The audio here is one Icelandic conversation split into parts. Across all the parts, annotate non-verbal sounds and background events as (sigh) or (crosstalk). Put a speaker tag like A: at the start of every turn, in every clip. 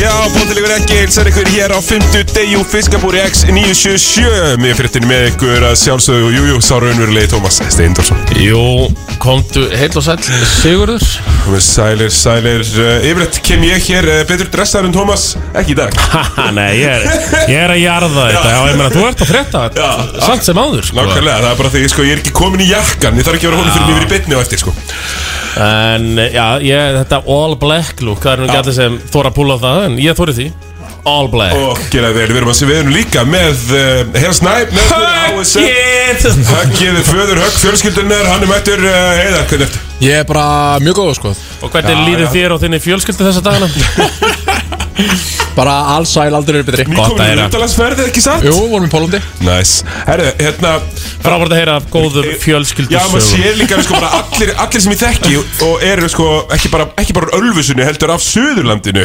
A: Já, bóttil ykkur ekki, heilsar ykkur hér á 50 degi úr fiskabúri X977 Mér fyrirtin með ykkur að sjálfsögðu og jújú, sá raunverulegi Tómas Steindorsson
B: Jú, komdu heil og sæll Sigurður
A: Komið sælir, sælir, uh, yfirleitt kem ég hér uh, betur dressaður en Tómas, ekki í dag
B: Haha, nei, ég er, ég er að jarða þetta Já, ég meina, þú ert að frétta þetta
A: Já.
B: Samt sem áður, sko
A: Nákvæmlega, það er bara því, sko, ég er ekki komin í jakkan, ég þarf ekki að vera honum fyrir mér í beinni á eftir, sko
B: En, já, ég, þetta all black look Það er nú ekki allir sem þóra að púla á það En ég þóri því All black
A: Og gera vel, við erum að sé við erum líka með uh, Helsnæp, með okkur ASM
B: Shit
A: Höggið er föður, högg fjölskyldunar, hann er mættur, uh, heiðar, hvernig ertu?
C: Ég er bara mjög góð sko
B: Og hvernig
A: Já,
B: líður
A: já.
B: þér og þinni fjölskyldu þessa dagana?
C: Bara allsæl aldrei verið betri
B: Gott að
A: Nýkomin í
B: heyra.
A: útalansferðið, ekki satt?
C: Jú, vorum í Pólandi
A: Næs, herru, hérna, Eh,
B: Frábært að heyra af góðum fjölskyldu
A: Já, maður sér líka sko, bara allir, allir sem ég þekki og eru sko, ekki bara, ekki bara úr Ölfusunni, heldur af Suðurlandinu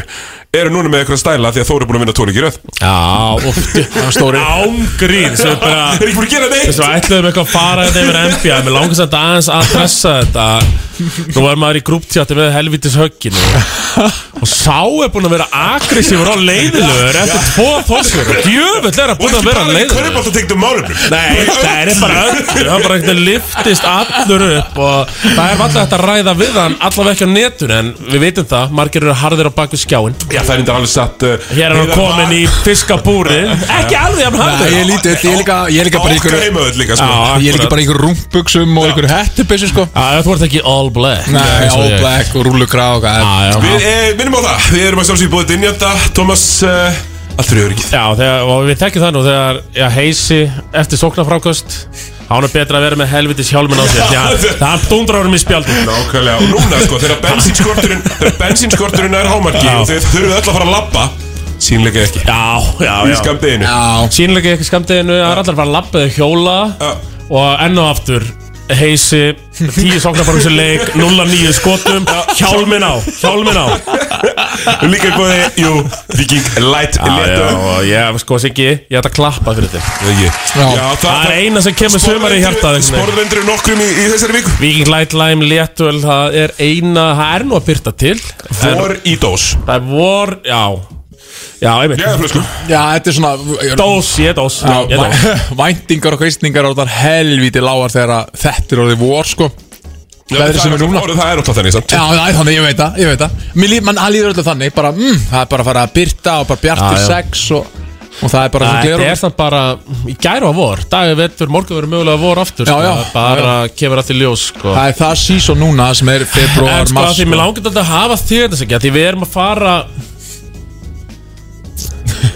A: eru núna með eitthvað stæla því að Þóri er búin að vinna tónleik í röð
B: Já, ótti
C: stóri.
B: Ángrín, sem er bara
A: (laughs) Er ekki búin að gera neitt?
B: Svo ætluðum eitthvað að fara þetta yfir NBA Mér langar samt aðeins að pressa þetta Nú var maður í grúptjátti með helvitis höggin og, og sá er búinn að vera aggressífur og leiðilegur Eftir tvo þossur Djöfull er að
A: Og
B: búinn
A: ekki
B: að
A: bara
B: vera
A: í
B: leiðilegur
A: kaupátt að tegna málum (laughs)
B: Nei, það er bara öllu Hann bara eitthvað liftist allur upp Og það er vallað hægt að ræða við hann Allavega ekki á netun En við veitum það, margir eru harðir á baku skjáin
A: Já, það er enda alveg satt uh,
B: Hér er hann komin í
A: (laughs)
B: fiskabúri Ekki alveg hann
C: Nei,
B: harður
C: ég er lítið, ég er líka, ég er líka bara í
A: Álka
C: ykkur
A: heimauð líka, sko
B: Já.
C: Ég er líka bara í ykkur rúmbuksum og ykkur hettubissu sko
B: Já, þú ert ekki all black
C: Nei,
B: eins og
C: all
B: ég.
C: black og rúlugrá og hvað
B: Já, já.
A: Við eh, minnum á það, við erum að sjálfsögja búið dynjanda Tómas, uh, allt fyrir öryggið
B: Já, þegar, og við þekkjum það nú þegar já, heisi eftir sóknarfrákost Hán er betra að vera með helvitis hjálmin á sér því að
A: (laughs)
B: það er dúndraurum í spjaldum
A: Nákvæmlega, og núna sko, þegar bensínskorturinn þegar bensínskorturinn er hámarki
B: Já.
A: og þau þurfum öll að fara að labba sínleika ekki,
B: Já, já,
A: í
B: já
A: skamdeginu
C: Já,
B: Sýnilega ekki skamdeginu, það er allar bara labbið hjóla
A: Já.
B: og enn og aftur heisi, tíu sóknarfrákost í leik 0-9 skotum, hjálmin á hjálmin á
A: Líka í bóði, jú, Viking Light Leto
B: og ég, sko, Siggi, ég ætla að klappa fyrir þetta
A: Já,
B: Það er eina sem kemur sumar í hjartað einhvern veginn.
A: Sporðvendur er nokkrum í, í þessari viku
B: Viking Light Lime, Léttöl, það er eina, það er nú að byrta til En-
A: Vor í dós
B: Það er vor, já Já, einmitt
A: Já, flösku
C: já, þetta er svona
B: Dós, ég er dós Já, ég er dós
C: Já, (laughs) Væntingar og kreistningar og það helviti lágar þegar að þetta er orðið vor sko Veðrið sem er núna
A: Orðið það er alltaf þannig samt
C: Já, það er þannig, ég veit það, ég veit það Mér líf, mann, hann líður öllu þannig, bara, mm, það er bara að fara að byrta og bara bjartir
B: Já, já.
C: sex og, og það er bara
B: Það
C: svona gleraugun.
B: er samt bara í gæru að vor Dagur vetur, morgun verður mögulega vor aftur
C: Já,
B: sko.
C: já.
B: Það er Bara kemur allt í ljós sko.
C: Það er það sísón núna sem er
B: En
C: februar,
B: sko,
C: mars
B: því mér langar þetta að hafa þér þess ekki Því við erum að fara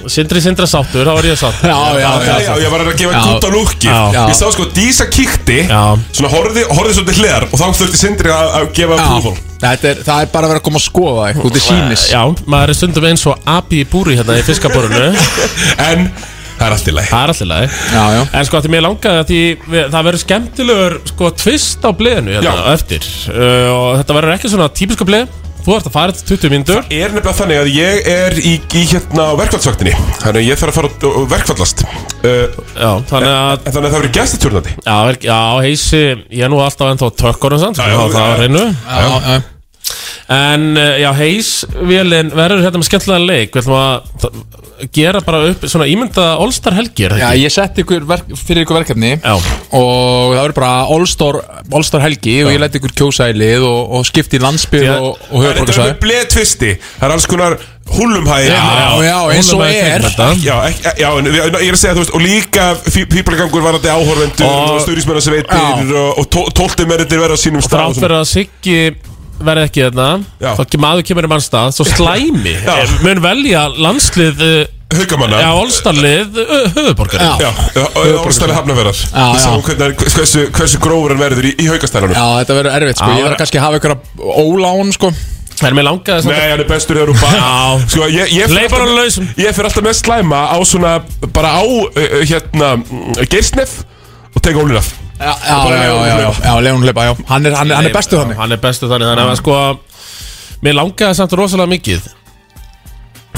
B: Sindri Sindra sáttur, þá var ég sáttur
C: Já, já,
A: Já, já, ég var að gefa
C: Já.
A: gúta lúki
B: Já.
A: Ég sá sko, Dísa kíkti
B: Já.
A: Svona horfði, horfði svolítið hliðar Og þá þurfti Sindri að, að gefa approval
C: Þetta er, það er bara að vera að koma að skoða það út í sínis
B: Já, maður er stundum eins og api í búri hérna í fiskaborunu Það
A: (laughs) En það er allt í lagi
B: er alltaf leið
C: Já, já
B: En sko, því mér langaði að því við- það verður skemmtilegur sko tvist á bleðinu hérna
A: Já.
B: á eftir uh, og þetta verður ekki svona típiska bleð Þú ert að fara þetta 20 mínútur
A: Er nefnilega þannig að ég er í, í hérna verkvallsvaktinni Þannig að ég þarf að fara og- og verkvallast uh,
B: Já, þannig að
A: Þannig að það verður gestiturnandi
B: Já, vel- já heisi, ég er nú alltaf ennþá tökkunum samt,
A: já,
B: þannig að það
A: já.
B: er reynu
C: Já, já,
B: En uh, já, heisvélinn verður hérna með skemmtilega leik Við ætlum að t- gera bara upp svona ímyndaða All-Star helgi, er það
C: já,
B: ekki?
C: ég setti ykkur verk, fyrir ykkur verkefni
B: Já.
C: og það verður bara All-Star All Star helgi og ég leti ykkur kjósa í lið og, og skipti í landsbyrð
B: Því að-
C: og, og
A: Það er þetta með
C: höfuborgarsvæði
A: bleð tvisti Það er alls konar húlumhæði
C: Já, já, eins og
B: Hún með
C: er.
B: þetta.
A: Já, ekki, já, en við- ég er að segja, þú veist, og líka fýblagangur varandi áhorfendur
B: Og-
A: og, og stuðnismennasveitir
C: Já.
A: og, og tóltumennir verða á sínum stað og svona.
B: Þrátt fyrir að Siggi verði ekki þarna
A: Já.
B: þá kemur maður kemur í mannstað svo slæmi
A: (laughs) Já.
B: eh, mun velja landslið eh,
A: Haukamanna
B: já, allstarlið höfuborgari
C: Já.
A: Já, orðstæli hafnaverðar
C: Já,
A: Ég sá
C: já.
A: hvernig, hversu, hversu grófur hann verður í, í haukastælanum
C: Já, þetta verður erfitt sko,
B: Já,
C: ég verður
B: verður-
C: kannski að hafa ykkur að ólán sko
B: Ah. það er mér langaði
A: Nei,
B: samt
A: hann er bestur þegar hún bara
B: Já.
A: Sko, ég, ég
B: að
A: fer
B: leipa hann
A: alltaf-
B: lausum
A: Ég fyrir alltaf með slæma á svona, bara á, uh, hérna, mm, Geirsnef og teka ólinn af
C: Já, já,
A: bara
C: já,
A: Leon
C: já, já,
A: hlaupa.
C: já, Leon Leipa, já Hann er, hann er, hann er bestu þannig
B: hann er bestu þannig þannig að sko mér langaði samt rosalega mikið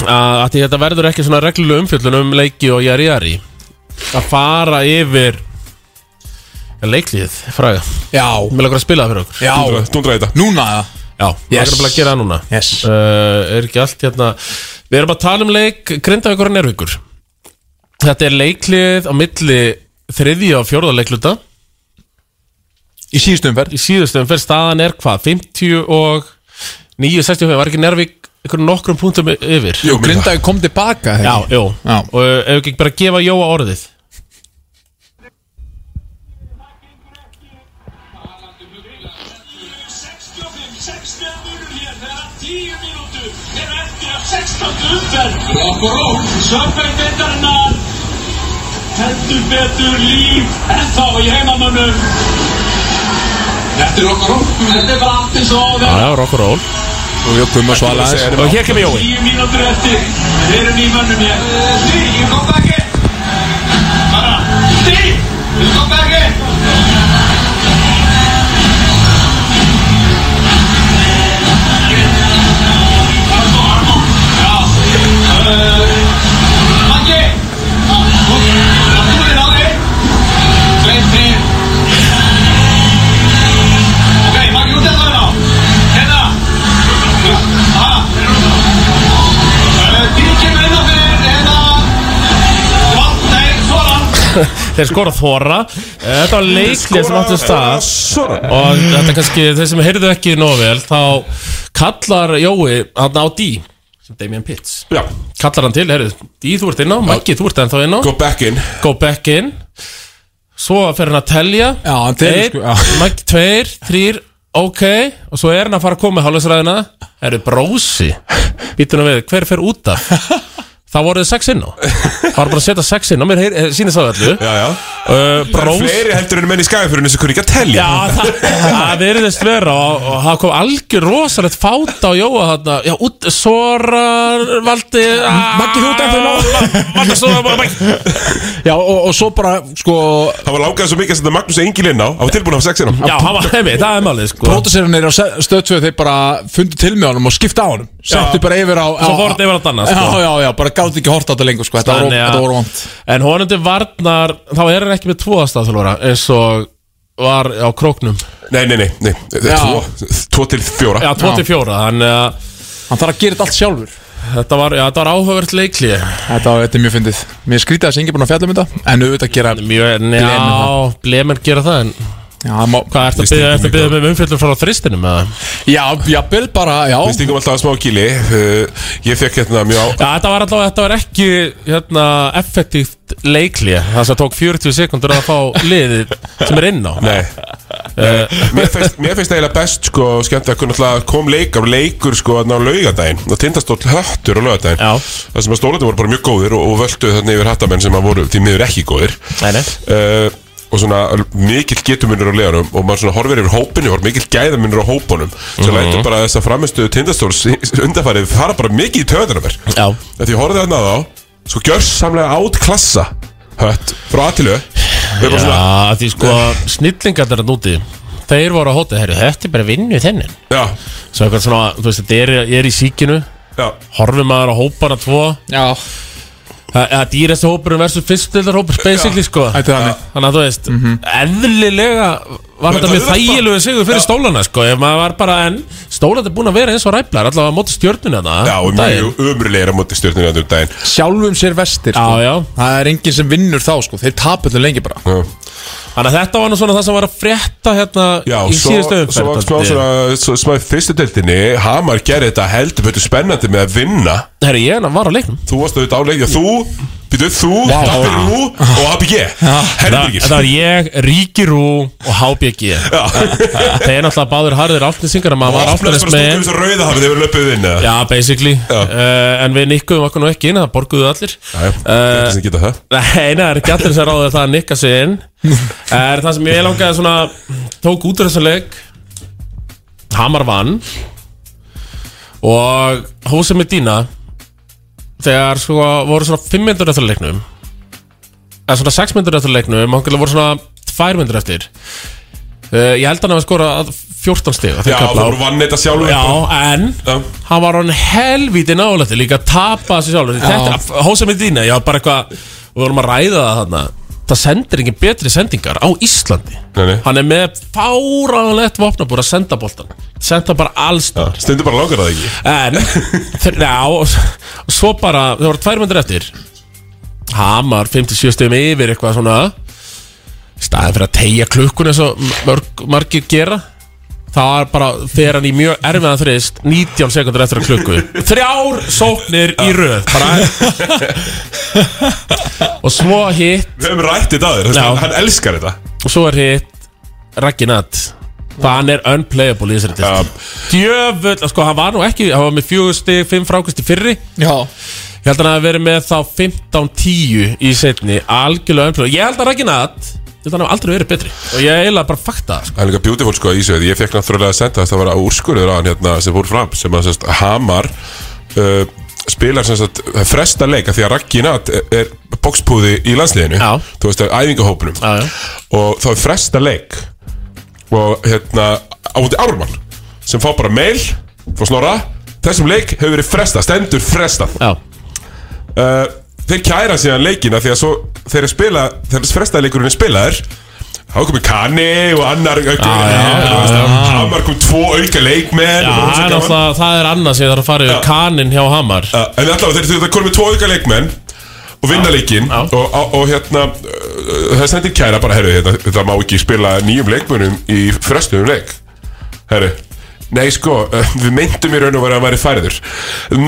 B: að að því þetta verður ekki svona regluleg umfjöllun um leiki og jari jari að fara yfir Leiklíð, fræga
C: Já,
B: Mér langar að spila það fyrir okkur
C: já
A: Dúndra- Dúndra þetta
C: Núna það
B: Já, yes. langar að bara að gera það núna
C: Yes.
B: uh, Er ekki allt hérna Við erum að tala um leik Grindavíkur og Nervíkur Þetta er leiklið á milli þriðja og fjórða leikluta
C: Í síðustu umferð
B: Í síðustum fyrir staðan er hvað 50 og 965 Var ekki Nervík einhverjum nokkrum punktum yfir
C: Jú, Grindavík kom tilbaka
B: Já,
C: þegar
B: jú
C: Já.
B: Og uh, ef ekki bara að gefa Jóa
C: (laughs)
B: orðið
D: Sörbækdeildarinnar Heldur betur líf Ennþá í heimamönnum Þetta er okkur Þetta er bara allt eins og áður.
B: Já, rock and roll
C: Og við okkur um að svala
A: Segja
C: aðeins
A: henni
B: Og hér kemur Jói
D: Tíu mínútur eftir Þeir eru ný mönnum ég Því, ég kom baki Bara Því, ég kom baki Maggi, út þetta hérna Hérna Ha?
B: Þeir skora Þóra Þetta var leiklið sem átti stað
A: Sorry
B: Og þetta er kannski, þeir sem heyrðu ekki nóg vel Þá kallar Jói hann á Dí Sem Damien Pitts
A: Já,
B: Kallar hann til, heyrðu, Dí þú ert inn á, Maggi þú ert ennþá inn á
A: go back in
B: Go back in Svo fer hann að telja
C: Já, hann telur, sko, já.
B: Einn, Maggi, tveir, þrýr, ok Og svo er hann að fara að koma með hálfisræðina Heyrðu, brósi Býtum við, hver fer út af Það voruð þið sex inn á Það var bara að setja sex inn á, mér heyr- eh, sýnist það öllu
A: Já, já
B: Uh,
A: Það eru
B: brós
A: fleiri heldur en menn í skæðaförinu sem kunni ekki að telja
B: Já, það, það veriðist vera og, og það kom algjör rosalegt fát á Jóa þarna Já, út, Sora, Valdi Ah.
C: Maggi, þú ert ennþá ná.
B: Valdi, Sora, Maggi
C: Já, og, og svo bara, sko
A: Það var lágað svo mikið að setja Magnús Engil inn á Það var tilbúin að hafa sex inn á
B: Já, hann var heimi, það er málið, sko
C: Pródusserinn er á stöðtöðu þeir bara fundu til með honum og skipta á honum Settu bara yfir á
B: Svo fór þetta yfir á Danna, sko.
C: Já, já, já, bara gáði ekki hort á þetta lengur, sko Þetta var-
B: Þannig að-
C: þetta voru vant
B: En honum til varnar, þá er hann ekki með tvo aðstæðþjálfara eins og var á króknum
A: Nei, nei, nei, nei.
C: Já.
A: Tvo, tvo til fjóra
B: Já, tvo
C: Já.
B: til fjóra, þannig að
C: Hann þarf að gera þetta allt sjálfur
B: Þetta var, já, þetta var áhugavert leiklið
C: Þetta, þetta er mjög fyndið Mér skrítið að þessi engi búin að fjalla um þetta En auðvitað gera
B: Mjög, já,
C: Blemen.
B: blemen gera það en
C: Já, það má,
B: Hvað, ertu að
A: Við
B: byggja- ertu
A: stingum
B: að byggja með umfjöldum frá þristinum, eða?
C: já, já, bil bara, já
A: Við stingum alltaf að smá kýli uh, Ég fekk hérna mjög á
B: Já, þetta var allavega, þetta var ekki hérna, effektíft leiklið Það sem tók 40 sekundur að fá liðið sem er inn á
A: Nei Mér finnst, mér finnst eiginlega best sko skemmt að kunna alltaf kom leikar leikur sko þarna á laugardaginn og tindastóll höttur á laugardaginn
B: Já.
A: það sem að stólarnir voru bara mjög góðir og, og völdu þarna yfir hattamenn sem að voru því miður ekki góðir
B: Nei, nei.
A: Eh, og svona mikill getumunur á leiðanum og maður svona horfir yfir hópinu og mikill gæðamunur á hópunum
B: Mhm.
A: sem lætur bara þess að framistöðu tindastóls undanfarið fara bara mikið í töðunarver
B: Já.
A: því ég horfði þarna á þá sko gjörsamlega átklassa hött frá aðtilu við bara svona
B: Já, því sko snillingarnir að núti Þeir voru á hótið, herru, þetta er bara vinnu þennin
A: já,
B: Svo eitthvað svona, þú veist, þetta er, ég er í síkinu
A: já,
B: Horfum maður á hópana tvo
C: Já,
B: Það það er dýrasti hópurinn versus fyrstildar hópur Basically, sko
C: þetta er þannig
B: Þannig að þú veist, eðlilega var
A: Mhm. Þetta
B: þetta mjög
A: auðvelt bara.
B: þægilegu sigur fyrir
A: Já.
B: stólana, sko Ef maður var bara, en stólandi búin að vera eins og ræplar Allavega á móti stjörnuna þarna,
A: já og
B: um daginn.
A: mjög umurleira móti stjórnir um daginn
C: Sjálfum sér vestir, sko
B: Já, já.
C: Það er enginn sem vinnur þá, sko Þeir tapullu lengi bara
A: Já.
B: Þannig að þetta var nú svona það sem var að frétta hérna
A: Já,
B: í
A: svo,
B: síðustu
A: svo var
B: umferð
A: smá
B: dálítið.
A: svona svo, smá í fyrstu deltinni Hamar gerði þetta heldur betur spennandi með að vinna
B: Herri, ég var á leiknum
A: Þú varst auðvitað áleikja Þú, býtu, þú, wow. WRU og ABG
B: Það
A: Helbyrgir
B: það var ég, Ríkirú og HBG Það er náttúrulega báður harðir áltnisingar að maður var
A: Opnaðist
B: áltanis
A: bara stúkum
B: með
A: þess að rauða hafið Þegar við löpuðu inn eða?
B: Já, basically
A: Já.
B: Uh, En við nikkuðum okkur nú ekki inn, það borguðu allir
A: Já, já,
B: Eh,
A: ekki sem geta það
B: Nei, nei, það er ekki allir sem ráðu það að nikka sig
A: (laughs)
B: inn Eh, Er það sem ég langaði svona Tók út úr þessum leik Hamar vann Og Hósi Medina Þegar sko voru svona 5 myndur eftir leiknum Eða svona 6 myndur eftir leiknum Mangilega voru svona 2 myndur eftir uh, Ég held að hann hafa skorað 14 stig á þeim
A: Já,
B: kafla.
A: þú voru vann þetta sjálfur
B: Já, en
A: Já.
B: hann var hann helvíti nálætti líka að tapa þessu sjálfur Þetta, Hósa með dýna, já, bara eitthvað við vorum að ræða það þarna það sendir engin betri sendingar á Íslandi
A: Nei, nei.
B: hann er með fáránlegt vopnabúr að senda boltan senda bara alls
A: Já, Stundum bara langar það ekki
B: En, þeir- já, og s- og svo bara, það voru tvær myndir eftir Hamar, 57 stegum yfir eitthvað svona Staðan fyrir að tegja klukkun eins og mörg, margir gera Það var bara, fer hann í mjög erfiðan þrist 19 sekundur eftir að klukku Þrjár sóknir í röð bara. Og svo hitt
A: (laughs) Við höfum rætt þetta aður,
B: Já.
A: hann elskar þetta
B: Og svo er hitt Ragginat Hann er unplayable í þessari
A: Já.
B: tist Djöfull, sko, hann var nú ekki Hann var með fjögur stig, fimm frákust í fyrri
C: Já,
B: Ég held að hann hafi verið með þá 15-10 í setni Algjörlega unplayable Ég held að Ragginat Ég held að hann hafi aldrei verið betri Og ég eiginlega bara fakta það, sko.
A: Það er líka beautiful sko í Ísöð Ég fekk náttúrulega að senda þess að það var á úrskurður á hann hérna sem fór fram sem að sérst Hamar uh, spilar sem sagt fresta leika því að Raggi Natt er bókspúði í landsliðinu
B: Já.
A: Þú veist að æfingahópnum
B: Já, já.
A: Og þá er fresta leik og hérna á móti Ármann sem fá bara mail frá Snorra Þessum leik hefur verið frestað, stendur frestað
B: Já,
A: uh, þeir kæra síðan leikina því að svo þeir eru spila þegar frestaðleikurinn er spilaður þá er komið Kani og annar auka
B: já, já,
A: Hamar kom tvo auka leikmenn
B: já
A: og það var
B: það,
A: svo
B: er
A: gaman.
B: alltaf, það er annað sem ég þarf að fara yfir Kaninn hjá Hamar
A: Já, en allavega þeir þurftu að koma með tvo auka leikmenn og vinna leikinn
B: Já.
A: og, og, og hérna uh, það stendur kæra bara herru þetta, þetta má ekki spila nýjum leikmennum í frestunum leik herru Nei sko, (laughs) uh, við myndum í raun og verið að hann væri færður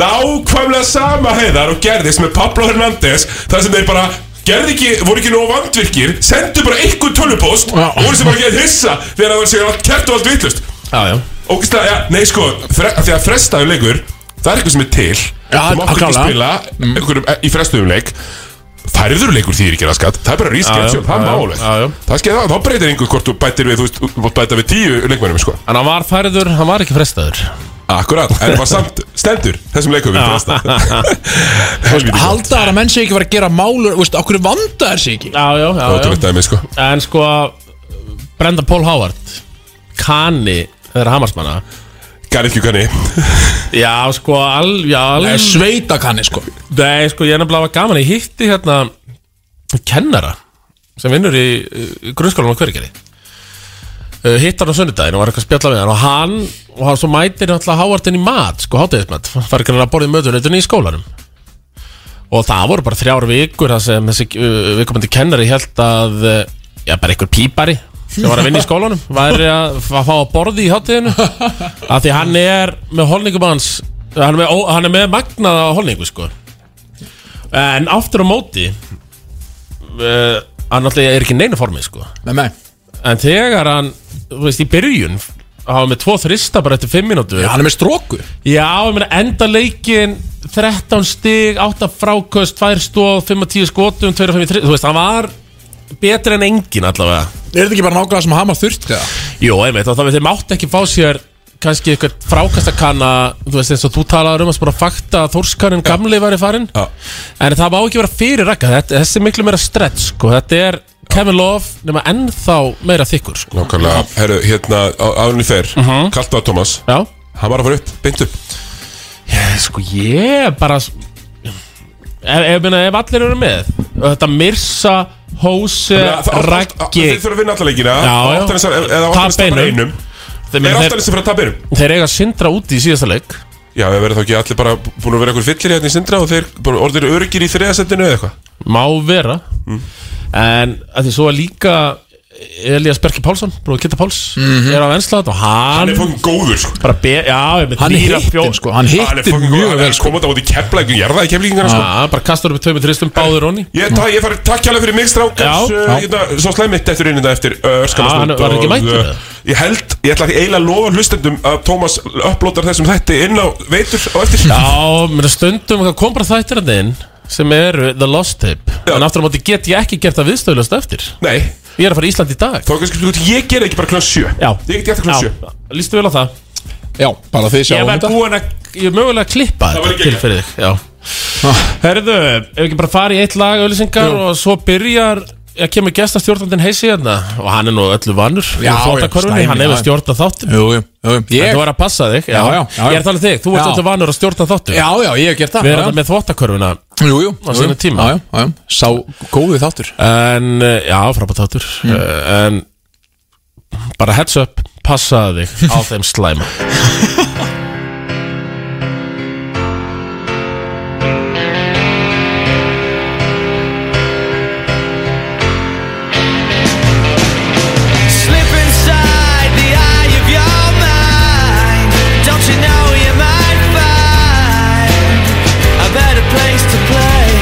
A: Nákvæmlega sama heiðar og gerðist með Pablo Hernández þar sem þeir bara gerði ekki, voru ekki nóg vandvirkir sendu bara einhvern tölvupóst
C: Já.
A: og voru sem bara að geta hissa þegar það var sér að kertu allt vitlust
B: Já, já
A: Ógislega, já, nei sko, fre, því að frestaðu leikur Það er eitthvað sem er til
C: Já,
A: Þú mátt ekki
C: klálega.
A: spila einhverjum, eh, í frestaðum leik Færður leikur þýðir ekki raskat Það er bara
B: Já, já,
A: rískjöld, það
B: já,
A: er
B: já,
A: málega
B: já, já.
A: Það skeið það, þá breytir einhver hvort þú bætir við Þú veist, þú mátt bæta við tíu leikmennum sko.
B: En hann var færður, hann var ekki frestaður
A: Akkurat, en það var samt stendur Þessum leikum við
B: (laughs)
A: frestað Helvítið gott.
C: halda þar að menn sé ekki vera að gera málur Þú veist, okkur vanda þær sé ekki
B: Já, já, já, já.
A: Ótrúlegt dæmi, sko.
B: En sko Brenda Paul Howard Kani þeirra Hamarsmanna
A: Garðkjú kanni.
B: Já sko al, já, al,
C: Það er sveita kanni, sko
B: Nei sko ég er nefnilega var gaman Ég hitti hérna kennara sem vinnur í uh, grunnskólanum á Hvergeri uh, hitt hann á sunnudaginn og var eitthvað að spjalla við hann og hann, og hann svo mætir náttúrulega Howardin í mat, sko hátíðismat fari ekki að borðið mötunautunni í skólanum og það voru bara þrjár vikur þar sem þessi uh, viðkomandi kennari held að, uh, já bara einhver pípari sem var að vinna í skólanum væri að, að fá að borði í hátíðinu af því hann er með holningum hans hann er með, ó, hann er með magnaða holningu sko en aftur á móti uh, hann alltaf er ekki í neinu formi sko
C: Nei, nei
B: En þegar hann, þú veist, í byrjun hafa með tvo þrista bara eftir fimm mínútu
C: Já, hann er með stróku
B: Já, ég meina enda leikin 13 stig, 8 fráköst 2 stóð, 5 og 10 skotum 2 og 5 í 3, þú veist, hann var betri en engin allavega
C: Er þetta ekki bara nákvæmlega sem Hamar þurfti það?
B: Jó, einmitt, og það við þeir mátt ekki fá sér kannski eitthvað frákastakanna þú veist eins og þú talaður um að spora fakta að þórskarinn gamli væri farinn
A: Já.
B: en það má ekki vera fyrir rakka, þetta, þessi er miklu meira stretch sko, þetta er Kevin Love nema ennþá meira þykkur sko.
A: Nákvæmlega, herru, hérna áðurinn í fer uh -huh. Kallt á Thomas,
B: Mhm. Já,
A: hann var að fara upp, beint upp
B: Sko ég er bara Ef, ef, meina, ef allir eru með Þetta Mirsa, Hóse,
A: Það- það-
B: Raggi
A: Þeir þurfa að vinna alla leikina
B: Já, já.
A: Oftar en þess að- eða oftar en þess að
B: Tapa
A: bara
B: einum.
A: einum
B: þeir,
A: Er
B: þeir,
A: oftar en sem fyrir að tapa einum
B: þeir eiga sindra úti í síðasta leik
A: Já, við verðum þá ekki allir bara búin að vera eitthvað fyllir hérna í sindra og þeir bara orðir örgir í þriðasettinu eða eitthvað Mm.
B: Má vera En að því svo er líka Elías Berki Pálsson, bróði Kitta Páls
C: Mhm.
B: Er á venslað og hann,
A: Hann er fokkin góður sko
B: bara be, Já, með
C: Hann
B: þríra,
C: er hittin,
B: fjóra-
C: sko Hann
A: Hann er
C: hittin
A: fokkin góður,
C: mjög
A: hann
C: vel,
A: er
C: sko
A: komað á út í keflæðingu, ég er það í keflæðingu sko
B: Já, bara kastar upp í tveimur tristum, báður honni
A: Ég, ta, ég fari takk hérlega fyrir mig
B: Já.
A: strákars uh, hérna, Svo slæm mitt eftir eininda eftir uh,
B: Já, hann
A: örskamastund
B: var ekki mættur, eða?
A: uh, Ég held, ég ætla að eiginlega að lofa hlustendum að Tómas upplótar þessum þætti inn á veitur og eftir Já,
B: Já, mér stundum það kom bara þættirandi inn sem eru The Lost Tape En aftur á móti get ég ekki gert það viðstöðlust eftir
A: Nei,
B: Ég er að fara í Ísland í dag
A: þá kannski sko, ég ger ekki bara klán 7
B: Já.
A: Ég get ég eftir klán 7
B: Já, lístu vel á það
C: Já, bara þið
B: Ég
C: sjáum
B: verð
C: þetta
B: búin að, ég er mögulega að klippa
A: Það
B: þetta
A: væri
B: til
A: geggjað.
B: fyrir þig Já
C: Ah.
B: Herðu, ef við ekki bara fara í eitt lag auðlýsingar og svo byrjar að kemur gestastjórnandinn heisi hérna og hann er nú öllu vannur
C: Já, já,
B: stæmi,
C: Stæmi,
B: hann hefur
C: já.
B: stjórnað þáttum
C: Jú, jú, jú
B: Þú
C: Ég,
B: var að passa þig
C: Já, já, já, já.
B: Ég er að tala um þig, þú ert
C: Já.
B: öllu vannur að stjórna þáttum
C: já, já, ég hef gert það
B: Við
C: já,
B: erum þetta með þvottakörfuna
C: Jú, jú,
E: Á sínum tíma.
C: já, já, já, já. Sá góði þáttur
E: En, eh, já, frábært þáttur
B: Mm.
E: Eh, En bara heads up, passaði þig á þeim
B: (laughs)
E: slæma
F: Slip inside the eye of your mind. Don't you know you might find a better place to play?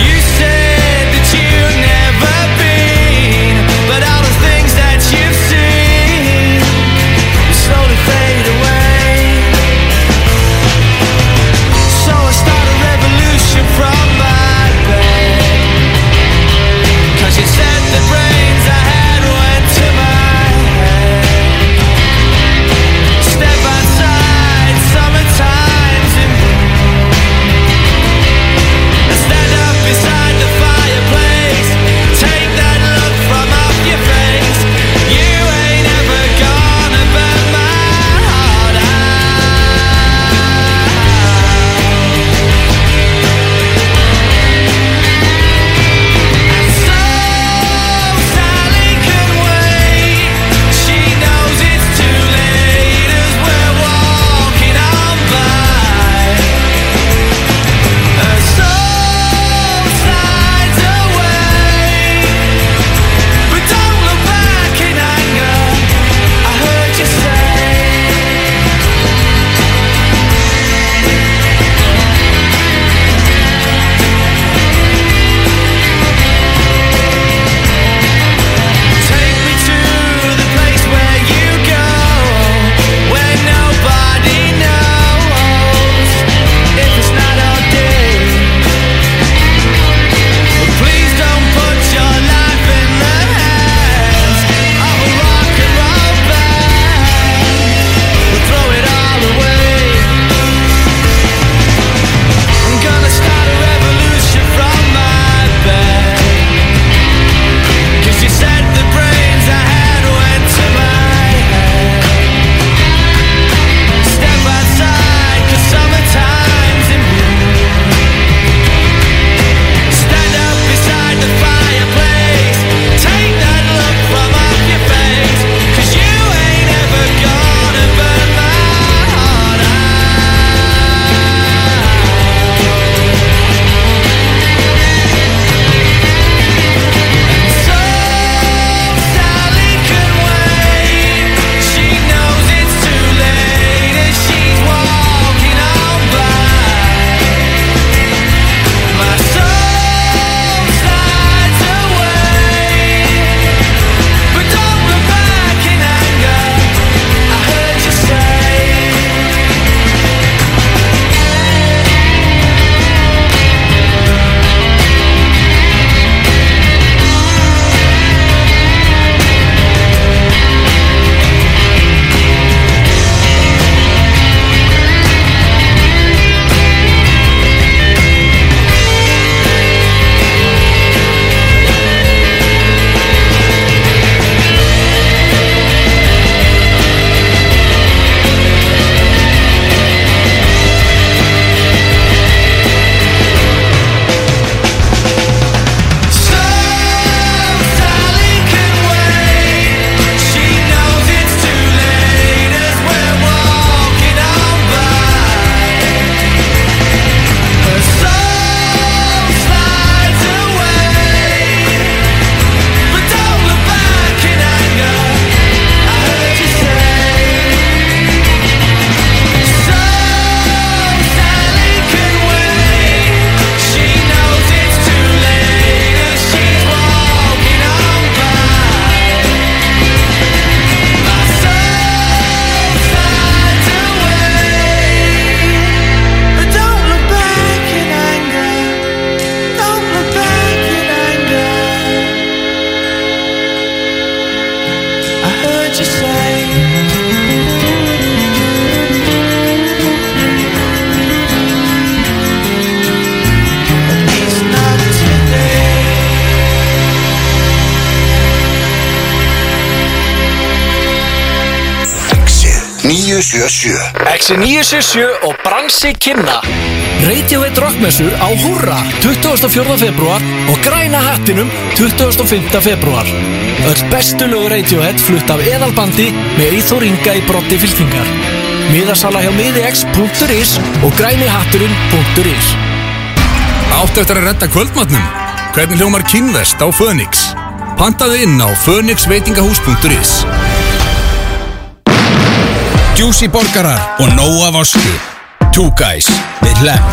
F: You said that you've never been, but all the things that you've seen will slowly fade away. So I start a revolution from my bed. Cause you said the brains I had went to my head. Step outside, summertime's in And stand up beside the fireplace. Take that look from off your face. You ain't ever gonna burn my heart out. So Sally can wait. She knows it's too late as we're walking on by. Her soul slides away, but don't look back in anger. I heard you say. Take me to the place where you go, where nobody knows if it's not our day. Please don't put your life in the hands of a rock and roll band. We'll throw it all away. I'm gonna start a revolution from my bed. Cause you said the brains I had went to my head Step outside, cause summertime's in bloom Stand up beside the fireplace Take that look from off your face Cause you ain't ever gonna burn my heart out So Sally can wait. She knows it's too late as she's walking on by. My soul slides away, but don't look back in anger. I heard you say. So Sally can wait. She knows it's too late as we're walking on by. Her soul slides away, but don't look back in anger. I heard you say. So Sally can wait. She knows it's too late as she's walking on by. My soul slides away, but don't look back in anger. Don't look back in anger. I heard you say. It's not today.
G: 977
D: X977 og Bransi Kinna Radiohead Rockmessu á Húrra 24. februar og Græna Hattinum 25. februar Öll bestu lögur Radiohead flutt af eðalbandi með Eithor Inga í brotti fylkingar Miðasala hjá miðix.is og grænihatturinn.is
H: Áttu eftir að redda kvöldmatnum? Hvernig hljómar kynvest á Fönix? Pantaðu inn á fönixveitingahús.is Juicy borgarar og nóa vasku Two guys við hlem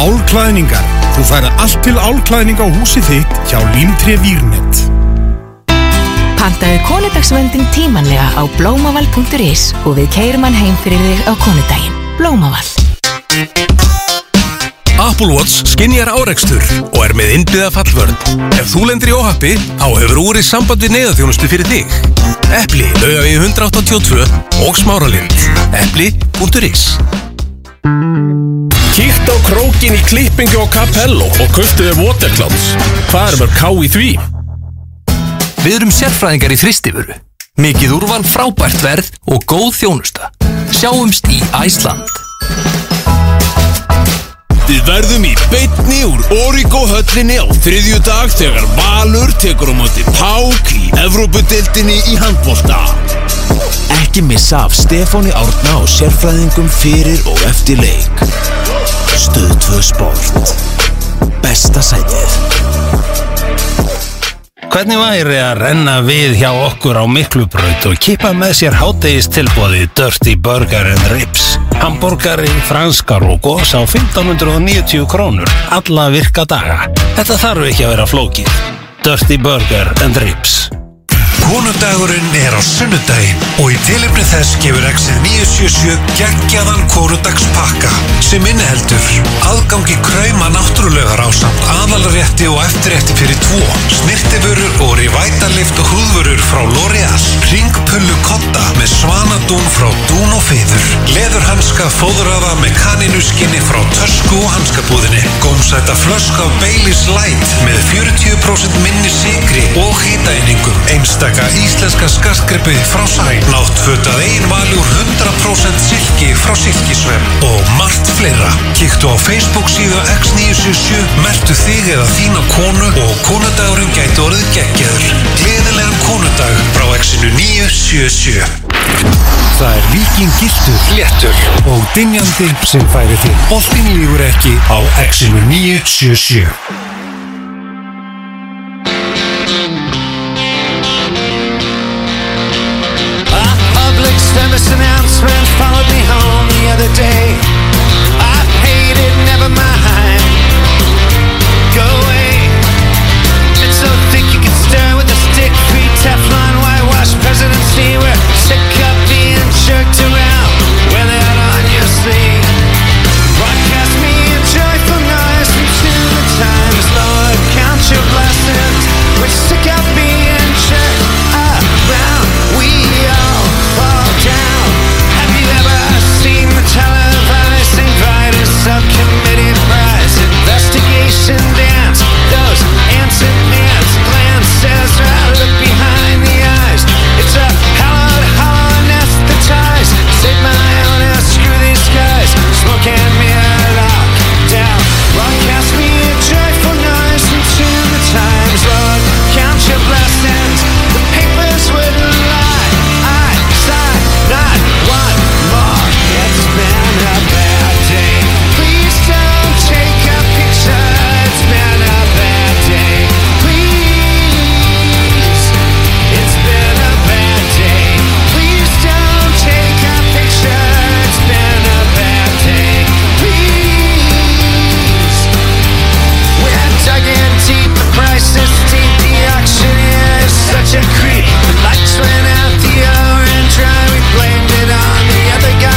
I: Álklæðningar. Þú færð allt til álklæðning á húsið þitt hjá Límtrið Vírnet.
J: Pantaðu konudagsvöndin tímanlega á blómaval.is og við keirum hann heim fyrir þig á konudaginn. Blómaval.
H: Apple Watch skinjar árekstur og er með innbyða fallvörn Ef þú lendir í óhappi, þá hefur úrið samband við neyðarþjónustu fyrir þig Epli, laugavi 182 og smáralind Epli.is
B: Kíkt á krókin í klippingu á Capello og köftuðu Waterclouds. Hvað er mörg ká í því?
H: Við erum sérfræðingar í þristifuru. Mikið úrval frábært verð og góð þjónusta. Sjáumst í Æsland.
K: Við verðum í beitni úr Origo höllinni á þriðju dag þegar Valur tekur á móti Pák í Evrópudeildinni í handbólta. Ekki missa af Stefáni Árna og sérfræðingum fyrir og eftir leik. Stöð 2 Sport. Besta sætið.
L: Hvernig væri að renna við hjá okkur á Miklubraut og kippa með sér hátegis tilbóði Dirty Burger and Ribs? Hamburgari, franskar og gos á 1590 krónur alla virka daga. Þetta þarf ekki að vera flókið. Dirty Burger and Ribs.
H: Konudagurinn er á sunnudaginn og í tilifni þess gefur Exit 977 geggjaðan konudagspakka sem inneheldur aðgangi krauma náttúrulegar á samt aðalrétti og eftirrétti fyrir tvo snirtifurur og revitalift og húðvurur frá L'Oreal ringpullu kotta með svanadún frá dún og feður leðurhanska fóðuraða með kaninuskinni frá tösku og hanskabúðinni gómsæta flösk af Baileys Light með 40% minni sigri og hýtaeiningum einstaka íslenska skartgrippi frá sæn náttfötað einvali úr 100% silki frá silkisvem og margt fleira kíktu á Facebook síðu X977 mertu þig eða þína konu og konudagurinn gæti orðið geggjaður gleðilegan konudag frá X-inu 977
I: Það er Víking Gildur,
H: Léttur
I: og Dynjandi sem færi til.
H: Boltinn lífur ekki á Exinu 977
F: I published a announcement, followed me home the other day. I paid it, never mind. Go away. It's so thick you can stir with a stick. Free Teflon, whitewash presidency. We're sick of being jerked around. Wear that on your sleeve. Broadcast me in joyful noise until the time is Lord. Count your blessings. We're sick of being jerked around. We all fall down. Have you ever Oh,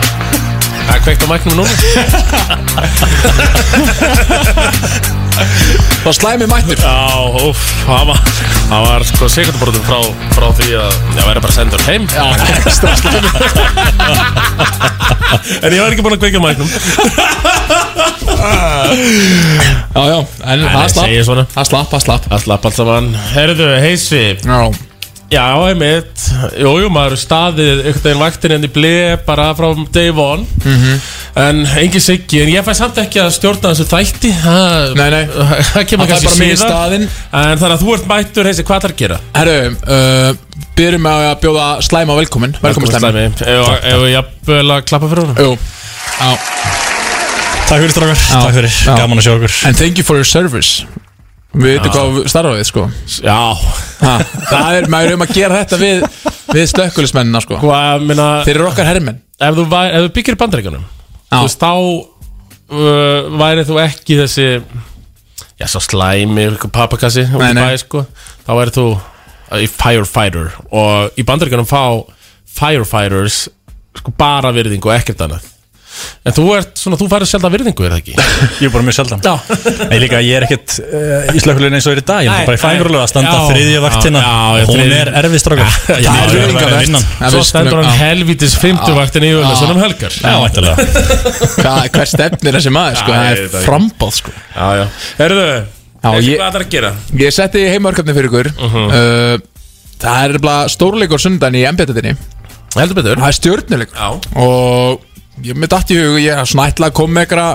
B: á mæknum núna (laughs)
C: Það slæmi mættur
B: Já, úf, það var, það var sko sekundabrotum frá, frá því að ég væri bara sendur heim Já,
C: ekstra
B: slæmi (laughs) En ég var ekki búin að kveikja á mæknum Ah.
C: Já, já, en það slapp
B: segja svona
C: Það slapp, það slapp
B: Það slapp allt saman Herðu, heisi
C: Já,
B: Já, einmitt Jú, jú, maður hefur staðið einhvern veginn vaktin enn í blei bara frá day one
C: Mhm.
B: En engin siggi, en ég fæ samt ekki að stjórna þessu þætti Það-
C: nei, nei
B: (laughs) Það kemur
C: Það er
B: kannski
C: bara mig í
B: síðar
C: staðinn.
B: En þannig að þú ert mættur, heisi, hvað þarf að gera?
C: Herru, uh, byrjum með að bjóða slæma velkomin Velkomin slæmi
B: Ef ég jafnvel að klappa fyrir honum
C: Jú, á
M: Takk fyrir strákar, takk fyrir,
C: já.
M: gaman að sjá okkur
C: And thank you for your service Við veitum hvað starfaðið, sko
B: Já
C: ha, Það er, maður er um að gera þetta við, við slökkulismennina, sko
B: Hvað, minna
C: Þeir eru okkar herrmenn
B: Ef þú, væ- ef þú byggir í bandaríkjunum
C: Já.
B: Þú veist, þá uh, væri þú ekki þessi Já, svo slæmi, ykkur pappakassi út
C: Nei,
B: í
C: nei.
B: Bæ, sko. Þá væri þú uh, í firefighter Og í bandaríkjunum fá firefighters sko, bara virðingu og ekkert annað En þú ert svona, þú færir sjálf virðingu, er það ekki?
M: (laughs) Ég er bara mjög sjaldan
B: Já
M: Nei líka, ég er ekkert uh, í slökkulegin eins og er í dag Ég
B: Nei,
M: er bara í
B: nei.
M: fæðingarlega að standa
B: Já,
M: þriðja vaktina
B: já, já,
M: Hún
B: þriðju-
M: er erfið strákar Ég
C: það er
M: er að vera
C: virðingarvert.
M: að vinna
C: Já,
B: Svo
C: við skulum-
B: stendur hann
C: já.
B: helvitis fimmtuvaktin í Júlasson um helgar
M: Já, væntalega
C: Hvað, hver stefnir þessi maður, sko Það er
B: Já, ég veit það ekki.
C: frambáð, sko
B: Já, já Herðu,
C: Já,
B: veistu
C: ég-
B: hvað það er að gera? Mhm.
C: Ég setti heimörkefni fyrir ykkur uh, Það er bara stórleikur sundan í embjættinni
B: Heldur betur
C: Það er stjórnuleikur
B: Já.
C: Og ég með datt í hug Ég er svona ætla að koma með eitthvað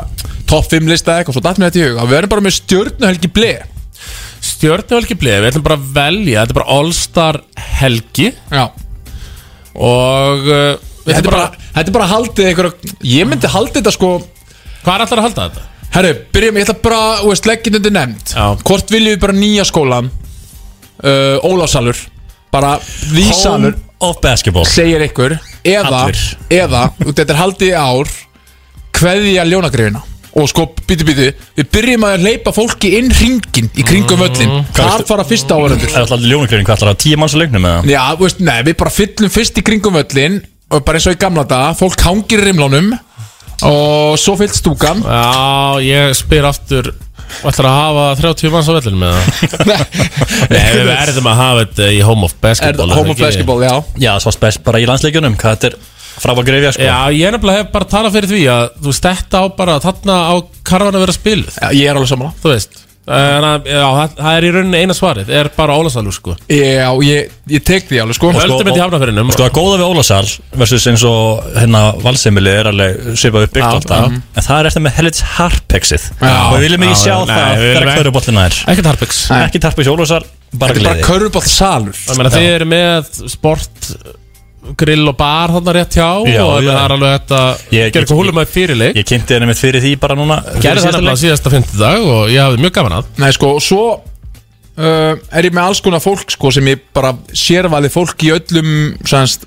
C: Top 5 lista eða eitthvað Svo datt mér þetta í hug Að við erum bara með stjórnuhelgi ble
B: Stjórnuhelgi bleið, við ætlum bara að velja Þetta er bara All-Star helgi
C: Já
B: Og uh, við
C: Þetta er
B: ætlum
C: bara,
B: bara
C: þetta er bara haldið einhverja Ég myndi haldið þetta sko
B: Hvað er allar að halda þetta?
C: Herru, byrjum, ég ætla bara Þú veist, leggin undir nefnd
B: Já.
C: Hvort viljum við bara nýja skólan uh, Ólásalur Bara vísalur
M: Home of basketball
C: segir ykkur eða,
M: Allir.
C: eða þetta er haldið í ár kveðja ljónagrifina og sko, býti, býti, við byrjum að hleypa fólki inn ringin í kringum völlin
B: Mhm.
C: þar fara fyrst áhverjandur
M: Það er alltaf ljónakriðin, hvað ætlar það? Tíu manns að leiknum eða?
C: já, þú veist, nei, við bara fyllum fyrst í kringum völlin og bara eins og í gamla daga, fólk hangir í rimlánum og svo fyllt stúkan
B: Já, ég spyr aftur Ætlar að hafa 30 manns á vellinu
C: (laughs)
B: með það? Nei, við
C: er
B: verðum að hafa þetta í Home of
C: það
B: Basketball er það
C: home of
B: ekki?
C: basketball, já
M: Já, svo spes bara í landsleikjunum, hvað þetta er frábæð greifja sko
B: Já, ég nefnilega hef bara talað fyrir því að Þú veist, þetta á bara, þarna á karvan að vera spiluð
C: Já, ég er alveg sammála
B: Þú veist En að, já, það, það er í rauninni eina svarið Er bara Ólasalur, sko
C: já, ég, ég tek því alveg sko
B: Vel- Höldum þetta í
M: og-
B: Hafnarfirðinum.
M: og Sko að góða við Ólasal versus eins og hérna valseimili er alveg svipað uppbyggt
C: Já,
M: alltaf En það er eftir með helits harpexið
C: Já,
M: Og við viljum ekki
B: já,
M: sjá
B: nei,
M: það
B: við viljum
M: þegar
B: ekki-
M: hverju bollina er
B: Ekkert harpex
C: Nei.
M: Ekki tarpex Ólasal, bara
C: þetta er bara
M: gleði
C: körfubátt salur
B: Ég meina, þið eru með sport grill og bar þarna rétt hjá
M: Já,
B: og
M: já.
B: það er alveg þetta
M: Ég-
B: gera eitthvað húlum að fyrirleik
M: Ég kynnti henni mitt fyrir því bara núna fyrir
B: gerði
M: síðasta
B: þetta bara
M: leik.
B: síðasta fymtudag og ég hafði mjög gaman að
C: Nei sko, og svo uh, er ég með alls konar fólk sko sem ég bara sérvalið fólk í öllum sannst,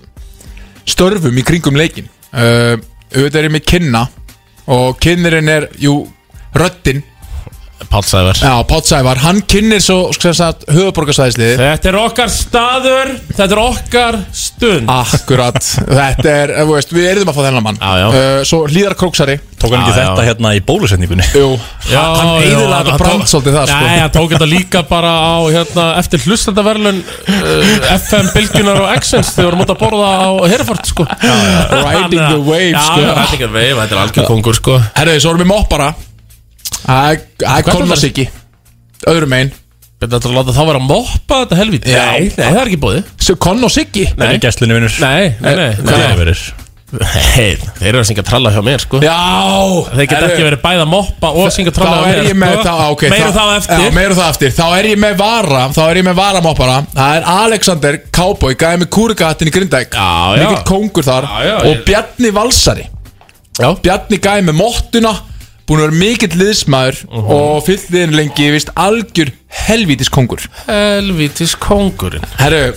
C: störfum í kringum leikin uh, auðvitað er ég með kynna og kynnirinn er, jú, röddin
B: Pálsæðver
C: já, Pátsævar, hann kynnir svo sko, sem sagt höfuborgarsæðisliði
B: Þetta er okkar staður Þetta er okkar stund
C: Akkurat, þetta er, eh, þú veist, við erum að fá þennan mann
B: Já, já.
C: Uh, Svo Hlíðar Króksari
M: Tók hann
B: Já,
M: ekki
B: já.
M: þetta hérna í bólusetningunni
C: Jú,
B: (laughs) Já,
C: hann
B: já,
C: eiginlega
B: hann
C: þetta brand
B: tók-
C: svolítið það
B: Nei,
C: sko
B: hann tók þetta líka bara á hérna, eftir hlustandaverlun uh, FM Bilgjunar og Accents þegar vorum út að borða á Herford sko.
C: Riding the wave,
B: já,
C: sko.
B: já, Riding the wave, þetta er algjör kongur sko.
C: Herðu, svo erum við moppara Það er- það er
B: Hvernig
C: Kolmar Siggi Öðrum einn
B: Þetta er að láta þá vera að moppa þetta helvíti
C: Já.
B: Nei, nei, það er ekki bóði
C: Konn og Siggi
M: Það er gæstlunni vinnur
B: Nei, nei, nei,
M: Það
B: nei.
M: er verið
B: Hey, Þeir eru að syngja tralla hjá mér sko
C: Já
B: Þeir geta ekki verið bæða moppa og syngja
C: Þá
B: tralla hjá
C: er
B: mér
C: ég með
B: sko.
C: þá, ok
B: Meiru
C: þá-
B: það á eftir
C: Já, meiru það eftir Þá er ég með vara Þá er ég með varamoppara Það er Alexander Cowboy Gæði með kúrigatinn í Grindæk
B: Já, já.
C: Mikill kóngur þar
B: Já, já,
C: Og
B: ég-
C: Bjarni Valsari Já Bjarni gæði með mottuna Búin að vera mikill liðsmaður
B: Mhm.
C: Og fylliðin lengi Vist algjör helvítis kóngur
B: Helvítis kongurinn
C: Herru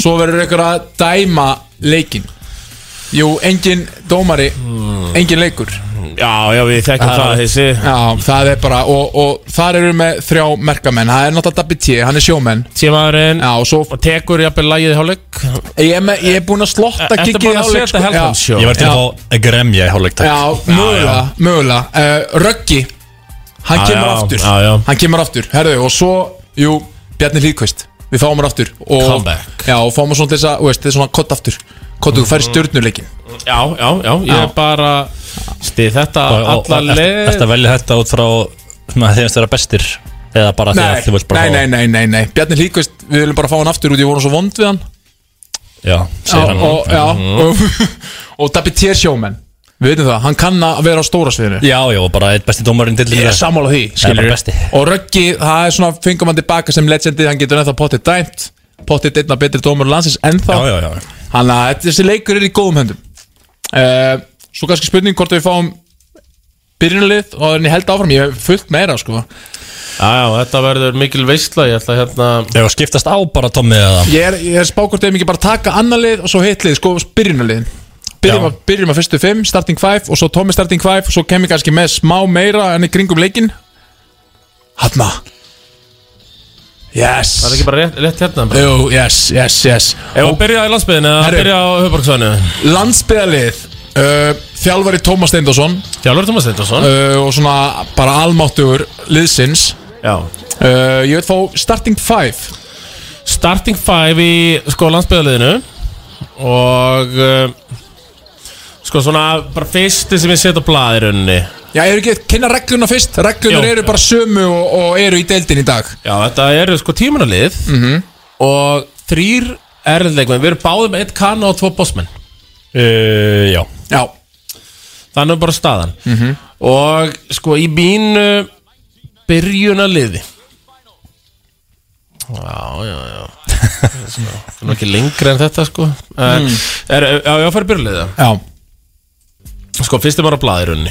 C: Svo verður ykkur að dæma leikin Jú, engin dómari Engin leikur
B: Hmm. Já, já, við þekkjum það, þessi
C: Já, það er bara Og, og þar eru með þrjá merkamenn Það er náttúrulega Dabbi T, hann er sjómenn
B: Tímaðurinn
C: Já, og svo Og
B: tekur jafnvel lagið í hálfleik
C: Ég er, með, ég er búin að slotta
B: Ertu
C: kikið í
B: búin að
C: hálfleik sko.
B: setja Helgan Show?
M: Ég var til
C: Já.
M: að fá að gremja í hálfleik takk.
C: Já,
M: já.
C: mögulega, mögulega uh, Röggi, hann
M: Já,
C: kemur
M: já,
C: aftur
M: já, já.
C: Hann kemur aftur, herðu, og svo Jú, Bjarni Hlýðkvist, við fáum hann aftur og,
B: Comeback.
C: Já, og fáum hann svona til þess að, þú veist, þetta er svona kott aftur Kott, þú
M: Mhm.
C: færi stjórnuleikin
B: Já, já, já, ég
C: Já.
B: er bara Stið þetta
M: Og- og-
B: alla
M: ert-
B: leið
M: Ertu að velja þetta út frá svona, þeim að vera bestir eða bara því
C: Nei,
M: að þú vilt bara
C: nei, nei, nei, nei, nei Bjarni Hlýðkvist, við viljum bara fá hann aftur út Ég voru svo vond við hann
M: Já,
C: Já,
M: segir hann
C: og, já,
M: Mhm.
C: (laughs) og, og Dabbi T. Sjómen Við veitum það, hann kann að vera á stóra sviðinu
M: Já, já, og bara eitt besti dómarinn til
C: Ég er sammála því, skilurðu.
M: bara besti
C: Og Röggi, það er svona fengum hann tilbaka sem legendið, hann getur ennþá pottið dæmt pottið einna betri dómur landsins ennþá
M: Já, já, já.
C: Þannig að þetta- þessi leikur er í góðum höndum uh, Svo kannski spurning hvort við fáum byrjunalið og en ég held áfram, ég hef fullt meira sko
B: Já, já, þetta verður mikil veistla Ég ætla hérna
M: Já, skiptast á bara Tommi eða
C: Ég er, ég er spákvort eða mikið bara taka annar lið og svo hitt lið, sko byrjunaliðin Byrjum,
M: Já.
C: að, byrjum að fyrstu fimm, starting five og svo Tommy starting five og svo kem ég kannski með smá meira enn í kringum leikin Hanna Yes
B: Það er ekki bara rétt, rétt hérna bara.
C: Jú, yes, yes, yes
B: Ef hún byrja í landsbyðinu eða
C: Herru.
B: byrja á höfborgsvæðinu
C: Landsbyðalið uh, Þjálfari Tómas Steindorsson
B: Þjálfari Tómas Steindorsson
C: uh, Og svona bara almáttugur liðsins
B: Já
C: uh, Ég veit fá starting five
B: Starting five í sko landsbyðaliðinu Og uh, Sko svona bara fyrsti sem ég set á blaðirunni
C: Já, ég er ekki að kynna regluna fyrst Reglunar
B: Jú.
C: eru bara sömu og, og eru í deildin í dag Mhm.
B: Já, þetta eru sko tímanalið mm -hmm. Og þrýr erðleikmenn Við erum báðið með eitt kanna og tvo bossmenn
M: uh, Já
C: Já
B: Þannig er bara staðan Og sko í mínu Byrjunaliði Já, já, já Það er nú ekki lengra en þetta sko mm.
C: Mm.
B: er, Já, ég fær byrjunaliði
C: Já
B: Sko, fyrstum var að blaði runni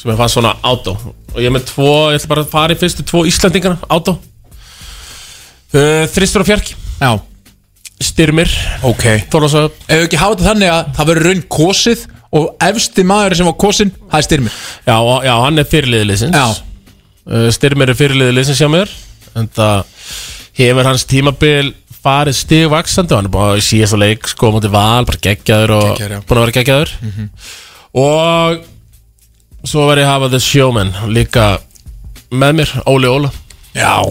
B: Sem ég fann svona átó Og ég er með tvo, ég ætla bara að fara í fyrstu tvo Íslandingana, átó uh, Þristur og fjarki
C: Já
B: Styrmir
C: Ok
B: Þólasöf
C: Ef við ekki hafa þetta þannig að það verður raun kosið Og efsti maður sem var kosin, það er styrmi
B: Já, og- já hann er fyrirliðilisins
C: Já.
B: uh, Styrmir er fyrirliðilisins hjá mér En það hefur hans tímabil farið stigvaksandi og hann er búin að síðast að leik sko á móti val, bara geggjaður og
C: Geggjaður, já. Mhm.
B: búin að vera geggjaður og svo var ég að hafa The Showman líka með mér, Óli Óla
C: Já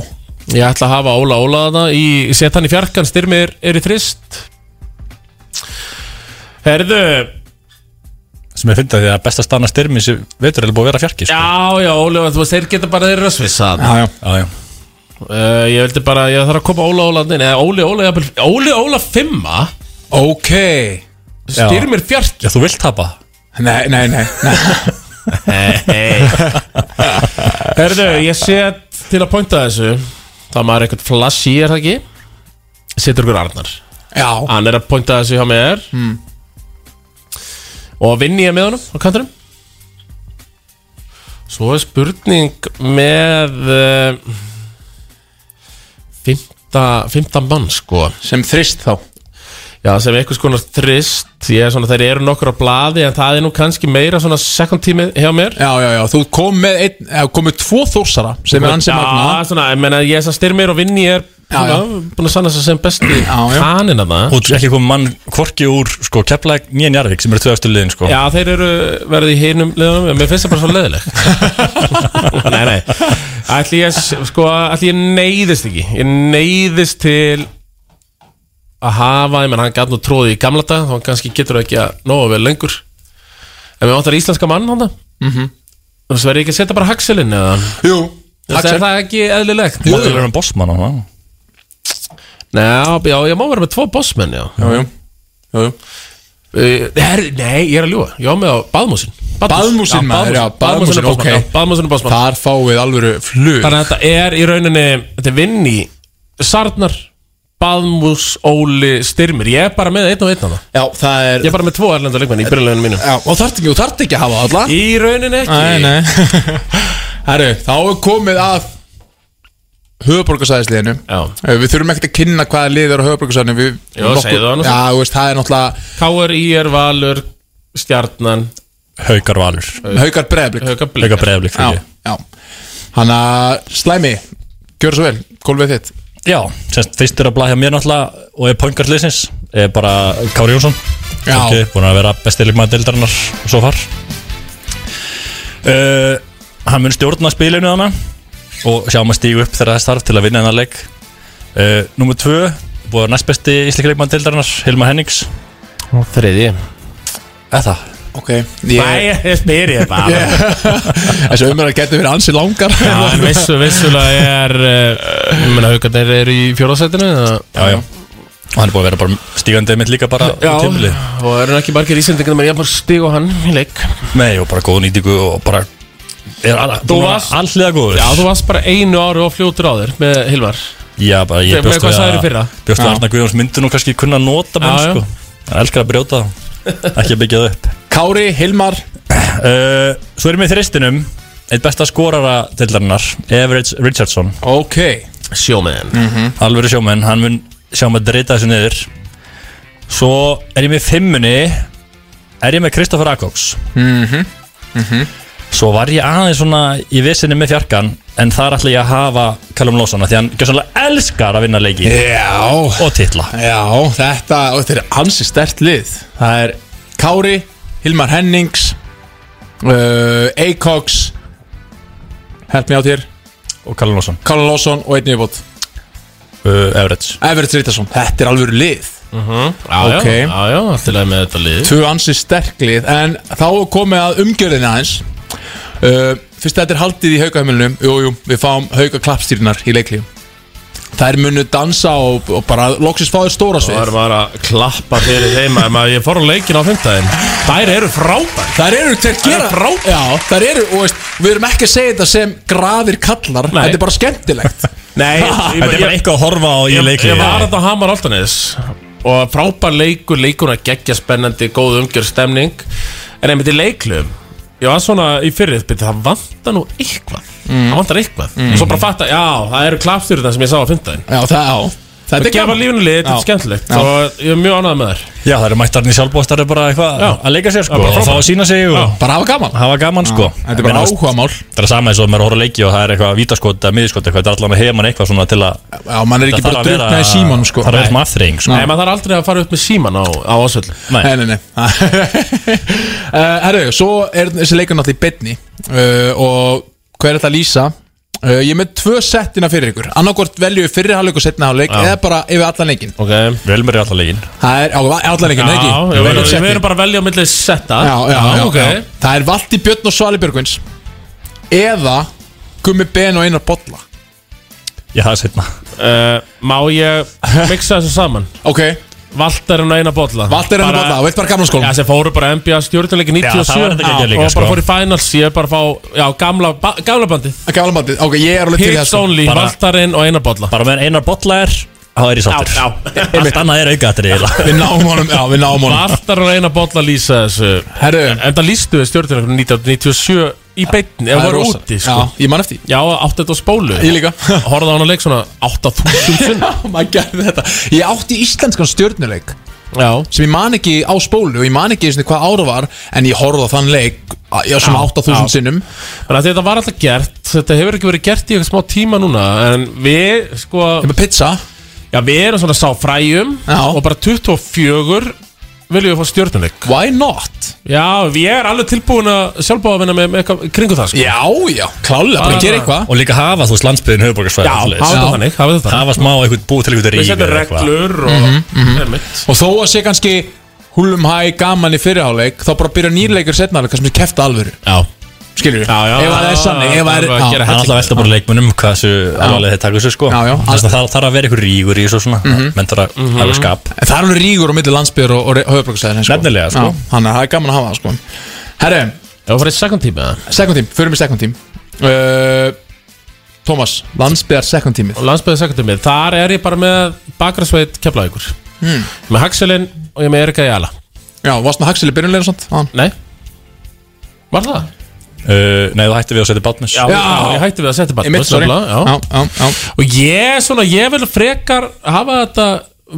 B: Ég ætla að hafa Óla Óla þarna í, set hann í fjarkan, styrmir er í þrist Herðu
M: sem ég fyndi að því að besta stana styrmi sem veitur er búið að vera fjarki sko.
B: Já, já, Óli, þú veist, þeir geta bara þeir rössvissa þarna
C: Já, já
M: já, já.
B: Uh, ég vildi bara, ég þarf að koma Óla Óla Nei, Óli Óla, jafnvel- Óli Óla 5
C: Ok
B: Styrmir fjarki
M: Já, þú vilt tapa
C: Nei, nei, nei, nei.
B: Nei (laughs) Herðu, ég set til að pointa þessu Það maður eitthvað flash í, er það ekki? Setur ykkur Arnar
C: Já
B: Hann er að pointa þessu hjá mér
C: mm.
B: Og vinn ég með honum á kantinum Svo er spurning með uh, Fymta, fymta mann sko
C: Sem þrist þá
B: Já, sem einhvers konar þrist Ég er svona, þeir eru nokkur á blaði En það er nú kannski meira svona second tími hjá mér
C: Já, já, já, þú kom með einn, eh, kom með tvo þórsara sem er ansið magna
B: Já, svona, ég meina, ég er svo styrmir og vinni Ég er
C: já.
B: svona, búin að sanna þess að sem besti
C: já.
B: kanina það
M: og þú er ekki komið mann hvorki úr sko, keflæk nýjan Jarvik sem eru tvö eftir liðin sko.
B: Já, þeir eru verið í hinum liðunum en Mér finnst það bara svo leðileg (laughs) Nei, nei Ætli ég, s- sko, ætli ég neyðist ekki Ég neyðist til að hafa, ég menn hann gæt nú tróði í gamla dag þá hann kannski getur það ekki að nóga vel lengur En við vantar íslenska mann hann það Þú verður ekki að setja bara Haxelin eða
C: Jú,
B: Haxel Er það ekki eðlilegt?
M: þú er hann bossmann á hann
B: Nei, já, ég má vera með tvo bossmenn, já
C: Jú, jú, jú, jú.
B: Uh, her, nei, ég er að ljúa Ég á með á Baðmúsin
C: Baðmúsin maður, já, Baðmúsin, ok
B: Baðmúsin er bossmann
C: Þar fáið alvöru flug
B: Þannig að þetta er í rauninni Þetta er vinn í Sarnar Baðmús, Óli, Styrmir Ég er bara með einn og einn af það
C: Já, það er
B: Ég er bara með tvo erlenda leikmenn í byrjuleginu mínu
C: Já, og þarft ekki, þú þarft ekki að hafa alla
B: Í rauninni ekki
C: Nei, nei Herru, þá er komið að höfuborgarsæðisliðinu
B: Já.
C: Við þurfum ekkert að kynna hvaða lið er á höfuborgarsæðinu Við
B: Jú, segðu það nú.
C: Já, þú veist, það er náttúrulega
B: K.R. Í er Valur Stjarnan
M: Haukar Valur
C: Haukar Breiðablik
M: Haukar Breiðablik
C: Já, já Þannig að Slæmi, gjör svo vel, gólfið þitt
M: Já, semst fyrstur að blæja mér náttúrulega og er poingartliðsins er bara Kári Jónsson
C: Já.
M: okay, búin að vera bestilegmaður deildarinnar svo far uh, Hann mun stjórna spilinu þarna og sjáum að stígu upp þegar það starf til að vinna hennar leik uh, Númer tvö, búin að næst besti íslikleikmaður deildarinnar, Hilma Hennings
B: Og þriði
M: Eða
C: Ok, ég-
M: Nei, ég spyr ég
C: (laughs)
M: bara
C: Þessu umræður getur verið ansi langar
E: Já, en vissu, vissulega er eh, Ég meina, haugarnir eru í fjóðarsætinu Já,
M: já Og hann er búin að vera bara stígandi mitt líka bara
B: Já,
M: í tímili
B: og eru ekki margir ísendingar með jafnbar stig og hann í leik
M: Nei, og bara góð nýtingu og bara er alla-
B: Þú
M: búin að
B: varst-
M: vera alliða góður
B: Já, þú varst bara einu ári og fljótur á þér með Hilmar
M: Já, bara ég
B: Þegar-
M: bjóst
B: hvað
M: við
B: sagðirðu í fyrra?
M: Bjóst við
B: Já.
M: að Arna Guðjóns myndi nú kannski kunna að nota menn
B: Já, já.
M: sko Hann elskar að brjóta það Ekki að byggja það upp
C: Kári, Hilmar
M: uh, Svo erum við í þristinum Eitt besta skorara dildarinnar Everett Richardson
C: Ok
B: Sjómen
C: Mhm.
M: -hmm. Alvöru sjómen Hann mun sjá um að dreita þessu niður Svo er ég með fimmunni Er ég með Kristoffer Akóks
C: Mhm, mhm.
M: Svo var ég aðeins svona í vissinni með fjarkan En þar ætla ég að hafa Callum Lawsona Því hann gjössanlega elskar að vinna leiki
C: Já
M: Og titla
C: Já, þetta, og þetta er ansi stert lið Það er Kári, Hilmar Hennings uh, Acox Help me out hér
M: Og Karl Lósson
C: Karl Lósson og einnig viðbót
M: uh, Everett
C: Everett Rítarsson, þetta er alveg lið
B: uh -huh.
C: já,
B: já, já, alltaf leið með þetta lið
C: Tvö ansi sterk lið En þá er komið að umgjörðinni aðeins uh, Fyrst þetta er haldið í haugahemilnum Jú, jú, við fáum hauga klappstýrnar í leiklíum Þær munu dansa og, og bara loksins fáið stóra
B: Það er
C: svið
B: bara að klappa fyrir þeim að maður- ég fór á leikin á fymtaðin Þær eru frábær
C: Þær eru, þeir gera Já, þær eru, og veist, við erum ekki að segja þetta sem grafir kallar Þetta er bara skemmtilegt
B: Nei,
M: (laughs) Þetta er bara eitthvað að horfa á í
B: ég,
M: leikli.
B: Ég var þetta á Hamar Altanis Og frábær leikur, leikurna geggja spennandi Góð umgjörð stemning En einmitt í leiklum Ég var svona í fyrir byrja, það vantar nú eitthvað Það vantar eitthvað
C: Mm.
B: Svo bara fatta, já, það eru klapstur sem ég sá á fymtdæðin
C: Já, það á Þetta
B: Það
C: er
B: gefa
C: gaman.
B: lífinu lit, þetta
C: Já.
B: er skemmtilegt
C: Já.
B: Og ég er mjög ánægð með þær
M: Já, það eru mættarni sjálfbóðstari bara eitthvað að leika sér sko
B: bara
M: og fá að
B: frábært.
M: sína sig og
C: bara hafa gaman
M: hafa gaman sko
C: þetta er bara áhugamál
M: það er sama eins og maður horfður leiki og það er eitthvað vítaskot eða miðskot eitthvað, þetta er allan að hefa mann eitthvað svona til að
C: Já, mann er ekki bara að drukkna í símanum, sko.
M: það er
C: Nei.
M: eitthvað aðþreying sko
B: Nei, maður þarf aldrei að fara upp með síman á, á ásvöld
C: Nei, nei, nei uh, Herru, svo er þessi leikur náttúrulega í betni uh, Og hvað er þetta að lýsa? Uh, ég er með tvö settina fyrir ykkur Annarkvort velju fyrir hálfleik og setna hálfleik
M: Já.
C: Eða bara yfir allan leikin
B: okay.
M: Velmer er allan leikin
C: Það er á, allan leikin,
B: Já,
C: ekki?
B: við
C: Einn
B: verðum-
C: setning.
B: við erum bara að velja á milli setta
C: já, já, já,
B: ok
C: já. Það er Valdi Björn og Svali Björgvins Eða Gummi Ben og Einar
B: (laughs)
C: Bolla
M: Ég hafði setna
B: uh, Má ég mixa þessu saman?
C: Ok
B: Valdarinn og eina bolla
C: Valdarinn og bolla, og veit bara gamla skólann.
B: Já, sem fóru bara NBA stjórnuleikin
C: Já, það
B: 97
C: var þetta geggjað líka,
B: Og bara
C: sko.
B: fóru í finals Ég er bara að fá, já, gamla, ba gamla bandið
C: Gamla bandið, ok, ég er alveg til í það,
B: Hits
C: sko.
B: only,
C: Bara-
B: Valdarinn og eina bolla
M: Bara meðan einar bolla er þá er ég sáttur
B: Já, já
M: allt annað er aukaðatri
C: Við náum honum, já, við náum honum
B: Valdarinn og eina bolla lýsa þessu
C: Herru
B: En það lýstu við stjórnuleikin 1997 Í beinni,
C: Það
B: eða
C: er
B: voru
C: rosa.
B: úti, sko
C: Já, ég man eftir
B: Já, átti þetta á spólu
C: Ég líka.
B: Horfði á hann að leik svona 8000 sinn
C: Maður gerði þetta Ég átti íslenskan stjörnuleik
B: Já
C: Sem ég man ekki á spólu og Ég man ekki einu sinni hvað ára var En ég horfði á þann leik að- Já, svona 8000 sinnum
B: Þannig að þetta var alltaf gert Þetta hefur ekki verið gert í eitthvað smá tíma núna En við sko Ég
C: með pizza
B: Já við erum svona sá fræjum Já. Og bara 24 Viljum við fá stjórnuleik
C: Why not?
B: Já ég er alveg tilbúin að sjálfbáða vinna með, með eitthvað kringu það sko
C: Já já klálega
B: bara gera eitthvað.
M: og líka hafa þú veist landsbyðin höfuborgarsvæði
B: Já, hafa þetta þannig, hafa þetta
M: hafa smá eitthvað búið til eitthvað
B: Við
M: rík
B: setjum
M: eða eitthvað.
B: reglur og
C: Mhm,
B: einmitt.
C: Og þó að sé kannski Húlum hæ gaman í fyrirháleik Þá bara byrja nýrleikur setnaðleik Hvað sem er kefta alvöru
B: Já
C: Skiljur við
M: já,
C: Ef að það er sannig Ef að
M: Það er
C: það er
M: alltaf velta bara leikmunum hversu alvarlega þeir taka þessu sko
C: Já, já.
M: Þess að það þarf að vera ykkur rígur í þessu svona
C: Mhm.
M: menn þarf að hafa skap
C: En Það er alveg rígur á milli landsbyrður og, og höfbruksæðin sko.
M: Nefnilega, sko.
C: Já, Þannig að það er gaman að hafa það sko. Herre
B: Það var fyrir second team eða?
C: Second team, förum í second team uh, Thomas, landsbyrðar second teamið
B: Og landsbyðið sekundum mið Þar er ég bara með Bakrasveit Keflavíkur
C: hmm.
B: Með Haxelin og ég með Erika Jala
C: Já, varst með Haxel í byrjunlega og svona?
B: Nei Var það?
M: uh, Nei, þú hætti við að setja Batmans
B: Já, ég hætti við að setja bara
M: Einmitt, sorry.
B: já.
M: Já,
C: já, já.
B: Og ég, svona, ég vil frekar hafa þetta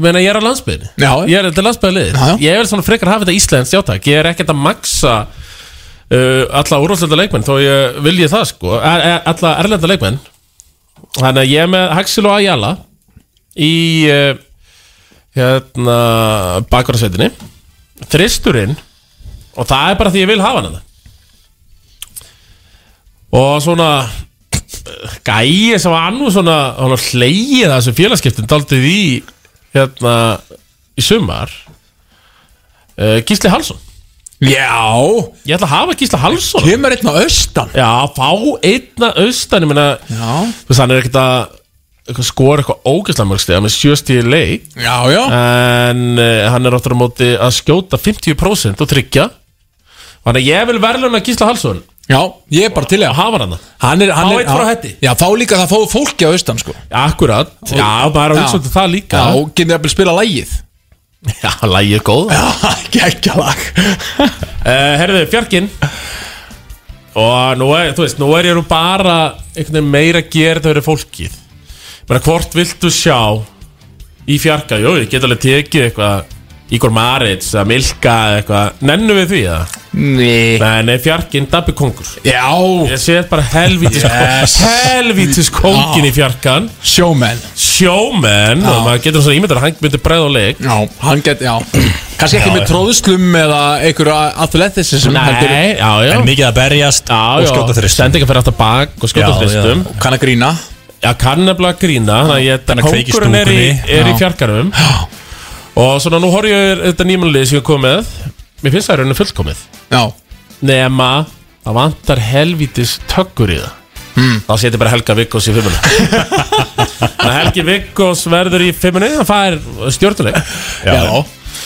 B: Meina ég er á landsbyðinni
C: Já.
B: Ég er þetta landsbyðalið Ég vil svona frekar hafa þetta íslensk, já takk Ég er ekkert að maksa uh, alla úrvalslenda leikmenn þó ég vilji það sko er, er, alla erlenda leikmenn þannig að ég er með Haxil og Ayala í uh, hérna bakvarðsveitinni þristurinn og það er bara því ég vil hafa hann þarna. og svona eh, gæi sem var annú svona hann var hlegið að þessu félagskiptin daldið í hérna í sumar uh, Gísli Halsson Já Ég ætla að hafa Gísla Hallsson Kemur einn á austan Já, fá einn á austan Ég meina Já Þú veist, hann er ekkert að eitthvað skora eitthvað ógeðslega mörg stiga með sjöstíði leik Já, já En uh, hann er áttur á móti að skjóta 50% og tryggja Þannig að ég vil verðluna Gísla Hallsson Já, ég er bara til að hafa hann Hann er,
C: hann
B: Fá
C: er-
B: einn frá
C: já.
B: hætti
C: Já, fá líka það fá fólki á austan sko
B: Akkurat, já, bara að hugsa um það líka
C: Já, og getur jafnvel spila lægið
B: Já, lægið er góð Já, (laughs) geggja lag uh, Herðu, Bjarkin Og nú er, þú veist, nú er ég nú bara einhvern veginn meira að gera þetta fyrir fólkið Bara hvort viltu sjá í fjarka, jú, ég get alveg tekið eitthvað Ígor Marits að Milka eða eitthvað, nennu við því það? Nei Nei, nei, fjarkinn, Dabbi Kongur Já Ég sé bara helvítis
E: Yes.
B: Helvítis kongin í fjarkan Sjómen Sjómen, og maður getur svona ímyndar að hann myndi bregða á leik Ah. Já, hann get, já
C: Kannski ekki með tróðslum eða einhverju athleticism heldur-
B: Nei, Eh, já, já
C: En
B: mikið að berjast já,
C: og
B: já.
C: skjóta þristum.
B: Sendingar fyrir aftur bak og skjóta
C: Já,
B: þristum
C: já.
B: Og kann að grína Já, kann nefnilega að grína Þannig að ég,
M: Kann að kveikja í
B: kókurinn er í,
M: stúkunni.
B: er í
M: Já.
B: fjarkarum Og svona nú horf ég yfir þetta nýmanlið sem ég kom með Mér finnst það í rauninu fullkomið Já Nema, það vantar helvítis töggur í það
M: Hmm.
B: Þá seti bara Helga Vikkos í fimmunni
M: (laughs)
B: Þannig að Helgi Vikkos verður í fimmunni Það fær stjórnuleik
M: Já.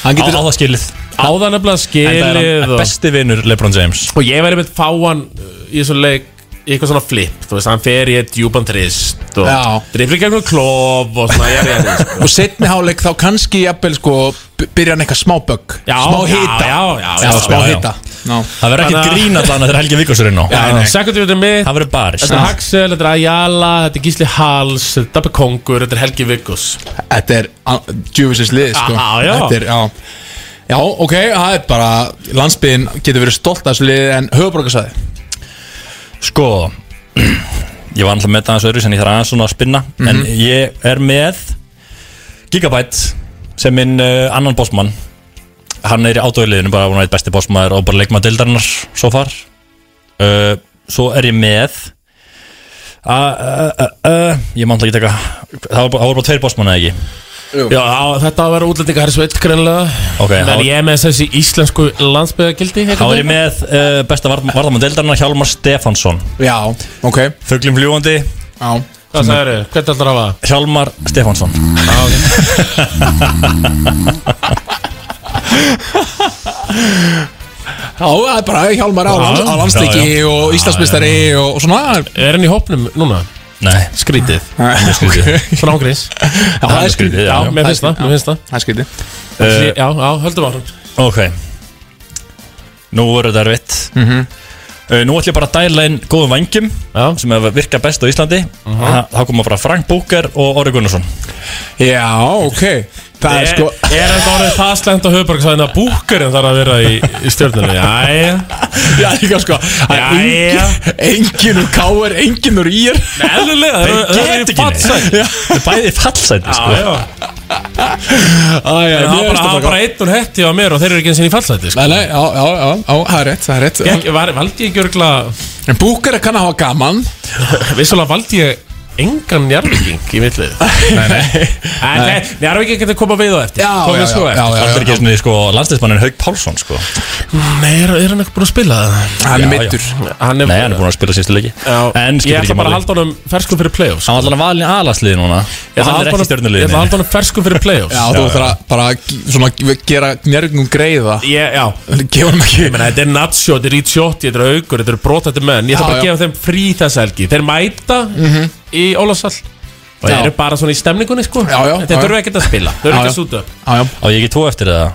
B: Hann
M: Á- á það
B: skilið Á það nefnilega skilið
M: Enda er hann
B: og-
M: besti vinnur Lebron James
B: Og ég væri með fá hann uh, í þessum leik í eitthvað svona flip, þú veist, hann fer í eitt djúpan trist og
C: Já.
B: driflir gegnum klof og svona, ég er
C: (laughs)
B: ég
C: Og setni háleik þá kannski jafnvel sko b- Byrja hann eitthvað smá bögg
B: Já,
C: Smá
B: já,
C: hita
B: já, já,
C: já,
B: já,
C: Smá
B: já, já.
C: hita Já.
M: Það verður ekkert
B: Þannig að-
M: grín allan að þegar Helgi Víkos er inn á
B: Já, nei. Sekundum mitt
M: Það verður barist
B: Þetta er Haxel, þetta er Ayala, þetta er Gísli Hals, þetta er Dabbi Kongur, þetta er Helgi Viggus Ah,
C: Þetta er djúfisins lið sko.
B: Já, já.
C: Þetta er, já. já, ok, það er bara Landsbygðin getur verið stolt af þessu liði En höfuborgarsæði
M: Sko Ég var alltaf með það aðeins öðru sem ég þarf aðeins svona að spinna En ég er með Gigabyte sem minn uh, annan bossmann Hann er í átöðliðinu bara hún er eitt besti bossmaður og bara leikmaður deildarinnar svo far uh, Svo er ég með Uh, uh, uh, uh, ég má alltaf ekki taka Það var bara, það voru bara tveir bossmann eða ekki
B: Jú. Já, á- þetta á að vera útlendinga herri sveit greinlega
M: Ok,
B: En
M: þá-
B: ég er með þessi íslensku landsbyðagildi
M: Þá er ég með uh, besta varðamann deildarinnar Hjálmar Stefansson
C: Já, ok
M: Fuglum fljúandi
C: Já
B: Hvað sagðirðu? Hvernig ætlar að hafa það?
M: Hjálmar Stefansson Já,
C: Já, það er bara Hjálmar á, lands, á landsleiki og Íslandsmistari og, og svona
B: Er hann í hópnum núna?
M: Nei
C: (laughs)
B: Skrítið
M: Mjög skrítið.
B: Svona ángriðis Já,
M: það er skrítið, já.
B: Já, mér finnst það, mér finnst það
C: Það er skrítið
B: Já, já, höldum áhrum
M: Ok Nú voru þetta erfitt mm
C: Mhm.
M: Nú ætlum ég bara að dæla inn góðum vangjum Já. sem hefur virkað best á Íslandi
B: Mhm.
M: uh -huh. Þá koma bara Frank Búker og Orri Gunnarsson Eh,
C: Já, ok Það er sko
B: Eh, Er þetta orðið það slengt á höfuborgsvæðin að búkurinn þarf að vera í, í stjórnunni? Jæja
C: (laughs) Já, líka sko
B: Jæja
C: Engin úr káir, engin úr ír
B: Eðlilega, það
M: eh,
B: eru- það eru í fallsæti
M: Það er bæði í fallsæti
B: sko. Já,
C: já, mér finnst
B: Það var bara,
C: það
B: það var bara einn úr hetti á mér og þeir eru ekki eins og í fallsæti sko.
C: Nei, nei, já, já, já, já, það er rétt, það er rétt
B: Gekk- var- Valdi ég ekki örgla
C: En búkara kann að hafa gaman
B: (laughs) Vissulega valdi ég engan njárvíking í
C: (laughs)
B: millið Nei, nei En njárvíking getur koma við og eftir Komið svo eftir.
M: Það er ekki svona, sko, landsleismannin Haug Pálsson sko.
B: Nei, er, er hann ekki búin að spila það?
M: Já, já.
B: Hann er-
M: Nei, hann er búin að spila síðustu leiki
B: Já,
M: En
B: ég
M: skiptir
B: ætla
M: ekki
B: bara að
M: máli
B: halda honum ferskum fyrir playoffs
M: Hann var allan að valin aðlagsliði núna
B: Ég ætla að
M: Hann er
B: halda
M: ekki
B: honum- Ég ætla að halda
M: stjórnuliðinu
B: honum ferskum fyrir playoffs
C: Já, þú ætlar að bara svona gera njörgum greiða
B: Ég, já
C: Gefa hann ekki
B: Ég meina, þetta er natsjó, þetta er ítjótti, þetta er aukur, þetta er brotætti menn Ég
C: Já,
B: þarf bara að
C: já.
B: gefa þeim frí þessa helgi Þeir mæta
C: Mhm.
B: í Ólafsall Og þeir
M: Já.
B: eru bara svona í stemningunni, sko já, já, Þeir
C: já, já.
B: þurfa ekkert að spila, þau eru
C: Já,
B: ekki
C: já.
B: að súta
C: Já, já
M: Og ég ekki tvo eftir það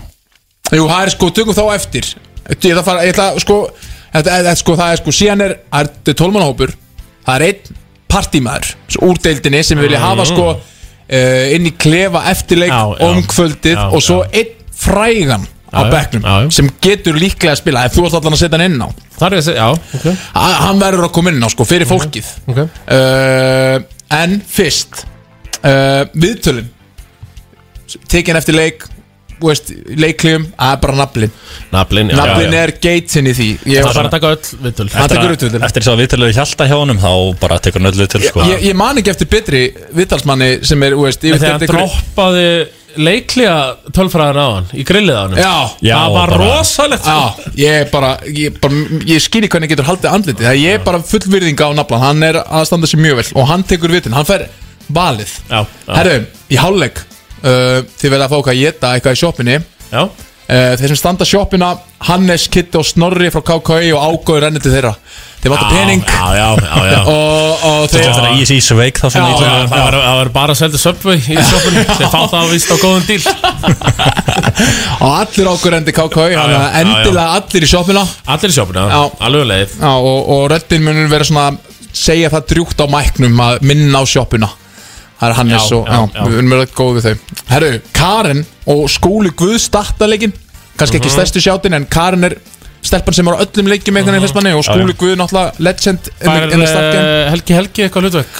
C: Jú, það er sko, tökum þá eftir Ég ætla að fara, ég ætla að, sko Þetta er sko, það er sko, síðan er Það er tólmanahópur, það er einn partímaður svo úr deildinni sem vilja hafa sko uh, inn í klefa eftirleik
B: Mm. Já, já.
C: omkvöldið
B: Já,
C: og svo einn frægan á bekknum sem getur líklega að spila ef þú ert allan að setja hann inn á
B: Þar er þessi, já okay.
C: hann verður að koma inn á sko fyrir fólkið
B: Ok.
C: uh, en fyrst uh, viðtölin tekin eftir leik þú veist, leikljum, það er bara naflin
B: Naflin, já.
C: naflin
M: Já, já.
C: er geitin í því Ég
M: Það
C: var
M: er bara
C: svona-
M: að taka
B: öll viðtöl
C: hann tekur öll viðtöl
M: Eftir þess að viðtölu hjalta hjá honum þá bara tekur hann öll viðtöl sko.
C: ég, ég man ekki eftir betri vittalsmanni sem er, þú veist,
B: En
C: yfir
B: þegar hann droppaði leiklega tölfræðan á hann Í grillið á hann
C: Já,
B: Það var sko. rosa
C: Já, ég bara, ég bara Ég skil ekki hvernig getur haldið andlitið Það ég er bara full virðinga á naflan Hann er að standa sér mjög vel Og hann tekur vitin, hann fær valið
B: Já, já.
C: Herru, í hálfleik uh, Þið verða að fá okkar að geta eitthvað í sjoppunni
B: Já
C: uh, Þeir sem standa sjoppuna Hannes, Kitti og Snorri frá KKI Og ágóður renni til þeirra Þeir vantar pening
M: Já, já, já, já.
C: (laughs) Og, og
M: Þú veist
C: þeir
M: þetta er easy sveik þá
B: Já,
M: svona
B: já, það var- það var bara að selja Subway í (laughs) sjófunni Þeir fá það að víst á góðum díl
C: Og allir ágóður renni til KKI
B: Já, já,
C: Þannig að
B: já, já.
C: endilega allir í sjoppuna
B: Allir í sjófunna, alveg leið
C: Já, og, og röddinn munur vera svona segja það drjúkt á mæknum að minna á sjoppuna það er Hannes
B: Já,
C: og
B: já,
C: já,
B: já.
C: við munum vera góð við þau Herru, Karen og skóli Guð startaleikin kannski ekki
B: Mhm.
C: stærstu sjátin en Karen er stelpan sem er á öllum leikjum einhvern veginn fyrst manni og
B: Já,
C: skóli
B: já.
C: Guð náttúrulega legend
B: Fær,
C: in the- in the start game.
B: eh, Helgi Helgi eitthvað hlutverk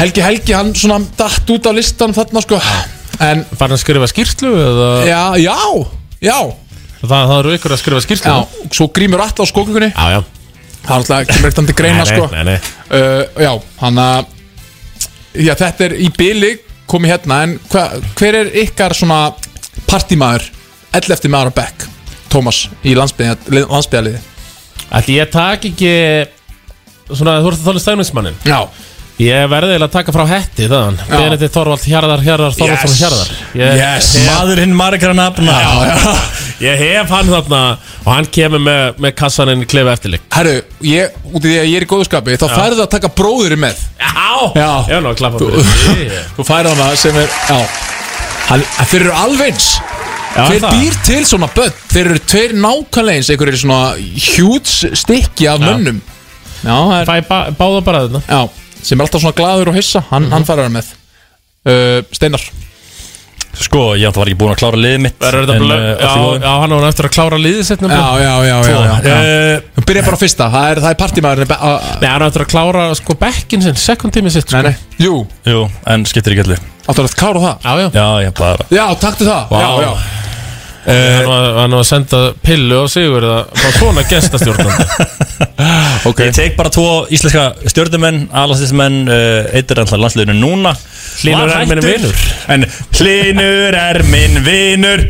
C: Helgi Helgi, hann svona datt út á listan þarna sko en
B: Fær hann að skrifa skýrslu eða
C: Já, já, já
B: Það, það eru ykkur að skrifa skýrslu
C: Já, svo grímur alltaf á skókukunni
B: Já, já
C: Það er alltaf kemur ekkert hann til greina
B: Nei, nei,
C: sko
B: nei, nei.
C: Uh, Já, hann að Já, þetta er í byli komið hérna En hva, hver er ykkar svona partímaður 11. maður á Beck Tómas í landsbyggðaliði landsbyggðaliði?
B: Ætli ég tak ekki Svona þú ert að þóla stæmismannin
C: Já
B: Ég verði eiginlega að taka frá hetti þaðan Benedikt Þorvald Hjarðar Hjarðar Þorvaldsson
M: Yes.
B: Hjarðar
M: Yes. Maðurinn margra nafna
B: já, já. (laughs) Ég hef hann þarna Og hann kemur með, með kassaninn í klefa eftirleik
C: Herru, ég, út í því að ég er í góðskapi Þá
B: Já.
C: færðu að taka bróðurinn með
B: Já,
C: já.
B: ég var nú að klappa
C: Þú,
B: fyrir því.
C: (laughs) þú færðu hana sem er Já, hann, þeir eru alveins
B: Já,
C: Þeir
B: það.
C: býr til svona börn Þeir eru tveir nákvæmlega eins Einhver eru svona hjúts stykki af
B: Já.
C: mönnum Já, það er
B: Fæ bá, báða bara þarna Mhm.
C: Já, sem er alltaf svona glaður og hissa Hann, hann færar hann með uh, Steinar
M: Sko, ég var ekki búin að klára liðið mitt
B: Verður þetta
M: en,
B: blöð?
M: eh, allt í
B: Já,
M: góðu.
B: já, hann á hann eftir að klára liðið sitt
C: Já,
B: nefnilega.
C: já, já, já, já, já.
B: Eh,
C: Þú byrjar bara á fyrsta, það er, uh, það er partímaður Nei,
B: hann á eftir að klára sko bekkin sinn, second tími sitt sko.
C: Nei, nei, jú
M: Jú, en skiptir ekki allir
C: Áttur að klára það?
B: Já, já
M: Já, ég bara
C: Já, taktu það
M: Vá.
C: Já, Eh, já
B: Hann var, hann var að senda pillu á sigur Það var svona gestastjórnandi
M: Ég tek bara tvo íslenska stjórnumenn, alastinsmenn, uh, eitt er alltaf landsliðinu núna
B: Hlynur
M: Var
B: er minn
M: hættur,
B: vinur.
M: En Hlynur er minn vinur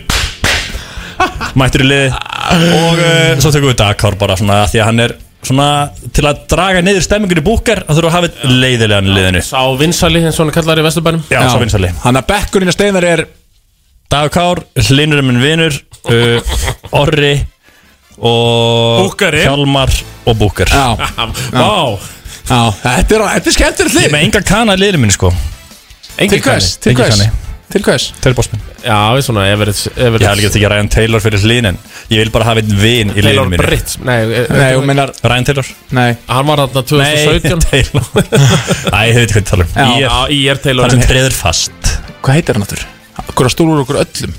M: Mættur í liði Og uh, svo tökum við Dakar bara svona af Því að hann er svona til að draga niður stemmingunni búkar Það þurfa að hafa leiðilegan í liðinu
B: Sá vinsali, eins og hann kallar í Vesturbænum
M: Já, sá vinsæli.
C: Hann að bekkurinn að Steinar er
M: Dagur Kár, Hlinur er minn vinur uh, Orri og
B: Búkari.
M: Hjálmar og Búkar
C: Já,
B: (laughs) Vá
C: já Þetta er, þetta er skemmtilegt
M: Ég er
C: lið
M: með enga kana í liðinu minn sko
C: Til hvers, til
M: Engin
C: hvers
M: kanni.
C: Til hvers
M: Tveir bósmenn
B: Já, við svona Everett
M: Ég hef ekki að tekja Ryan Taylor fyrir hlýnin Ég vil bara hafa einn vin í liðinu
B: Taylor
M: mínu
B: Britt Nei, eh,
C: Nei, þú meinar
M: Ryan Taylor
C: Nei
B: hann var þarna 2017
M: Taylor Æ, ég veit hvað ég tala um
C: Já.
B: Já,
M: Ég
B: ég er Taylor
M: Það sem treður fast
C: Hvað heitir hann aftur? Okkur að stúlur okkur öllum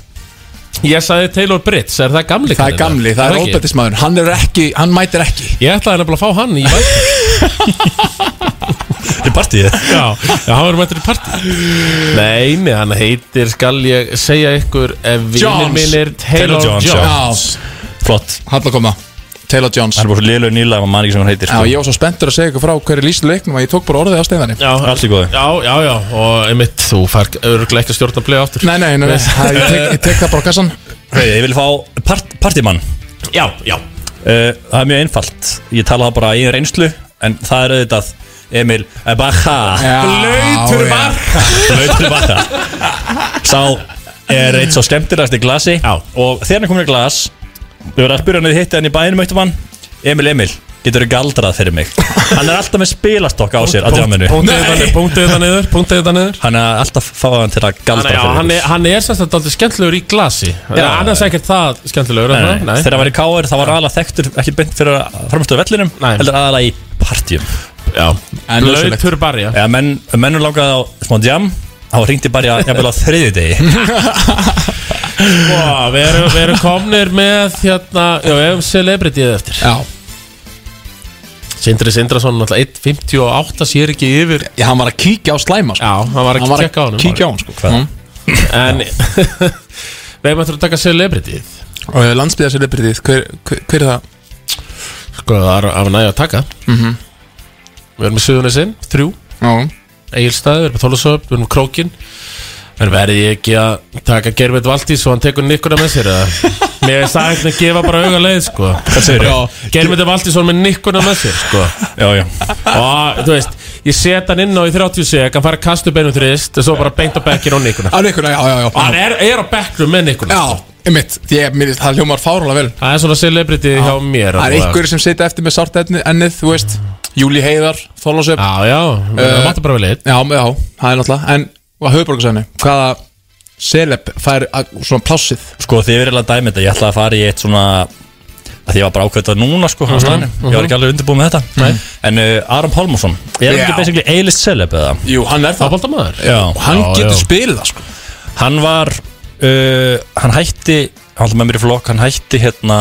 B: Ég sagði Taylor Britt, er það gamli?
C: Það er
B: kallinn?
C: gamli, það er
B: ekki?
C: óbættismæður Hann er ekki, hann mætir ekki
B: Ég ætlaði nefnilega að fá hann í (laughs) væti
M: Þetta er partíð
B: Já, já, hann verður mættur í partí Nei, nei, hann heitir, skal ég segja ykkur Ef vinnir
C: Jones.
B: minn er Taylor,
M: Taylor Jones, já.
B: Jones
M: Flott
C: Halla koma Taylor Jones
M: Það er bara svo liðlega nýlega að maður ekki sem hann heitir
C: Já,
M: sko.
C: ég var svo spenntur að segja ykkur frá hverju lýstu leiknum að ég tók bara orðið á steinari
B: Já, já,
M: Allt í góðu
B: já, já, já. og einmitt, þú fær örglega ekki að stjórna play aftur
C: Nei, nei, nei, nei. það- Ég, tek, ég tek það bara á kassan
M: (laughs) Hey, Ég vil fá part, partímann
B: Já, já
M: Uh, það er mjög einfalt Ég tala það bara í reynslu En það er auðvitað Emil Baha
C: Blöytur var
M: Blautur Baha Sá er eitt svo skemmtilegast í glasi Já. Og þegar hann komur í glas Við verðum að spyrja hann að hitta hann í bæinu mættum hann Emil, Emil, getur þú galdrað fyrir mig Hann er alltaf með spilastokka á sér að djáminu
B: Punktið þetta niður, punktið þetta niður, punktið þetta niður
M: Hann er alltaf fáið hann til að
B: Hann,
M: galdra
B: já, hann, er,
M: fyrir
B: hann er semst að dálítið skemmtilegur í glasi já, Annars ekkert það skemmtilegur er það?
M: Nei, Þegar hann var í K.R. það var aðalega þekktur ekki beint fyrir að framstöðu vellinum
B: Nei.
M: heldur aðalega í partíum
B: Já,
C: En nauðsynlegt.
B: blöytur barja
M: Já, menn, mennur langaði á smá djam þá ringdi bara jafnvel á þriðjudegi
B: Sko, við erum, við erum komnir með hérna, já, við erum celebrityð eftir
C: Já
B: Sindri Sindrason, náttúrulega 1.58 sér ekki yfir
C: Já, hann var að kíkja á slæma sko.
B: Já, hann var að
C: Hann var að
B: kíkja á hann
C: kíkja á hann, sko. Mm.
B: En, (laughs) við erum eftir að taka celebrityð
C: Og landsbyða celebrityð, hver, hver, hver er það?
B: Sko, það er af næja að taka
C: Mhm.
B: Við erum með Suðunisinn, þrjú
C: Já.
B: Egilstaði, við erum með Tólusöp, við erum með Krókin En verði ég ekki að taka Gerbjörn Valdís og hann tekur nikkuna með sér eða? Mér er sagðið að gefa bara auga leið sko.
M: Hvað segirðu?
B: Gerbjörn Valdís var með nikkuna með sér sko.
M: Já, já
B: Og þú veist, ég set hann inn á í 30 seg Hann fara að kasta upp einu þrist Og svo bara beint á bekkin og nikkuna
C: Á Nikkuna, já, já, já
B: Hann er, er á bekknum með nikkuna
C: Já, einmitt, því að mér finnst það hljómar fárúlega vel
B: Það er svona celebrity hjá mér
C: Það er
B: allavega.
C: einhverjir sem setja eftir með sárt enni- ennið, þú veist Júli Heiðar, Þólasöp
B: Já, já, það vantar bara vel eitt
C: Já, já, það er náttúrulega En, hvað höfðborgarsæðinu, hvaða celeb fær að, svona plássið
M: Sko þið verið að dæmi þetta Ég ætla að fara í eitt svona að Því ég var bara ákveðt að núna sko mm
B: Mhm,
M: Ég var
B: mhm.
M: ekki alveg undirbúið með þetta En uh, Aron Pálmarsson Er hann
B: Já.
M: ekki basically A-list celeb eða?
C: Jú, hann er
B: það Fótboltamaður?
M: Já
B: Og hann getur
C: spilið það sko
M: Hann var uh, Hann hætti Hann var með mér í flokk Hann hætti hérna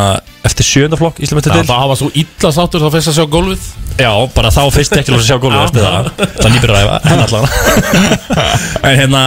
M: Eftir sjönda flokk Íslamöndið
B: Já, það var svo illa sáttur þá fyrst að sjá gólfið
M: Já, bara þá fyrst ekki lóðs að sjá gólfið eftir það Það er nýbyrður að æfa, en allan (laughs) En hérna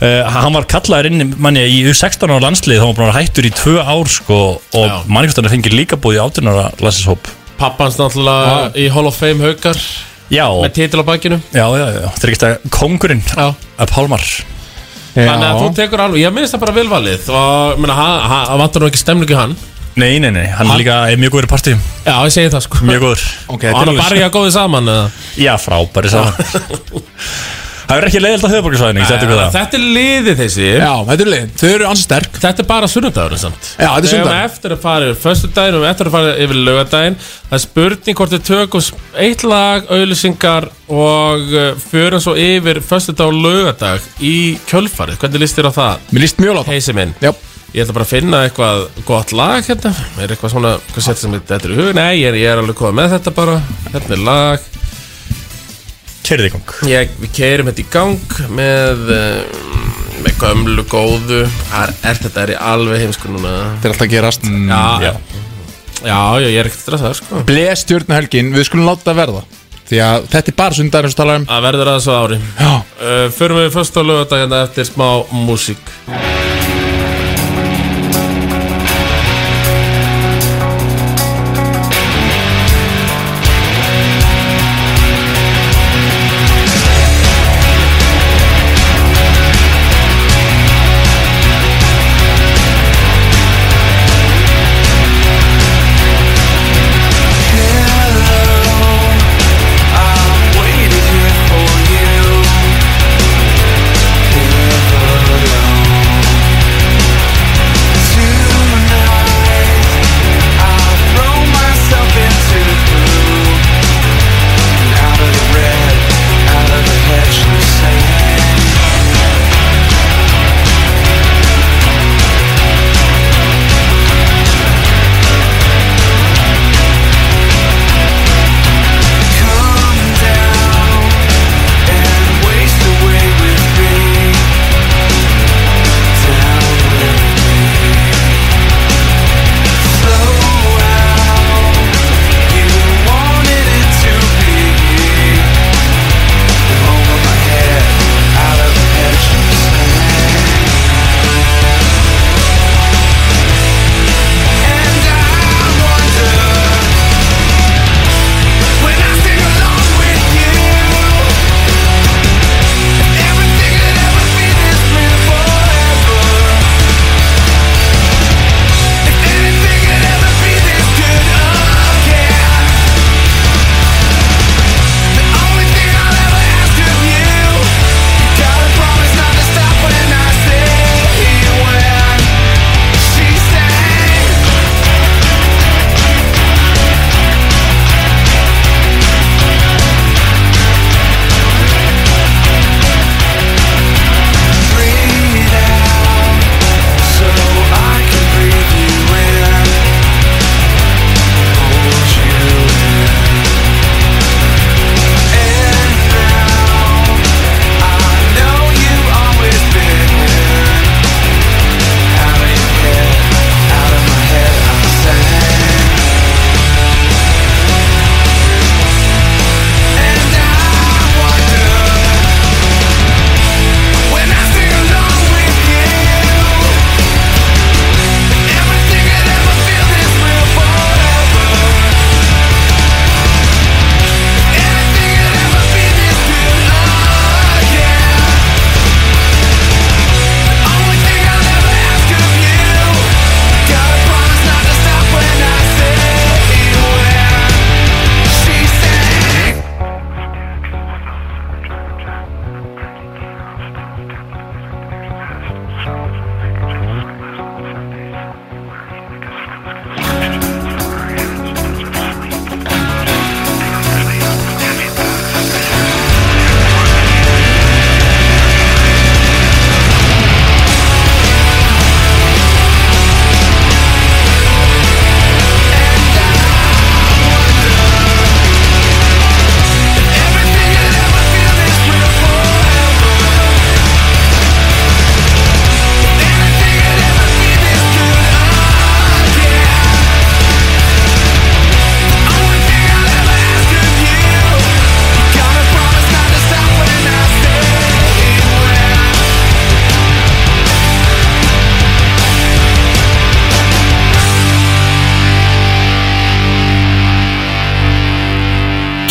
M: Uh, hann var kallaður inn mann ég, í U16 ára landslið þá var hann bara hættur í tvö ár sko, og mannkvæmstanir fengið líka búið í 18 ára landslishóp
B: Pappans náttúrulega í Hall of Fame haukar
M: Ah. Já
B: Með titil á bakinu
M: Já, já, já, þetta er ekki þetta kongurinn að Pálmar
B: Þannig að þú tekur alveg, ég minnst það bara velvalið Og menna, hann ha, ha, vantar nú ekki stemningu í hann
M: Nei, nei, nei, hann, líka er mjög góður í partíum
B: Já, ég segi það sko
M: Mjög góður
B: Og hann að barja góði saman eða?
M: Já, frábæri saman Það er ekki leiðilt að höfuborgarsvæðinu, þetta er hvað það
B: Þetta er liðið þessi
C: Já, þetta er liðið, þau eru ansi sterk
B: Þetta er bara sunnudagurinn
C: Já,
B: samt
C: þetta er
B: Við eigum
C: sunnudagurinn.
B: eftir að fara yfir föstudaginn og eftir að fara yfir lögadaginn Það er spurning hvort við tökum eitt lag, auðlýsingar og uh, förum svo yfir föstudag og lögadag í kjölfarið Hvernig líst þér á það?
C: Mér líst mjög á það
B: Heisi minn
C: Já
B: Ég ætla bara að finna eitthvað gott lag hérna Er eitthvað svona, hvað setjum sem þetta er í hug? Nei, ég er, ég er alveg komið með þetta bara Hérna er lag
M: Keirið í gang
B: ég, Við keirum þetta í gang með, um, með gömlu góðu Þar er þetta er í alveg heimsku núna Mm,
C: Þetta er alltaf að gerast Mm,
B: Já, já. já, já, ég er ekkert stressað sko.
C: Bleð stjórnahelgin, við skulum láta það verða Því að þetta er bara sundar eins og tala um
B: Það verður að þessu ári
C: Já
B: uh, Förum við fyrst á lögadagina eftir smá músík
F: Waited here for you. Never alone.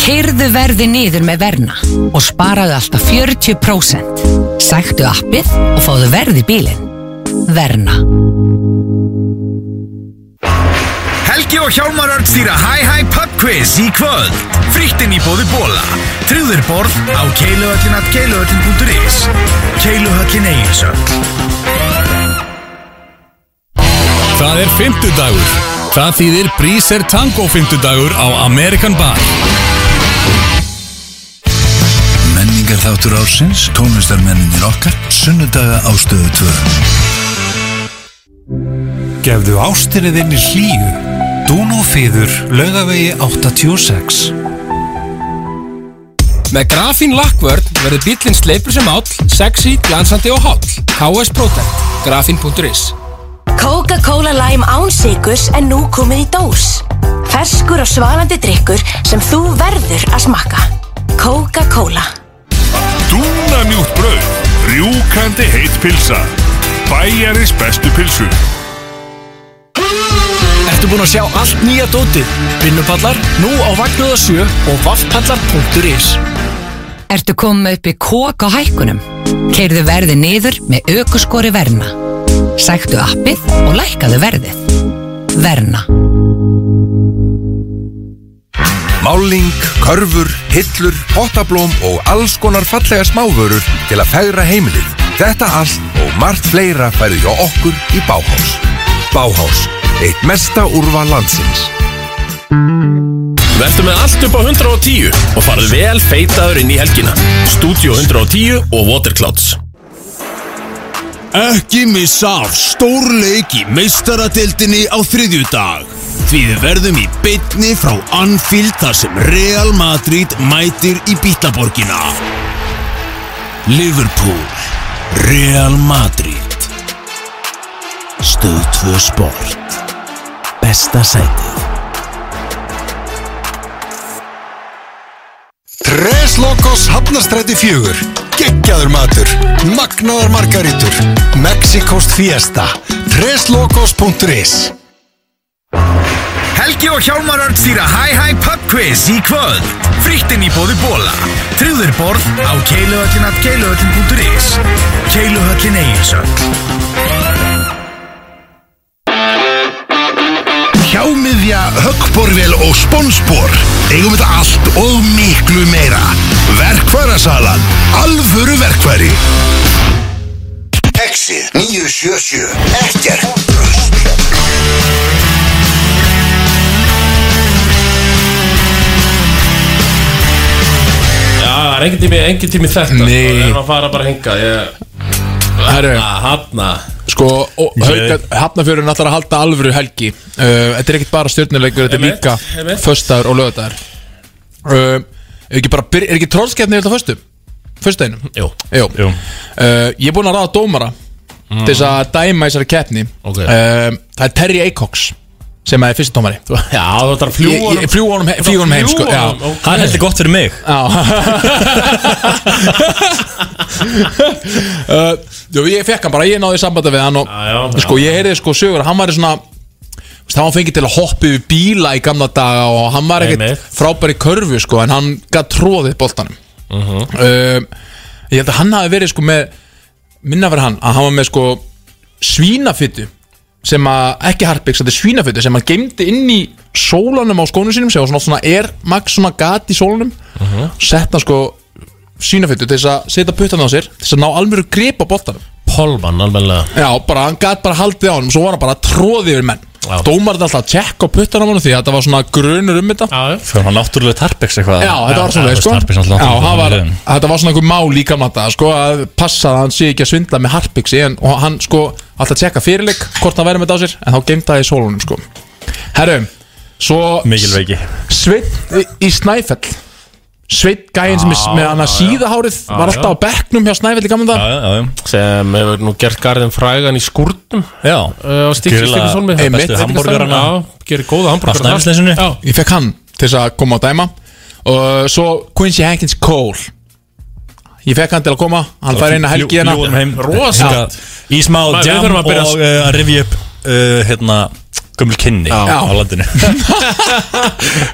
N: keirðu verði niður með verna og sparaðu alltaf 40%. Sæktu appið og fáðu verði bílinn. Verna.
K: Helgi og Hjálmar Örn stýra Hi Hi Pub Quiz í kvöld. Frittinn í bóði bóla. Tryggður borð á keiluhöllinat keiluhöllin.is Keiluhöllin eiginsöld.
I: Það er fimmtudagur. Það þýðir Breezer Tango fimmtudagur á American Bar.
H: Menningar þáttur ársins, tónlistarmenninir okkar, sunnudaga á stöðu 2.
K: Gefðu ástinni þinni hlýju. Dún og fýður, laugavegi 86.
O: Með grafín lakkvörn verður bílinn sleipur sem áll, sexy, glansandi og háll. KS Protect. Grafín.is
P: Coca-Cola Lime án sigurs en nú komið í dós. Ferskur og svalandi drikkur sem þú verður að smakka. Coca-Cola.
Q: Dúna mjúkt brauð, rjúkandi heitt pilsa, bæjarins bestu pilsu.
R: Ertu búinn að sjá allt nýja dótið? Vinnupallar, nú á Vagnöða 7 og vaffpallar.is
N: Ertu komið upp í kók á hækkunum? Keirðu verði niður með aukuskori verna. Sæktu appið og lækkaðu verðið. Verna.
S: Máling, körfur, hillur, pottablóm og alls konar fallega smávörur til að fegra heimilið. Þetta allt og margt fleira færðu hjá okkur í Bauhaus. Bauhaus, eitt mesta úrval landsins.
T: Vertu með allt upp á 110 og farðu vel feitaður inn í helgina. Studio 110 og Waterclouds.
K: Ekki missa af stórleik í meistaradeildinni á þriðju dag. Því við verðum í beitni frá Anfield þar sem Real Madrid mætir í Bítaborgina. Liverpool, Real Madrid. Stöð 2 Sport. Besta sætið.
U: Tres Locos Hafnastræti 4 Gekkjaður matur Magnaðar margarítur Mexikost fiesta Treslocos.is
K: Helgi og Hjálmar Örn stýra Hi Hi Pub Quiz í kvöld. Frittinn í bóði bóla. Tryggður borð á keiluhöllinat keiluhöllin.is Keiluhöllin eiginsöld.
U: Hjámiðja, höggborvel og sponsbor Eigum þetta allt og miklu meira Verkfærasalan Alvöru verkfæri
K: Exi 977 Ekkert
B: Já, það er engin tími, engin tími þetta Nei Það er að fara bara að hinga ég...
C: Herru.
B: Hanna
C: Sko, og hafnafjörun ætlar að halda alvöru helgi uh, Þetta er ekkert bara stjórnuleikur, þetta er
B: Einmitt,
C: líka
B: einmitt.
C: Föstaður og lögadagur uh, Er ekki bara, byrja- er ekki tróðskeppni þetta föstu? Föstuðinum?
B: Jú,
C: Jú. Uh, Ég er búinn að ráða dómara
B: Mm.
C: til þess að dæma þessari keppni
B: Ok.
C: uh, Það er Terry Acox sem er fyrsti dómari Já,
B: þú ætlar að fljúga honum-
C: Fljúa honum he- fljúga honum heim sko,
B: Fljúga
C: já.
B: honum, ok. Hann heldur
M: gott fyrir mig
C: uh, Jú, ég fekk hann bara, ég náði sambandi við hann og
B: já.
C: sko, ég heyrði sko sögur, hann var í svona þú veist, hann var fengið til að hoppa yfir bíla í gamla daga og hann var ekkert frábær í körfu sko, en hann gaf tróðið boltanum
B: Mhm.
C: uh, ég held að hann hafi verið sko með minna verið hann, að hann var með sko svínafyttu sem að, ekki harpix, þetta er svínafyttu sem hann geimdi inn í sólanum á skónu sínum sem var svona, svona Air Max svona gat í sólanum
M: Mhm.
C: sett hann sko svínafyttu til þess að setja puttan á sér til þess að ná alveg grip á boltanum
B: Polman alveglega
C: Já, bara hann gæti bara haldið á hann og svo var hann bara að tróði yfir menn Dómarinn alltaf að tjekka á puttan á hann því að þetta var svona grunur um þetta
B: Já,
M: Fyrir hann náttúrulega tarpex Mm. eitthvað
C: þetta var svona, sko
M: Tarpex
C: Já,
M: náttúrulega
C: hann var,
M: leiðin.
C: þetta var svona einhver mál í gamla þetta sko, að passa að hann sé ekki að svindla með harpiksi en, og hann sko, alltaf tjekka fyrirleik hvort hann verið með þetta á sér, en þá geimta það í sólunum sko. Herru, svo
M: Mikilveiki.
C: Sveit í, í Snæfell Sveit gæinn sem er s-
B: Já,
C: með hann að
B: já, já.
C: síðahárið
B: Já,
C: var
B: já.
C: alltaf á bekknum hjá Snæfell í gamla þetta
M: já, já, já.
B: Sem hefur nú gert garðin frægan í skúrtum
M: Já
B: uh, Og stikki
M: Grillar
B: stikki sólmi
M: bestu hamborgarana.
B: Já, gerir góða hamburgarana
C: Ég fekk hann til þess að koma á dæma Og svo Quincy Hankins Cole Ég fekk hann til að koma Hann fær inn að helgi hérna
M: Fljúum heim.
C: Rosa
M: Í smá
C: Maður, við
M: jam
C: þurfum að
M: og
C: byrja að-
M: eh, að rifja upp eh, hérna gömul kynni
B: Já.
M: á
C: (laughs)
M: landinu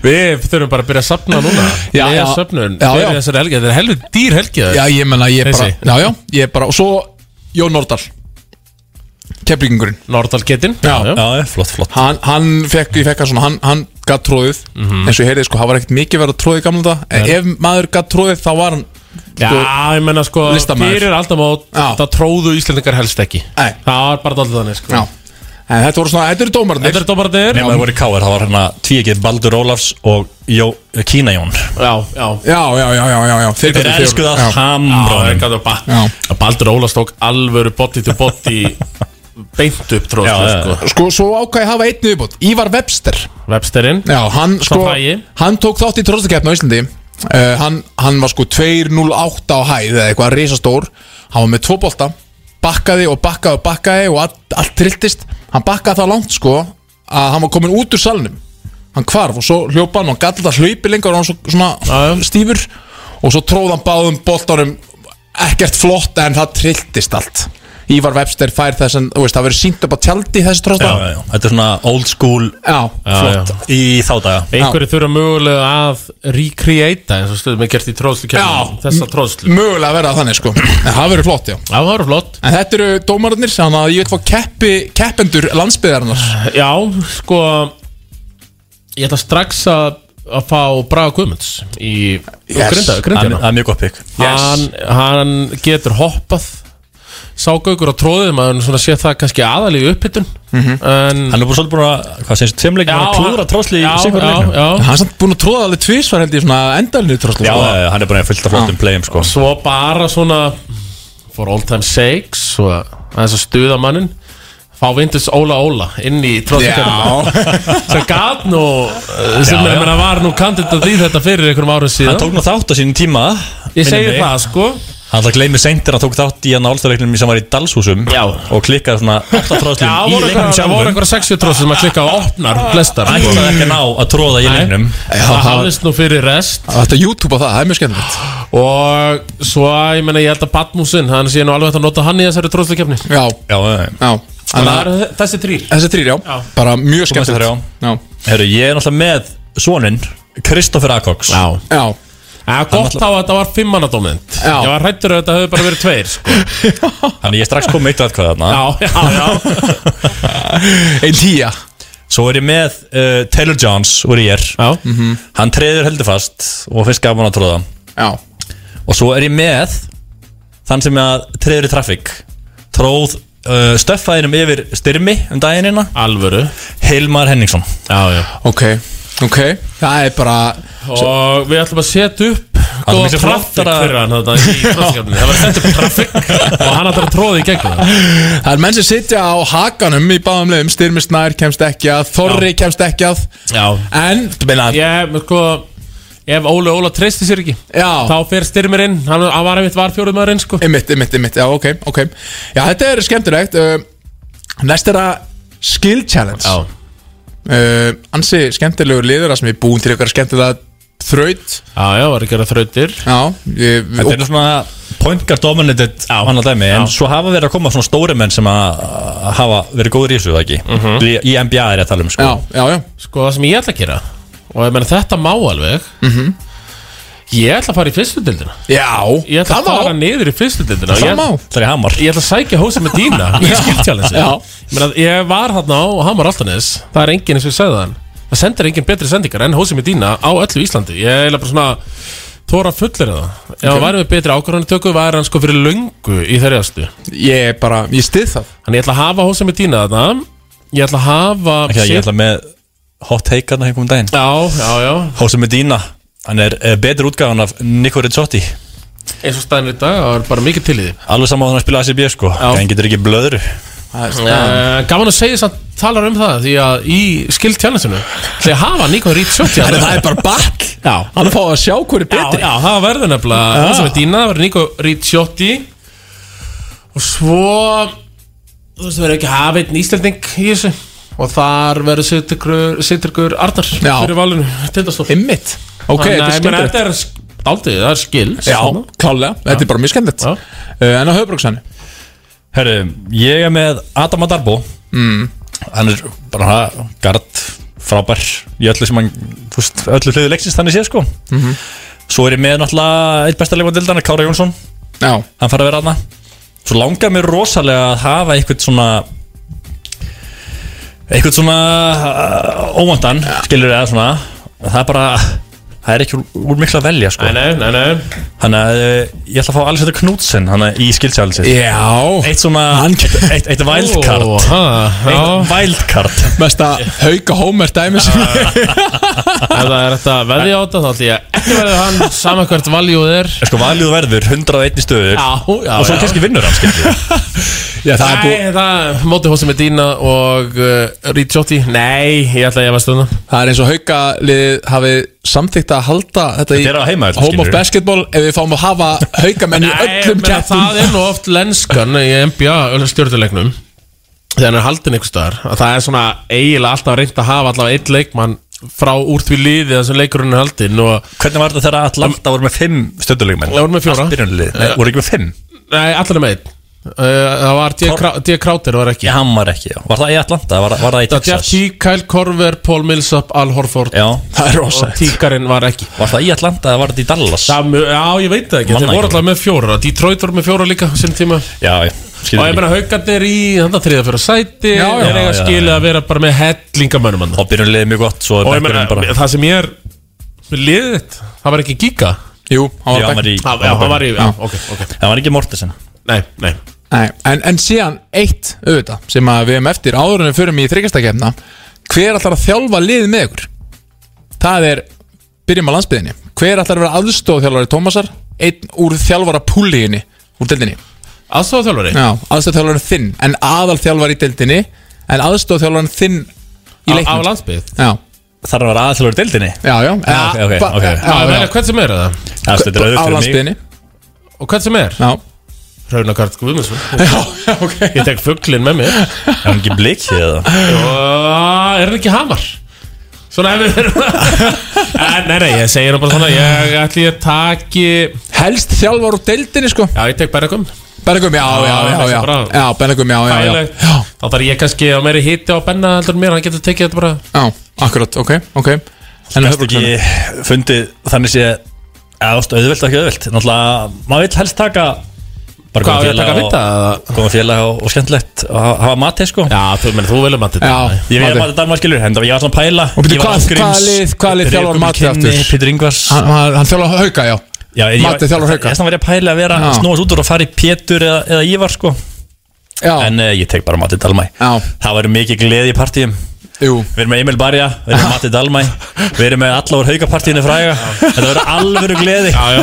B: Við þurfum bara að byrja að sapna núna
C: Já,
B: Byrja
C: já.
B: söfnun
C: Já, já.
B: Fyrir þessari helgi Þetta er helvið dýr helgi
C: Já, ég menna, ég bara,
B: Þessi.
C: já, já, ég bara Og svo Jón Nordal Keflingungurinn
B: Nordal getinn
C: Já,
B: já.
M: já, flott, flott
C: Hann, hann fekk, ég fekk hann svona, hann, hann gatt tróðið
B: Mhm.
C: Eins og ég heyrði, sko, hann var ekkert mikið verið að tróðið gamla þetta En
B: Nei.
C: ef maður gatt tróðið, þá var hann
B: Já, ég menna sko
C: Listamaður.
B: Fyrir alltaf mót Það tróðu Íslendingar helst ekki Nei. Það var bara alltaf þannig sko
C: Já En þetta voru svona, þetta eru dómarnir
B: Þetta eru dómarnir
M: Nefnum að það voru káir, það var hérna tvíegið Baldur Ólafs og Jó,
C: eh,
M: Kína Jón
B: Já, já
C: Já, já, já, já, já, já
M: Þeir elskuðu að hamra honum.
B: hamra Baldur Óla stók alvöru body to body Beint upp tróð sko, sko.
C: Sko, svo ákvæði hafa einn viðbót Ívar Webster
B: Websterinn
C: Já, hann
B: Sá
C: sko
B: frægi.
C: Hann tók þátt í tróðstakefni á Íslandi uh, hann, hann var sko 2.08 á hæð Eða eitthvað risastór Hann var með tvo bolta Bakkaði og bakkaði og bakkaði Og allt, allt trilltist Hann bakkaði það langt sko Að hann var komin út úr salnum Hann hvarf og svo hljópa hann Og hann gall alltaf hlaupi lengur Og hann var svo, svona stífur Og svo tróð hann báðum boltanum Ekkert flott en það trilltist allt Ívar Webster fær þess en, þú veist, það verður sínt upp á tjaldi í þessi tróðstak
M: Já, já, já. Þetta er svona old school
C: Já,
M: flott í þá daga
B: Einhverju þurfa mögulega að recreata eins og stöðum er gert í tróðslu kemur Þessa tróðslu
C: mögulega verða þannig sko en það verður flott já
B: það verður flott
C: en þetta eru dómararnir þannig að ég vil fá keppi, keppendur landsbyðarinnar
B: Já, sko Ég ætla strax að að fá Braga Guðmunds í
M: Yes.
B: grinda, grindina
M: Hann- það er mjög gott pick. Yes.
B: hann, hann getur hoppað ságaukur á tróðið maður svona sé það kannski aðalíu upphittun
M: Mhm.
B: en,
M: Hann er bara svolítið búin að, hvað séum, tveimleikin
B: Já,
M: að klúra
B: hann-
M: tróðsli í
B: já,
M: sigur
B: já,
M: leiknum
B: já.
C: hann er samt búin að tróða alveg tvísvar held ég svona endalni tróðslu
M: Já, já, hann er bara fullt af flottum playum sko
B: Svo bara svona For all time sakes og aðeins að stuða mannin Fá Vindus Óla Óla inn í
M: (laughs)
C: (laughs)
B: tróðsvíkjörnum (laughs) sem gat nú eh, sem
M: Já, já.
B: já, já. var nú kandidat í þetta fyrir einhverjum árum síðan
M: Hann tók nú þátt á sínum tíma
B: Ég segi
M: minnir mig.
B: það sko
M: Hann alltaf gleymir seint en hann tók þátt í hann álstarleiknum sem var í Dalshúsum Já Og klikkaði svona átta
B: Já,
M: tróðslum í
B: voru
M: leiknum
B: eitthvað- voru
M: sjálfum
B: einhverja 60 tróðsvíkjörnum sem að klikka á opnar
C: Ah.
B: flestar sko.
M: Ætlaði ekki að ná að tróða í
B: Nei.
M: leiknum
B: Það hafðist nú fyrir rest
C: Þetta YouTube á það, það er mjög skemmtilegt
B: Og svo, ég meina, ég held að Batmúsin Hann sé nú alveg hægt að nota hann í þessari tróðsvíkjörni
C: Já,
M: já,
C: já.
B: Það eru þessi þrýr
C: Þessi þrýr, já, bara mjög skemmtilegt
M: Herru, ég er náttúrulega með soninn Kristoffer Akoks
B: Já,
C: já.
B: Já, gott á að þetta var fimmannadómynd Ég var hrættur að þetta hefði bara verið
C: (laughs)
B: tveir sko.
M: Þannig ég er strax komið eitt aðkvæða þarna
B: Já, já, já
C: (laughs) Einn tíja
M: Svo er ég með uh, Taylor Johns úr ég er
C: Mhm.
M: -hmm. Hann treður heldur fast og finnst gaman að tróða
C: Já
M: Og svo er ég með Þann sem að treður í traffík Tróð uh, stöffaðinum yfir styrmi um daginina
B: Alvöru
M: Hilmar Henningsson
B: Já, já
C: Ok, ok, það er bara
B: Og við ætlum að setja upp sko,
M: Það er
B: Góða
M: miklu
B: traffik
M: flottara-
B: fyrir hann (laughs) þetta í tróðsvíkjörni Það var sett upp traffik Og hann ætlar að tróða í gegnum það
C: Það er menn sem sitja á hakanum í báðum leiðum Styrmi Snær kemst ekki að, Þorri kemst ekki að
B: Já
C: En, þú meina
B: Ég, sko Ef Óli Óla treysti sér ekki
C: Já
B: Þá fer styrmir inn, hann hann var einmitt var fjóruð maður inn sko
C: Einmitt, einmitt, einmitt, já, ok, ok Já, þetta er skemmtilegt uh, Næst er að Skill Challenge Já uh, Ansi skemmtilegur liður að sem við búum til eitthvað skemmtilega þraut
B: Já, já, var ekki að þrautir
C: Já, ég,
M: Þetta er svona point guard dominated annað dæmi, en svo hafa verið að koma svona stóri menn sem að að hafa verið góður í þessu, það ekki? Í, í NBA er ég að tala um, sko.
C: já, já
B: Mhm. Sko, það sem ég ætla að gera Og ég menn þetta má alveg
C: Mhm.
B: Ég ætla að fara í fyrstu dildina
C: Já,
B: Ég ætla að
C: það má.
B: fara niður í fyrstu dildina
C: Það
B: Ég-
C: má.
M: Það er hamar
B: Ég ætla að sækja hósa með dýna
C: (laughs)
B: Í skiltjálinsi
C: Já.
B: Ég meina, ég var þarna á Hamar Altanes Það er enginn eins og ég sagði þann Það sendir enginn betri sendingar en hósa með dýna Á öllu Íslandi Ég er eiginlega bara svona Þóra fullir það Ef hann væri með betri ákvarðanitöku Væri hann sko fyrir löngu í þeirri ástu
C: Ég bara, ég stið það
B: Þannig ég ætla að hafa hósa með dýna þarna Ég ætla að hafa
M: Ekki það, ég ætla með hot take hann einhvern daginn.
B: Já, já, já.
M: Hósa Medina, hann er uh, betur útgáðan af Nico Rizzotti.
B: Eins og staðin í dag Það er bara mikið til í því
M: Alveg saman hann að spila ACB, sko. Hann getur ekki blöðru.
B: Uh, gaman að segja samt talar um það því að í skilt tjálninsinu þegar hafa Nikon Ritsotti
C: Þannig að það er bara ball
B: Já
C: Hann er fáið að sjá hverju
B: betri Já, já það verður nefnilega
C: Já.
B: Það sem er dýna, það verður Nikko Ritsotti Og svo Þú veist, það verður ekki hafa einn Íslanding í þessu Og þar verður Sitturkur Sitturkur Arnar
C: Já.
B: Fyrir valinu Tindastótt
C: Einmitt Ok, þetta er
B: skemmtilegt
C: skemmtilegt
B: Þetta er sk- dálítið, það er skil
C: Já, klálega, þetta er bara mjög skemmtilegt uh, En á höfbruksann
M: Herru, ég er með Adam Adarbo.
C: mm.
M: hann er bara gard frábær í öllu sem hann þú veist, öllu hliðu leiksins þannig séð sko
F: Mhm.
M: svo er ég með náttúrulega eitt besta leikmandildana Kára Jónsson
C: Já.
M: hann fara að vera aðna svo langar mér rosalega að hafa einhvern svona einhvern svona uh, óvandan skilur eða svona og það er bara það er ekki úr, úr miklu að velja sko
B: nei, nei, nei.
M: þannig að eh, ég ætla að fá Alessandr Knudsen hann í skilsjálfsins
C: Já.
M: eitt svona eitt, eitt, eitt wildcard
C: Ó, ha, já.
M: eitt wildcard Ah.
C: Mesta hauka Homer dæmi sem
B: Ef það er þetta að veðja á þetta þá ætlum ég að ekki verður hann saman hvert valjúð er
M: sko valjúð verður 101 stöður
B: já, já,
M: og svo
B: já.
M: kannski vinnur hann skilur
C: Já,
B: það er búið Það er mótið hósið með Dína og uh, Reed Jotti Nei, ég ætla að ég var stöðna
C: Það er eins og hauka lið hafið samþygt að halda þetta,
B: Þetta er á heimavelli,
C: Home of
B: skilurðu.
C: Basketball ef við fáum að hafa haukamenn í öllum
B: menna,
C: keppnum
B: það er nú oft lenskan í NBA stjórnuleiknum þegar hann er haldin einhvers staðar að það er svona eiginlega alltaf reynd að hafa allavega einn leikmann frá úr því liði þar sem leikurinn er haldin og Um,
M: Hvernig var þetta þegar Atlanta voru með fimm stjórnuleikmenn?
B: Það voru með fjóra
M: Byrjunarlið, nei, voru ekki með fimm?
B: Nei, allir með einn Uh, Það var D. Krá- D. Crowder var ekki
M: Já, hann var ekki, já Var það í Atlanta? Var, var það í
B: Það var
M: Texas?
B: Jeff T, Kyle Korver, Paul Millsap, Al Horford
M: Já
B: Það er rosa Og tíkarinn var ekki
M: Var það í Atlanta eða var þetta í Dallas?
B: Það, já, ég veit það ekki
M: Manna
B: Þeir voru
M: ekki.
B: alltaf með fjóra Detroit voru með fjóra líka á sínum tíma
M: Já, já
B: Og ég meina haugarnir í þannig að þriða fyrir sæti
M: Já, já.
B: En eiga
M: Já, já,
B: skilið að vera bara með hellingamönnum hann
M: Og byrjun liðið mjög gott Svo
B: Og ég meina, það sem ég er með liðið þitt, það var ekki Giga
C: Jú,
M: Já, hann var í
B: Já, hann var í, já, ok, ok
M: Það var ekki Mortensen
B: Nei, nei
C: Nei, en, en síðan eitt auðvitað sem að við hefum eftir áður en við förum í þryggastakefna hver ætlar að þjálfa lið með ykkur? Það er, byrjum á landsbyðinni hver ætlar að vera aðstofþjálfari Tómasar einn úr þjálfara púliðinni úr deildinni?
B: Aðstofþjálfari?
C: Já, aðstofþjálfari þinn en aðalþjálfari í deildinni en aðstofþjálfari þinn í
B: Á-
C: leiknum
B: á landsbyggð?
C: Já
M: Þarf að vera aðalþjálfari
C: (laughs)
M: í deildinni?
C: Já, já
M: Já, ok, ok,
C: ba-
M: ok.
B: Já, ég meina,
C: já.
B: hvern sem er það?
M: Það stendur auðvitað
C: Á
M: fyrir mig.
C: landsbyðinni
B: Og hvern sem er?
C: Já
B: Raunakart Guðmundsson (laughs) Já, ok Ég tek fugglin með mér
M: Er hann ekki blikið eða?
B: Já, Ah, er hann ekki hamar? Svona ef við erum (laughs) að Nei, nei, ég segir hann bara svona Ég ætli ég taki
C: Helst þjálfar úr deildinni, sko
B: Já, ég tek Bergum Ah,
C: Bergum, já, já, já, já
B: bara-
C: Já, Bennegum, já, já, já
B: Þægilegt. Þá þarf ég kannski á meiri hitti á Benna heldur en mér Hann getur tekið þetta bara
C: Já, akkurat, ok, ok En
M: Gæst ekki fundið Þannig sé Eða þú veist, auðvelt eða ekki auðvelt Náttúrulega Maður vill helst taka Bara
B: Hvað, á ég að
M: góðan félag
B: taka
M: og-
B: vita,
M: Góðan félag og, og skemmtilegt Og ha- hafa matið sko
B: Já, þú, menn, þú velur matið
C: Já,
M: Ég veit að
C: matið.
M: matið Danmark skilur En það- ég var svona að pæla
C: Og byrju,
M: Ég var
C: hvað, hvað
M: Ásgríms,
C: lið, hvað lið
M: Rekur
C: þjálfar matið
M: Kinni,
C: aftur?
M: Pétur Ingvars
C: Hann, hann, hann þjálfar hauka, já,
M: Já, ég-
C: Matið þjálfar
M: Ég
C: hauka
M: er svona verið að pæla að vera
C: Já.
M: snúast út úr og fara í Pétur eða, eða Ívar sko
C: Já.
M: En uh, ég tek bara Matti Dalmæ
C: Já.
M: Það verður mikið gleði í partíum
C: Jú.
M: Við erum með Emil Barja, við erum með Matti Dalmæ Við erum með allavur haukapartíinu fræga Þetta verður alvöru gleði
B: Já, já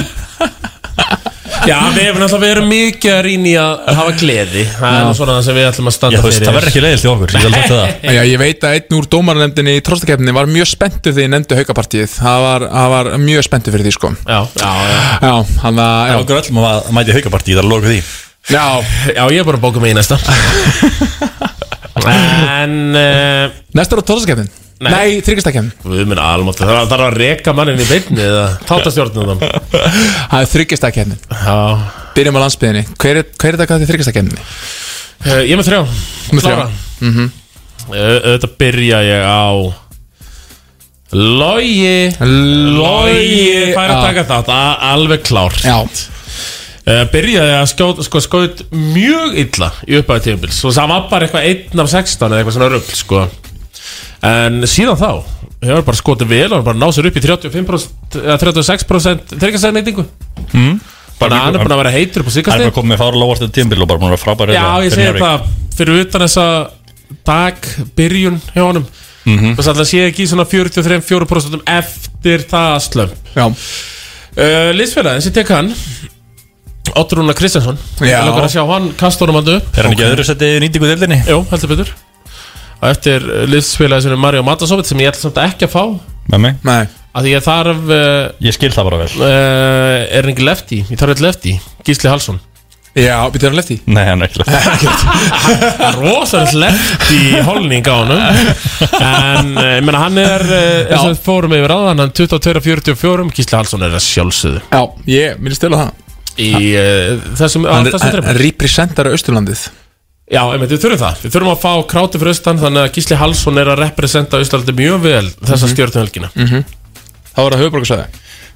B: Já, við hefum náttúrulega verið mikið að rýna í að hafa gleði Það er nú svona það sem við ætlum að standa
M: Já, þú veist, það verður ekki leiðilt í okkur, ég get alveg sagt það.
C: Já, ég veit að einn úr dómarnefndinni í tróstakeppninni var mjög spenntu þegar ég nefndu haukapartíið Það var, það var mjög spenntu fyrir því, sko
B: Já, já, já
C: Já, hann að,
M: Það er okkur öllum að mæti haukapartíi, það er lokuð því
C: Já,
B: já, ég er bara að bóka mig í næsta En uh,
C: Næsta er á tróstakeppnin Nei, Nei þryggastakeppnin
B: Við minn almátt, það þarf- þarf að reka mannin í beinni eða tátastjórnum þann
C: Það er þryggastakeppnin
B: Já
C: Byrjum á landsbyðinni Hver er, hver er þetta hvað til þryggastakeppninni?
M: Eh,
B: Ég er með þrjá
C: Með þrjá.
B: Klára.
C: Mhm.
B: Ö- Auðvitað byrja ég á Logi Logi fær að
C: Já.
B: taka þátt a- Alveg klárt Eh,
C: Já
B: Byrjaði að skjóta sko, skjóta mjög illa í uppæðu tímabils og það var bara eitthvað 1 af 16 eða eitthvað svona rögl sko. en síðan þá hefur bara skotið vel og hann bara náð sér upp í 35% eða 36% þryggjastæðin neitingu
C: Mhm.
M: mm?
B: Bara hann er búin að vera heitur upp á síðkastið.
M: Hann er bara komið með fára lóvart eða tímbil og bara hérna búin að vera frábær
B: Já, ég segi það fyrir utan þessa dag byrjun hjá honum mm
M: Mhm.
B: -hmm. þess að það sé ekki í svona 43-4% eftir það slömp
C: Já
B: uh, Lýsfélagin sem tek hann Ottur Rúnar Kristjánsson
M: Já.
B: Ég lukkar að sjá hann kastunum hann upp
M: Er hann ekki
B: Ok.
M: öðru setið í nýtingu deildinni?
B: Jú, heldur betur Og eftir liðsfélagi sem er Mario Matasovit sem ég ætla samt ekki að fá
M: Með mig?
C: Nei
B: að ég þarf uh,
M: Ég skil það bara vel
B: uh, er hann ekki lefti, ég þarf eitthvað lefti Gísli Halsson
C: Já, býttu hann lefti
M: Nei, hann
C: (laughs)
M: er ekki
B: (laughs) rosalegt lefti holning á honum en eh, ég meina hann er eh, eins og við fórum yfir áðan hann 22.44 Gísli Halsson er að sjálfsögðu
C: Já, ég, mér stila það
B: í uh, þessum á
C: Hann er,
B: þessum
C: hann
B: þremur.
C: representar Austurlandið
B: Já, einmitt, við þurfum það Við þurfum að fá kráti fyrir austan Þannig að Gísli Hallsson er að representa Íslandi mjög vel Þessa um
M: Mhm.
B: stjórnhelgina
M: -hmm.
C: Það voru að höfbrukarsæði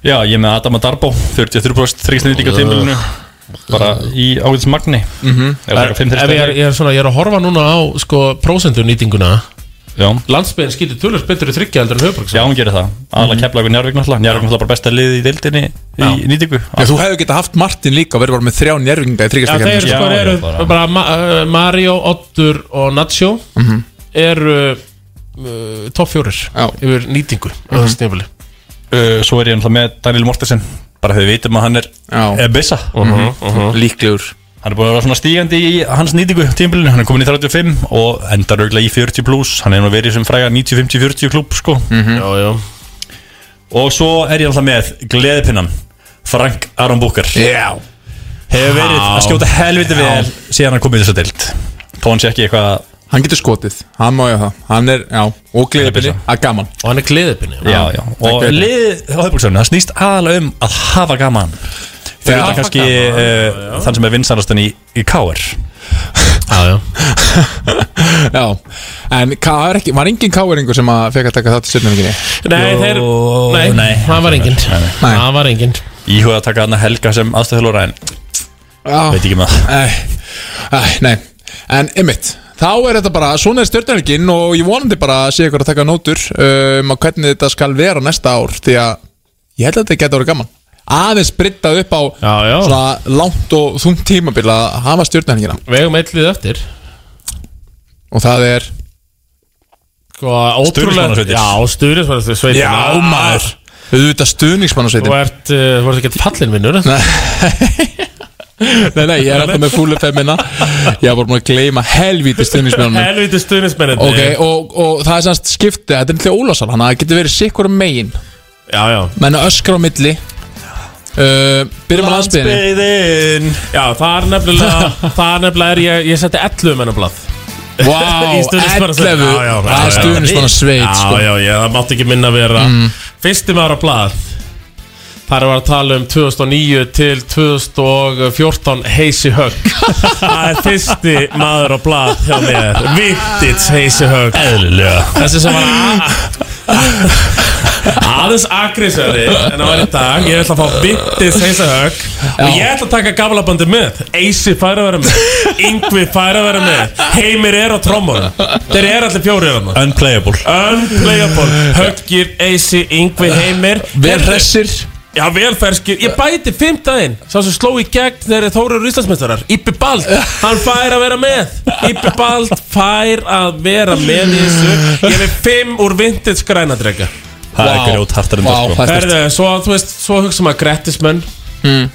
M: Já, ég er með Adama Darbo 43% þrýsnýðing á tímbilinu Bara í ágætis magni
B: Mhm.
M: Er það
B: Ef
M: 5
B: ég er, ég, er svona, ég er að horfa núna á sko, prósendunýtinguna
M: Já
B: Landsbyrðin skýtur tölvöld betur í þryggja heldur en sko. höfbruk
M: Já, hún gerir það Alla kepla ykkur Njárvík náttúrulega Njárvík náttúrulega bara besta liði í deildinni Í
B: Já.
M: nýtingu
C: Já, þú hefur getað haft Martin líka og verið bara með þrjá njörfinga í
B: Já, þeir eru
C: þryggastakefni
B: sko, eru bara, bara Ma uh, Mario, Ottur og Nacho
C: Mhm.
B: eru uh, topp fjórir yfir nýtingu á
M: Mhm.
B: þessu tímabili.
M: uh, Svo er ég náttúrulega með Daniel Mortensen Bara þegar við vitum að hann er er byssa
B: Mhm, mhm.
C: Líklegur
M: Hann er búin að vera svona stígandi í hans nýtingu tímbilinu, hann er komin í 35 og endar auðvitað í 40 pluss, hann er nú verið sem fræga 90-50-40 klúb sko
B: Já, já
M: Og svo er ég alltaf með gleðipinnan Frank Aron Búkar
C: Já
M: Hefur verið að skjóta helviti vel síðan hann komið þess að deild Þó hann sé ekki eitthvað
C: Hann getur skotið, hann má ég það Hann er, já, og gleðipinni, að gaman
B: Og hann er gleðipinni
M: Já, já, og liðið á höfbúksöfnu, það snýst aðalega um að hafa gaman Fyrir
B: hafa
M: þetta kannski
B: gaman,
M: uh, þann sem er vinsanastan í, í KR
B: Já, já
C: (laughs) Já, en það er ekki, var engin káeringu sem að fekk að taka það til stjórnumvíkinni
B: Nei,
M: Jó,
B: þeir, nei,
M: nei.
B: það var enginn Það var enginn
M: Íhuga að taka hann Helga sem aðstöðhjálfara en
B: Ah.
C: Já.
M: veit ekki með það
C: Æ, æ, Ah, nei, en ymmit Þá er þetta bara, svona er stjórnumvíkin og ég vonandi bara að sé ykkur að taka nótur um að hvernig þetta skal vera næsta ár því að ég held að þetta geta að vera gaman aðeins brittað upp á já, já. svona langt og þungt tímabil að hafa stjórnumvíkina
B: Við eigum eitt lið eftir
C: og það er
B: Sko, ótrúlega
C: Stuðningsmannasveitir.
B: Já, stuðnismannasveitir
C: Já, maður. auðvitað stuðningsmannasveitin
B: Þú ert, uh, þú ert ekkert fallin vinnur
C: Nei (laughs) Nei, nei, ég er alltaf með fúlu femina hérna. Ég var búin að gleyma helvíti
B: (laughs)
C: stuðnismennunum
B: Helviti stuðnismennin
C: Ok, og, og það er sannst skipti Þetta er náttúrulega Ólafsson, hann getur verið sikkur megin
B: Já, já
C: Menna öskra á milli uh, Byrjum á landsbyðinni
M: Landsbyðin
B: Já, það er
C: (laughs)
B: nefnilega Það er nefnilega er ég Ég seti 11 menn á blað
C: Vá,
B: (laughs) Í stuðningsmannasveit.
C: 11,
B: Já, já, já,
C: það er
B: já.
C: stuðningsmannasveit, sko.
B: Já, já, já, það mátti ekki minna vera
C: Mm.
B: Fyrsti maður á blað Þar var að tala um 2009 til 2014 Heisi
C: (laughs)
B: Högg Það er fyrsti maður á blað hjá mér Vittits Heisi Högg
M: Eðlilega
B: Þessi sem var að- (laughs) aðeins aggressöri en það var í dag Ég ætla að fá Vittits Heisi Högg og ég ætla að taka gamla bandið með Eisi fær að vera með Yngvi fær að vera með Heimir er á trommur Þeir eru allir fjórið hann
M: Unplayable (laughs)
B: Unplayable Höggir, Eisi, Yngvi, Heimir Hérna-
C: Vel hressir
B: Já, vel ferskir Ég bæti fimmtaðinn Sá sem sló í gegn þegar Þóru eru Íslandsmeistarar Íbbi Bald Hann fær að vera með Íbbi Bald fær að vera með í þessu Ég er með fimm úr vintage grænadrega
M: Það er grjót hartar en það sko
B: Herðu, svo, þú veist, svo hugsa maður grettismenn
M: Mm.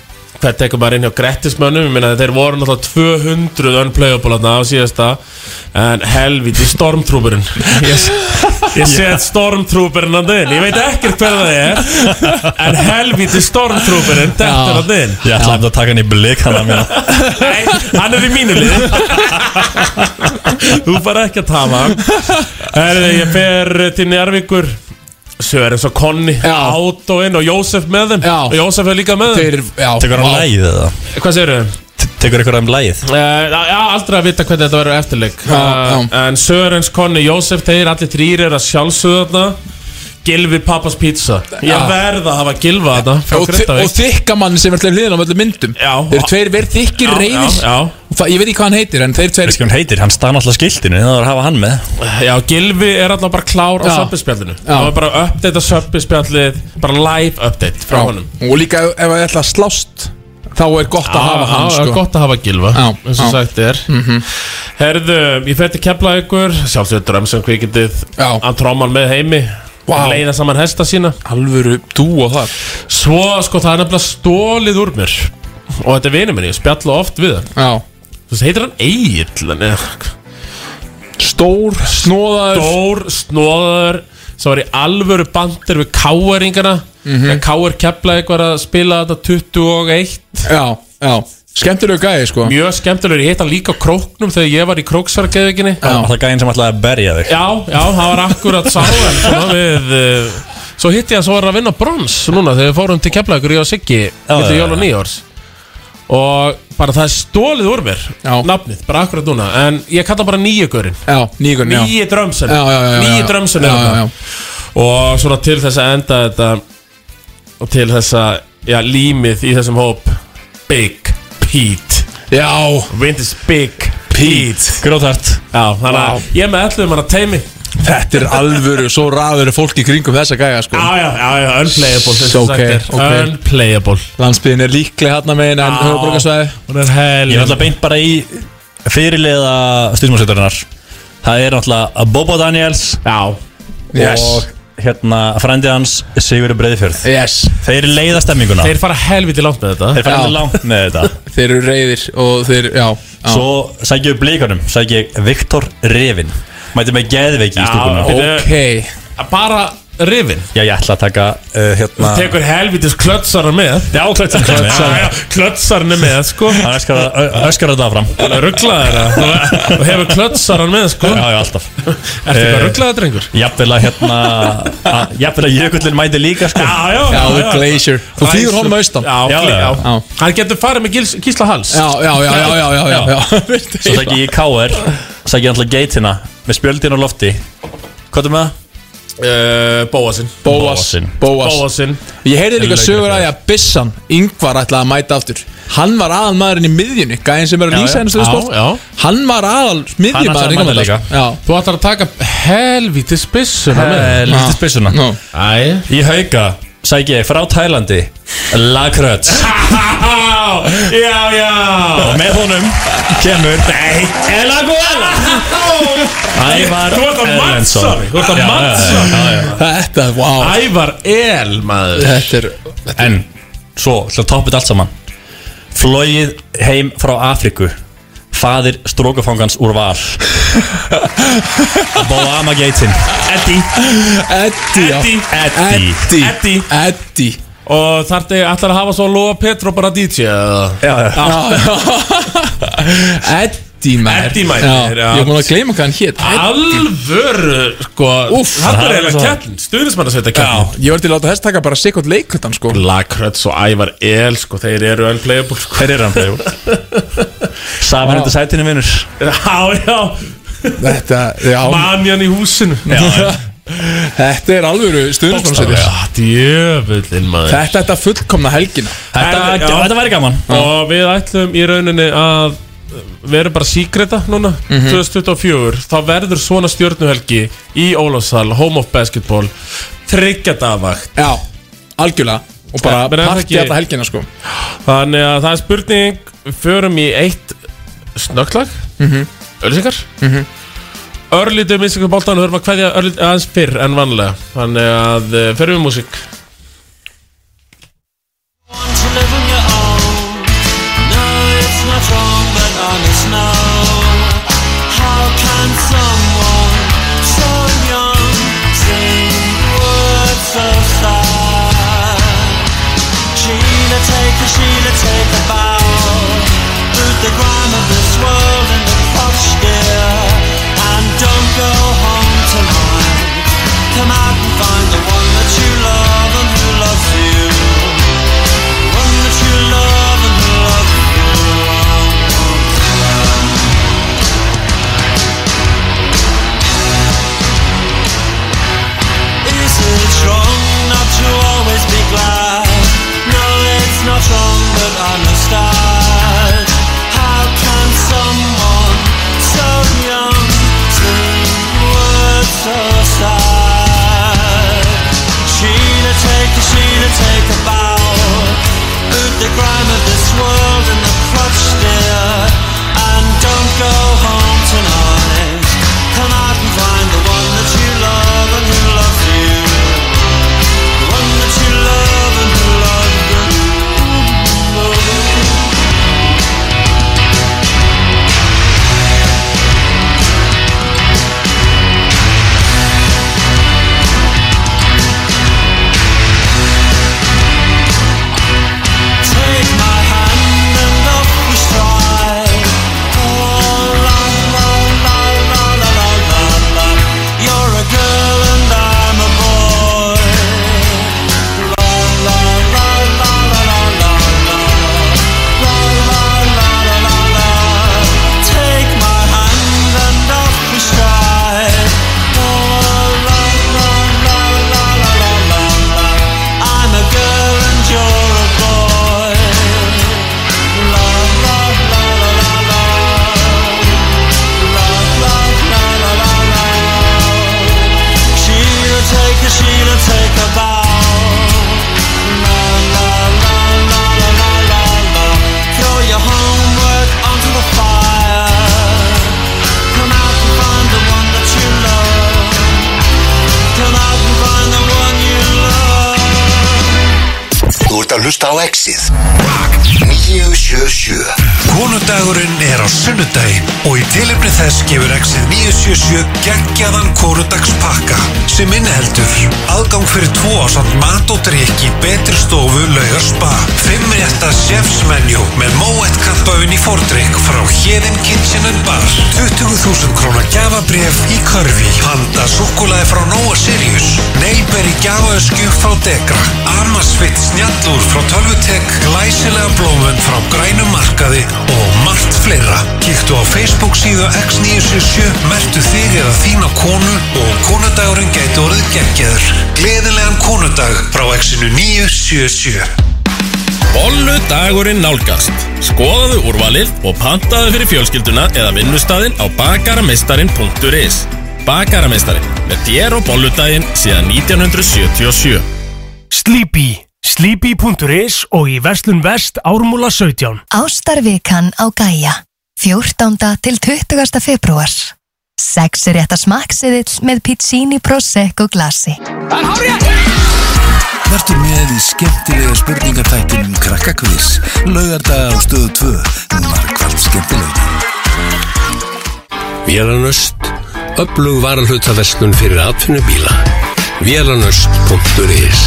B: Hvað tekur maður inn hjá grettismönnum Ég meina að þeir voru náttúrulega 200 unplayable þarna á síðasta En helvíti, stormtrooperinn Ég, s- ég set stormtrooperinn hann inn Ég veit ekkert hver það er En helvíti, stormtrooperinn Þetta hann inn
M: Ég ætla að taka hann í blik hann að mér
E: (laughs)
B: Nei, hann er í mínu lið (laughs) Þú fara ekki að tala Herðu, ég fer til Njarvíkur Sörens og Conny Átóinn og Jósef með þeim já. Og Jósef er líka með þeim
M: Tekur hann lægið eða?
B: Hvað segirðu?
M: Tekur ykkur hann lægið?
B: Uh, já, aldrei að vita hvernig þetta verður eftirleik uh, En Sörens, Conny, Jósef Þeir allir þrýr er að sjálfsögða þarna Gilvi Pappas Pizza Ég
C: Já.
B: verð að hafa Gilva þarna frá
C: Og, þi-
B: Grindavík.
C: og þykka mann sem er alltaf liðin á öllum myndum já, Þeir eru tveir verið þykki
B: Já,
C: reyðir
B: já, já.
C: Það- Ég veit ekki hvað hann heitir en þeir tveir
M: Hvað hann heitir? Hann staði náttúrulega skiltinu Það var að hafa hann með
B: Já, Gilvi er alltaf bara klár á
C: Já.
B: söpbispjallinu Það var bara að uppdata söpbispjallið Bara live update frá honum
C: Og líka ef það ætla að slást Þá er gott að
B: Já,
C: hafa hann
B: já,
C: sko.
B: gott að hafa Gilva eins og
C: já. Mhm.
B: sagt er Herðu, ég fer til kepla ykkur Sjálfsögur drömsum kvikindið Hann tróman með heimi wow. Leina saman hesta sína
C: Alvöru dú á það
B: Svo, sko, það er nefnilega stólið úr mér Og þetta er vinur minn, ég spjalla oft við hann
C: Já
B: Þú veist, heitir hann Egil en eða-
C: Stór, snóðar
B: Stór, snóðar Sem var í alvöru bandir við káeringana mm
C: Mhm.
B: -hmm. Káer kepla ykkur að spila þetta 21
C: Já, já Skemmtilegu gæði sko
B: Mjög skemmtilegur, ég hitt hann líka á króknum Þegar ég var í króksargeðvikinni
M: Það gæði sem ætlaði að berja þig
B: Já, já, það var akkurat sá
C: (laughs)
B: en svona við uh, Svo hitti ég að svo var að vinna brons núna þegar við fórum til Keflavíkur, ég og Siggi
M: já,
B: milli
M: já,
B: jól og nýjórs Og bara það er stólið úr mér já. Nafnið, bara akkurat núna En ég kalla bara nýjögurinn
C: Já, nýjögurinn, já.
B: Nýji drömsin
C: Já, já, já, já, já.
B: Nýji drömsin
C: Já, já, já.
B: Og svona til þess að enda þetta Og til þess að Já, límið í þessum hóp Big Pete
C: Já
B: Vintage Big Pete Gróðhært Já, þannig að ég er með ætluðum hann að teimi
C: Þetta er alvöru, svo raður er fólk í kringum þessa gæja sko
B: Já, já, já, já, unplayable þess að
C: okay,
B: sagt er.
C: okay.
B: Unplayable
C: Landsbyðin er líklega hann að meina hérna en höfuborgarsvæði
B: Hún er hel
M: Ég er alltaf beint bara í fyrirliða stjórnmálsveitarinnar Það er alltaf Bobo Daniels
B: Já
C: Yes.
M: Og hérna frændi hans Sigurður Breiðfjörð
C: yes.
M: Þeir leiða stemminguna
B: Þeir fara helviti langt með þetta
M: Þeir fara
C: Já.
M: helviti langt með þetta
C: Þeir eru reyðir og þeir, já, já.
M: Svo sækja við blíkanum Sækja ég Viktor Revin Mæti með geðveiki í stúkuna
C: ok
B: Bara rifin
M: Já, ég ætla að taka uh, hérna
B: Þú tekur helvitis klötsarar með
M: Já, klötsarinn er með.
B: Klötsarinn er með, sko
M: Hann öskar, öskar þetta fram
B: Rugglaðir það Og hefur klötsarar með, sko
M: Já, já, alltaf
B: Ertu
M: Eh,
B: eitthvað rugglaðir, drengur?
M: Jafnvel að hérna að- Jafnvel að jökullin mæti líka sko
B: Já, já,
C: Já, the glacier. Þú þýður honum austan.
B: Já,
M: Já,
B: já,
M: já.
B: já Hann getur farið með gils, gísla hals
C: Já, já, já, já, já, já, já,
B: (laughs)
C: já.
M: Svo sæk ég í KR Sæk ég alltaf geitina Með spjöldin á lofti Hvað er með það?
B: Uh, Bóasinn
C: Bóasinn. Bóas.
B: Bóasinn
C: Ég heyrði líka
B: Leikir
C: sögur
B: það.
C: að ég að Bissan Yngvar ætlaði að mæta aftur Hann var aðal maðurinn í miðjunni Gæðin sem er að
B: Já,
C: lýsa sko? henni
B: já. Já,
C: stöðsport
B: já.
C: Hann var aðal
M: Hann ætlaði að
C: miðjumaður
M: mæta líka.
B: Þú ætlar að taka helvitis byssuna
M: Eh, Lítið spissuna
B: Æ
M: Í hauga Sæk ég frá Tælandi Lakröts
B: (laughs) Já, já
M: Og með honum Kemur Nei
B: Ella Guella
M: Ævar
B: Þú ert að
M: Erlendsson.
B: mattsa mig Þú ert að
M: Já, já,
B: mattsa
M: já,
B: mig
M: já.
C: Þetta, wow
B: Ævar El, maður
C: Þetta er
M: En Svo Svo toppið allt saman Flóið heim frá Afriku Fadir strókafangans úr
B: (laughs)
M: val Bóama geitin Eddi
C: Eddi, já
B: Eddi.
C: Eddi
B: Eddi
C: Eddi
B: Og þar þig ætlar að hafa svo Lóa Petro bara DJ eða?
M: Já,
C: Eddi mær
B: Eddi mær,
C: Já,
B: já.
C: Ég er búin að gleyma hvað hann hét
B: Alvöru, sko
C: Úff. Það
B: Þetta er
C: er
B: eiginlega
C: svo-
B: kjallin Stuðnismann að setja kjallin
C: Ég var til að láta þess taka bara sikkert leikurtan sko
B: Lakröts og Ævar El, sko Þeir eru unplayable, sko
M: Þeir eru unplayable Saman undir sætinu vinnur
B: Já, já
C: Þetta, já
B: Manjan í húsinu
C: (laughs) Þetta er alvöru stuðnismannsætis
B: Djöfullin maður
C: Þetta er þetta fullkomna helgina
B: Þetta- já.
M: Þetta væri gaman
B: Og við ætlum í rauninni að Við erum bara síkreta núna
C: Mhm.
B: 2024, þá verður svona stjórnuhelgi Í Ólafsal, Home of Basketball Tryggjadavakt
C: Já, algjörlega Og bara
B: Ja, menn er það
C: partí
B: ekki-
C: alla helgina sko
B: Þannig að það er spurning Við förum í eitt snögglag
C: Mhm.
B: Ölsingar
C: Mhm.
B: Örlítið minnsingar boltan Við höfum að kveðja örlítið aðeins fyrr en vanlega Þannig að eh, förum við músík
E: to live on your own. No, it's not wrong, but honest, no. How can someone so young sing words so sad? Sheila, take a Sheila, take a bow. Root the grime of this world and the posh dear. And don't go home tonight. Come out and find the one that you love and who loves you. One that you love and who loves you. Is it wrong not to always be glad? No, it's not wrong, but understand. How can someone so young sing words so sad? Sheila, take a Sheila, take a bow. Boot the grime of this world and the crutch still. And don't go home tonight. Come out and find the one that you love and who loves you. The one that you love and who loves you.
U: á exið Rock 977
H: Konudagurinn er á sunnudaginn og í tilefni þess gefur Exit 977 geggjaðan konudagspakka sem inniheldur aðgang fyrir tvo á samt mat og drikki betri stofu lauga spa fimm rétta chefsmenjú með móett kampaun í fordrykk frá Héðin Kitchen and Bar 20.000 krónar gjafabref í körfi handa súkulaði frá Nóa Sirius Neilberry gjafaöskju frá Degra Amasvit snjallúr frá Tölvutek glæsilega blómund frá grænum markaði og margt fleira. Kíktu á Facebook síðu X977, mertu þig eða þína konu og konudagurinn gæti orðið geggjaður. Gleðilegan konudag frá X-inu 977.
T: Bolludagurinn nálgast. Skoðaðu úrvalið og pantaðu fyrir fjölskylduna eða vinnustæðin á bakarameistarin.is Bakarameistarin með þér og bolludaginn síðan 1977.
D: Sleepy Sleepy.is og í Vestlun Vest ármúla 17
V: Ástarvikan á Gæja 14. til 20. februar Sex er rétt að smakksiðill með pizzini, prosecco, glasi
K: Vertu með í skemmtilega spurningartættinum Krakkakvís, laugardag á stöðu 2, markvært skemmtilega.
W: Vélanust, öflug varalhutaverslun fyrir atvinnubíla. Vélanust.is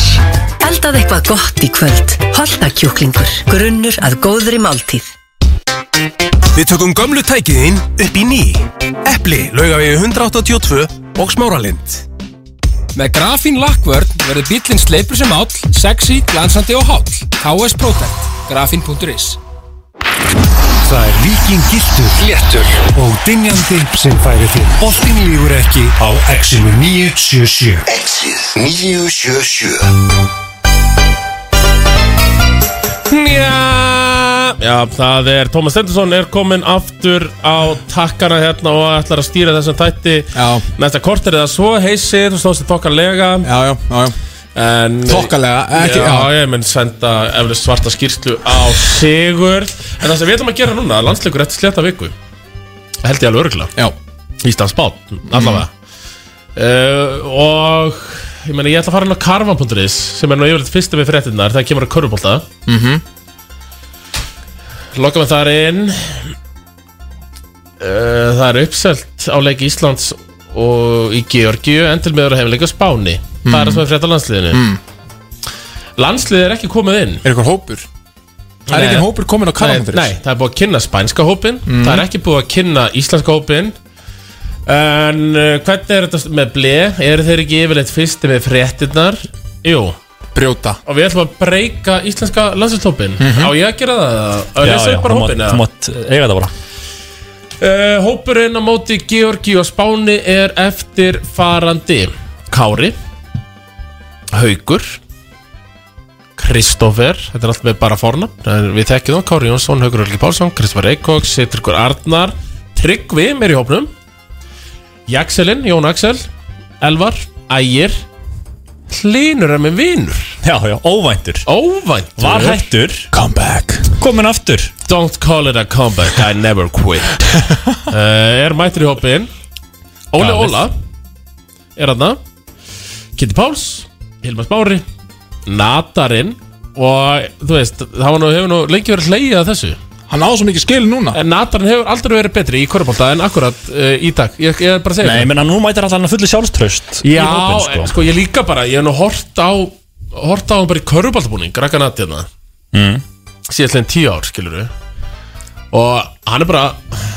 J: Eldað eitthvað gott í kvöld. Holtakjúklingur. Grunnur að góðri máltíð.
K: Við tökum gömlu tækiðinn upp í ný. Epli, laugavegi 182 og smáralind.
O: Með grafín lakkvörn verður bílinn sleipur sem áll, sexy, glansandi og háll. KS Protect. Grafín.is
H: Það er líkin gildur, léttur og dinjandi sem færi þér. Boltinn lífur ekki á Exinu 977.
U: Exið 977
B: Já, já, það er Tómas Stendursson er kominn aftur á takkana hérna og ætlar að stýra þessum þætti já. næsta korter eða svo heysir, þú stóðst þér þokkalega Já, já, já, já En,
C: Þokkalega, ekki-
B: já,
C: já.
B: ég mun senda eflust svarta skýrslu á Sigurð En það sem við ætlum að gera núna, landsleikur eftir slétta viku Held ég alveg örgulega
C: Já
B: Íslandsbát, allavega uh, Og ég meina, ég ætla að fara inn á karvan.is sem er nú yfirleitt fyrstu við fréttinnar þegar kemur að körfubólta
C: mm
E: Mm-hmm.
C: -hmm.
B: Loka mig þar inn Uh, Það er uppselt á leiki Íslands og í Georgíu endil meður að heimleika Spáni Það er það sem er frétt á landsliðinu
C: Mm.
B: Landsliðið er ekki komið inn
C: Er eitthvað hópur? Það er
B: Nei.
C: enginn hópur kominn á Mhm. Karvan.is?
B: nei, nei, það er búið að kynna spænska hópin Það er ekki búið að kynna íslenska hópin En uh, hvernig er þetta með ble? Eru þeir ekki yfirleitt fyrsti með fréttinnar? Jú
C: Brjóta
B: Og við ætlum að breyka íslenska landslitshópin
M: Mhm.
B: Á ég að gera það? Að
M: Já,
B: lesa
M: já,
B: upp bara
M: þú mátt-
B: hópin?
M: þú mátt
C: eh,
M: eiga þetta bara
B: Uh, hópurinn á móti Georgi og Spáni er eftir farandi Kári Haugur Kristoffer Þetta er allt með bara forna Við þekkjum þá Kári Jónsson, Haugur Ölgi Pálsson Kristoffer Eikóks, Sittryggur Arnar Tryggvi er í hópnum Jaxelin, Jón Axel Elvar, Ægir Hlynur er með vinur
M: Já, já, óvæntur
B: Óvæntur
M: Var hættur
C: Comeback
M: Komin aftur
B: Don't call it a comeback, I never
M: (laughs)
B: quit uh, Er mættur í hópin Óli
M: Galið.
B: Óla Er hann Kitty Páls, Hilmar Bári Natarinn Og þú veist, það var nú, hefur nú lengi verið hleyið að þessu
C: Hann áður svo mikið skil núna
B: En Natarinn hefur aldrei verið betri í korfbólta En akkurat uh, í dag Ég, ég er bara að segja
M: Nei,
B: það.
M: menn að nú mætir allan að fullu sjálfströst í
B: Já, sko.
M: hópinn,
B: sko ég líka bara, ég hef nú hort á Hort á hann bara í körfubaltabúning Raka Nati hérna
M: Mm.
B: Síðastlegin tíu ár, skilur Og hann er bara,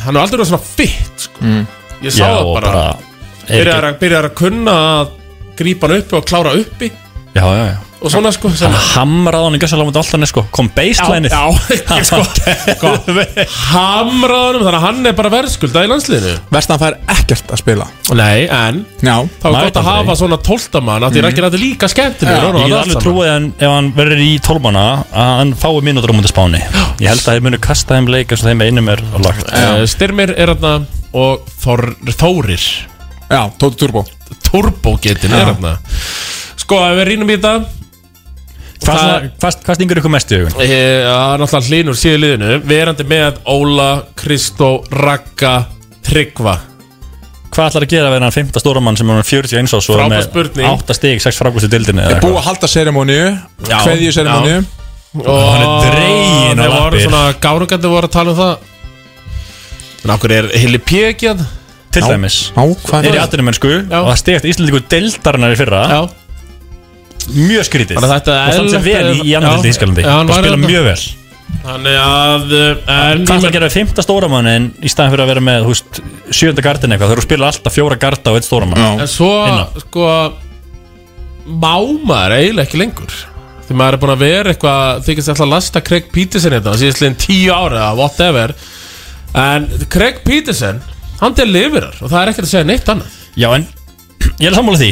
B: hann er aldrei verið svona fitt sko.
M: Mm.
B: Ég sá
M: Já,
B: það
M: og
B: bara,
M: bara-
B: byrjar, að, byrjar að kunna að grípa hann uppi og klára uppi
M: Já, já, já
B: Og svona sko
M: Hann hamrað hann í gjössalega mútið alltaf sko Kom baselineið (laughs)
B: Já, (laughs) já, sko, sko (laughs) Hamraðanum, þannig að hann er bara verðskulda í landsliðinu
C: Vestan fær ekkert að spila
B: Nei, en
C: Já
B: Þá er gott að hafa svona tóltamann Því
M: Mhm.
B: rækir að þetta líka skemmtilegur og
M: Ég
B: allt
M: get alveg
B: saman.
M: trúið en ef hann verður í tólmana að hann fái mínútur á mútið spáni Ég held að þeir munu kasta þeim leik eins og þeim einum er lagt Eh,
B: uh, Styrmir er hann og Þor, Þórir
C: Já, Tóti Turbo
B: Turbo getin er
M: Já.
B: hann Sko, ef við rínum í þetta
M: Hvað svona- Hvað stingur ykkur mest í hugun?
B: Það er eh, náttúrulega hlínur síðu liðinu Verandi með Óla, Kristó, Ragga, Tryggva
M: Hvað ætlar að gera við hennan 5. stóramann sem er orðinn 41 árs og er
B: Frábær
M: með
B: spurning.
M: 8 stig, 6 frákvæmstu dildinni
C: Er búið að halda serimóníu
M: Já,
C: Kveðju serimóníu
B: og
M: Hann er dreginn á
B: þeir voru
M: lappir.
B: svona gárungandi voru að tala um það en okkur er Hilli P ekki að
M: Til dæmis
B: Nákvæmlega.
M: Þeir eru atvinnum mennsku og það stegast Íslandingur deildarinnar í fyrra Já Mjög skrítið
B: Þannig að þetta er
M: Og stann sem
B: eðlilegt-
M: vel í, í annar
B: Já.
M: dildi í Ískalandi
B: Já, hann
M: Og
B: var
M: spila
B: þetta.
M: mjög vel
B: þannig að uh, en
M: Það er að gera fimmta stóramannin í staðan fyrir að vera með þú veist, sjönda gardin eitthvað, þau eru að spila alltaf fjóra garda og eitt stóramann
B: En svo, sko Má maður eiginlega ekki lengur Því maður er búin að vera eitthvað Þykist alltaf að lasta Craig Peterson hérna Síðast liðin tíu ára, eða whatever En Craig Peterson Hann deliverar og það er ekkert að segja neitt annað
M: Já, en ég er sammála því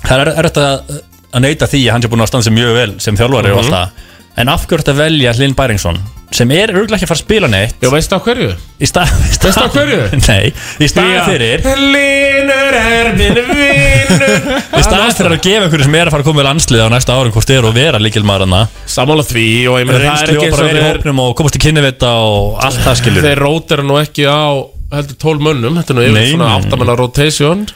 M: Það er erfitt að, að neyta því að hann sé búin að standa sig mjög vel sem þjálfari og
B: Mhm.
M: allt það En af hverju ertu að velja Hlinn Bæringsson sem er örgulega ekki að fara að spila neitt
B: Já, veistu á hverju?
M: Í stað, stað,
B: Veistu af hverju?
M: (laughs) Nei, í staðan fyrir
B: Linur er minn vinnur
M: Í staðan fyrir að gefa einhverju sem er að fara að koma í landslið á næsta árum hvort er og vera líkilmaður hana
B: Sammála því og ég meina, það er
M: Reynslu
B: ekki
M: og
B: eins
M: bara
B: og
M: verið í
B: þeir-
M: hópnum og komast í kynnevita og allt það skilur
B: Þeir rótir nú ekki á heldur tól mönnum Þetta er nú yfir
M: Nei,
B: svona
M: nei.
B: áttamanna rotation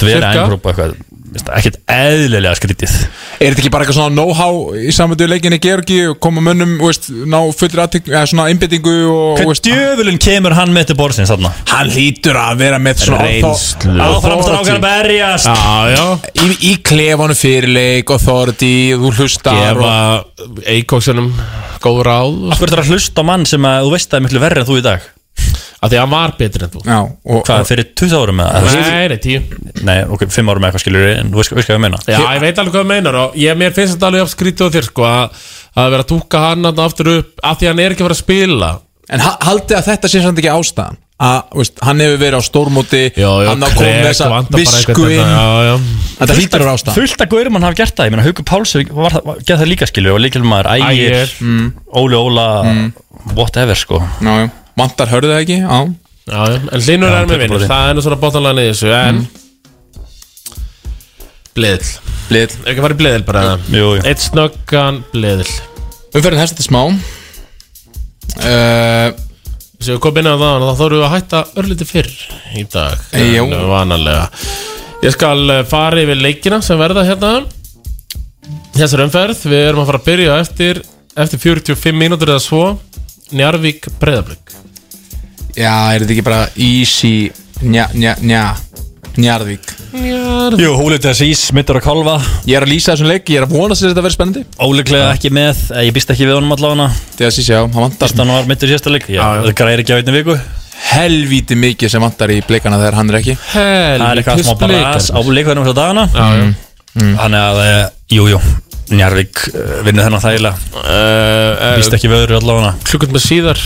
M: vera
B: Cirka.
M: engrúpa eitthvað veist það, ekkert eðlilega skrítið
C: Er þetta ekki bara eitthvað svona know-how í samvöndu leikinni Georgi og koma mönnum, þú veist, ná fullri aðtik, eða svona einbyttingu og,
M: Hvern djöfulinn kemur hann með til borðsins þarna?
C: Hann hlýtur að vera með svona
M: Reynslu. Áfram strákar að berjast.
C: Já, já Í, í klefanum fyrirleik og þorði þú hlustar
M: Gefa
B: eikóksunum góð ráð
M: Af hverju þarf að hlusta á mann sem að þú veist að er miklu verri en þú í dag?
B: Af því að hann var betri en þú
C: Já, og,
M: Hvað, fyrir 20 árum eða?
B: Nei, nei, tíu
M: Nei, ok, 5 árum eða eitthvað skilur en þú veist veist hvað ég meina
B: Já, ég veit alveg hvað þú meinar og ég, mér finnst þetta alveg jafn skrítið á þér sko að að vera að túka hann þarna aftur upp af því að hann er ekki að fara að spila
C: En ha- haldið að þetta sé samt ekki ástæðan að, þú veist, hann hefur verið á stórmóti hann að koma með þessa visku inn Þetta hlýtur að vera ástæðan
M: Fullt að gaurum hann hafi gert það, ég meina Haukur Páls hefur- var það- var- gerði það líka skilur og líkil maður
C: Ægir,
M: Ægir, Mm. Óli Óla whatever sko
C: Ná, já. Vantar hörðu það ekki, já
B: Já, já, en Linur
M: Já,
B: er með
M: tekur bara
B: vinnur,
M: því.
B: það er nú svona bóttanlega niður þessu en Bleðil
C: Bleðil
B: Ekki að fara í bleðil bara
M: Jú, jú
B: Eitt snöggan bleðil
C: Umferðin hefst þetta smá uh,
B: Svo við komum inn á það þá þurfum við að hætta örliti fyrr í dag
C: Eh, Jú.
B: En eh, Vanalega Ég skal eh, fara yfir leikina sem verða hérna Þessar umferð Við erum að fara að byrja eftir eftir 45 mínútur eða svo Njarvík breyðablík
C: Já, er þetta ekki bara easy Nja, nja, nja Njarðvík
B: Njarðvík
M: Jú, húlið til þessi ís, mittur að kálfa
C: Ég er að lýsa þessum leik, ég er að vonast þess að þetta verði spennandi
M: Óleglega ekki með, eh, ég býst ekki við honum allavega
C: Þegar sísi á, hann vantar
M: Þannig var mittur sérsta leik, já, það græðir ekki á einni viku
C: Helvíti mikið sem vantar í bleikana þegar hann er ekki
B: Helvíti
M: Það er eitthvað smá bras á leikverðinum þessar dagana já, já. Þannig að, eh, jú, jú Njarvík eh, vinnur þennan þægilega
B: uh,
M: Vist ekki við öðru allavega
B: Klukkund með síðar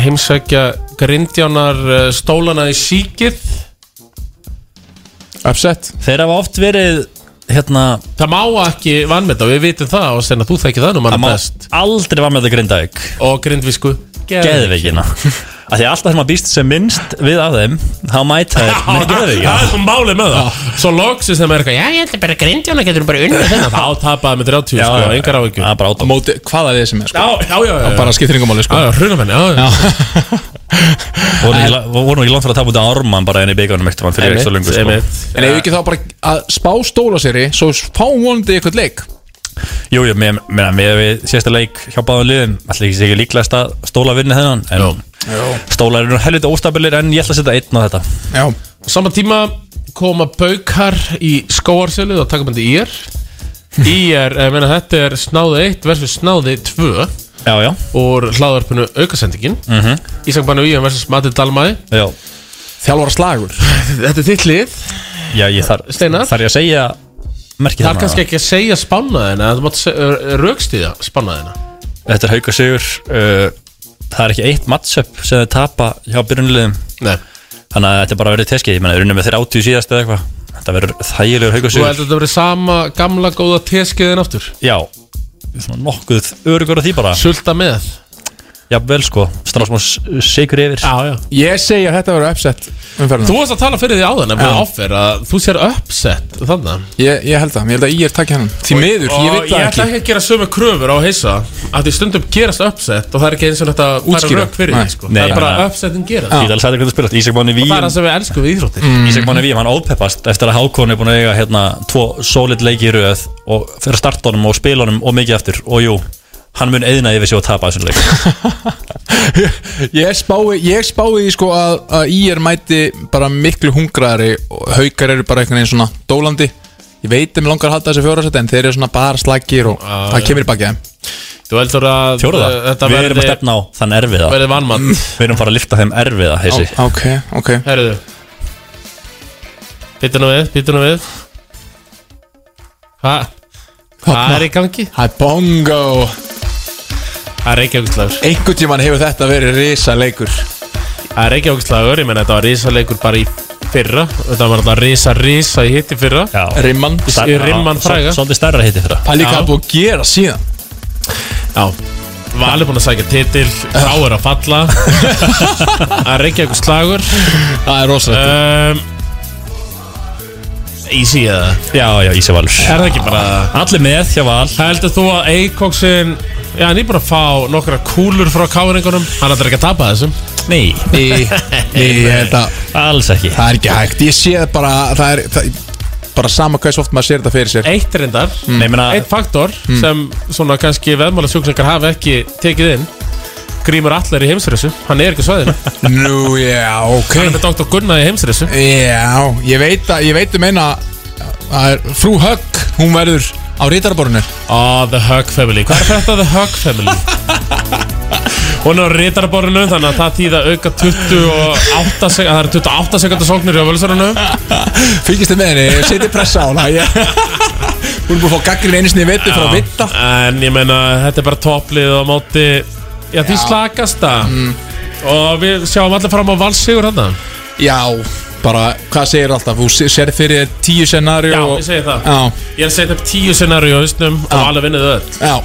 B: heimsækja grindjánar eh, stólana í síkið
C: Upset
M: Þeir hafa oft verið hérna
B: Það má ekki vannmeta, við vitum það og sen að þú þekki það nú
M: Það
B: mann
M: má
B: best
M: aldrei var með þetta grindavík
B: Og grindvísku
M: Geðveikina Af því að alltaf þegar maður býst sem minnst við af þeim Þá mæta þeir með geðveikina
B: Það er svona málið með það Svo loksist þeim er eitthvað Já, ég ætla bara að grindjána getur bara unnið
M: (laughs)
B: þennan Þá tapaði með 30
M: Já,
B: sko,
M: já,
B: engar á ekki
M: Það er bara átt
C: Móti, hvaða við sem er
B: Já, já, já, já,
C: Það bara skiptir yngum máli sko
B: Já, já, hrunumenni, já, já
M: Vorum ekki la- vorum ekki langt fyrir að tapa út að orman bara enn í byggunum eftir mann fyrir ekki svo
B: Einmitt,
M: lungu sko.
B: einmitt.
C: En ef ekki þá bara að spá stóla sér Svo spá vonandi í eitthvað leik
M: Jú, jú, mér meina, mér við sérsta leik hjá báðum liðum Ætli ekki sé ekki líklegast að stóla vinni þennan En stólar eru nú helviti óstabilir En ég ætla að setja einn á þetta
C: Já
B: Á Sama tíma koma baukar í skóarsölu og taka myndi ír Ír, ég meina þetta er snáði 1 versus snáði 2
M: Já, já
B: Úr hlaðarpinu aukasendingin mm
M: Mhm.
B: Ísangbannu ír versus Matti Dalmæ
M: Já
C: Þjálfara slagur
B: Þetta er þitt lið
M: Já, ég þar,
B: Steinar?
M: þar ég að segja Merkið
B: Það er kannski ekki að segja spannaðina Það mátt raukstíða spannaðina
M: Þetta er hauka sigur uh, Það er ekki eitt matchup sem þau tapa hjá byrjunliðum
B: Nei.
M: Þannig að þetta er bara verið teskið Ég menna, þeir unni með þeir átjú síðast eða eitthvað Þetta verður þægilegur hauka
B: Þú
M: sigur
B: heldur þetta verið sama gamla góða teskiðin aftur
M: Já, svona nokkuð örugur að því bara
B: Sulta með
M: Já, vel sko, stannar smá s- sigur yfir
B: Já, já
C: Ég segi að þetta verður upset umferðina
B: Þú varst að tala fyrir því áðan að
C: Já.
B: við offer að þú sér uppsett þannig
C: Ég, ég held það, ég held að ég er takkja hann Því miður, ég veit það
B: Ég
C: ekki
B: ætla ekki að gera sömu kröfur á heisa að því stundum gerast uppsett og það er ekki eins og þetta færa
M: Útskýra.
B: rök fyrir
M: Nei.
B: því sko.
M: Nei,
B: Það er bara
M: þannig að-
B: uppsettin gerast
M: Ég ætla að segja hvernig þú spilast Ísak Máni
B: Og
M: Víum
B: það er það sem við elskum við íþróttir
M: Ísak Máni Víum, hann ópeppast eftir að Hákon er búin að eiga hérna tvo solid leiki í röð og fyrir startunum og spilunum og mikið eftir og jú, hann mun eðina yfir sig og tapa þessum leik
C: Ég spái, ég spái því sko að, að ég er mæti bara miklu hungraðari og haukar eru bara einhvern veginn svona dólandi Ég veit að mér langar að halda þessi fjórasæti en þeir eru svona bara slagir og það kemur í bakið eh? þeim
B: (laughs) Þú heldur að
M: Fjóruða,
B: uh, þetta
M: við erum að
B: verði-
M: stefna á þann erfiða
B: verði vanmat.
M: Við erum að fara að lifta þeim erfiða, heisi
C: Ó, Ok, ok
B: Herðu Býttu nú við, býttu nú við Hva? Hvað er í gangi?
C: Það er bongo
B: Það er reykjavíkslagur
C: Einhvern tímann hefur þetta verið risa leikur
B: Það er reykjavíkslagur, ég menn þetta var risa leikur bara í fyrra Þetta var alltaf risa risa í hitti fyrra Já.
C: Rimman
B: Í Rimman fræga
M: Svolítið stærra hitti fyrra
C: Það er líka búið að gera síðan
B: Já Valur búin að sækja titil, Ráður að falla Það er Reykjavík slagur
C: Það er rosalegt
B: um, Easy eða?
M: Já, já, Ísi Valur
B: Er það ekki bara
M: Allir með hjá Val
B: Heldur þú að Eikóksin Já, hann er bara að fá nokkra kúlur frá káringunum Hann ætlar ekki að tapa þessum
M: Nei
C: Nei,
B: (laughs)
C: nei, ég held að
M: Alls ekki
C: Það er ekki hægt, ég sé það bara, það er það, bara sama hvað svo oft maður sér þetta fyrir sér Mm.
B: Eitt reyndar,
C: Nei,
B: meina, eitt faktor
C: Hmm.
B: sem svona kannski veðmála sjúklingar hafa ekki tekið inn Grímur allar í heimsreysu, hann er ekki á svæðinu
C: Nú, já, ok
B: Hann er með Dr. Gunna í heimsreysu
C: Já, ég veit, að, ég veit um eina að er Frú Högg, hún verður á rítarborinu
B: Ah, The Hug Family, hvað er þetta The Hug Family? Hún er á rítarborinu þannig að það þýða auka 28 sek- það eru 28 sekundar sóknir hjá völsarinu
C: Fylgist þið með henni, setið pressa á hana ég, Hún er búin að fá gaggrin einu sinni í vetur frá vitt
B: En ég meina, þetta er bara topplið á móti Já, því
C: Já.
B: slagasta Og við sjáum allir fram á valsigur hann
C: Já, bara, hvað segir alltaf, þú sé- sér fyrir þér tíu scenari
B: Já, ég segi það
C: Já,
B: Ég er að setja upp tíu scenari á hausnum og alveg vinnið öll
C: já,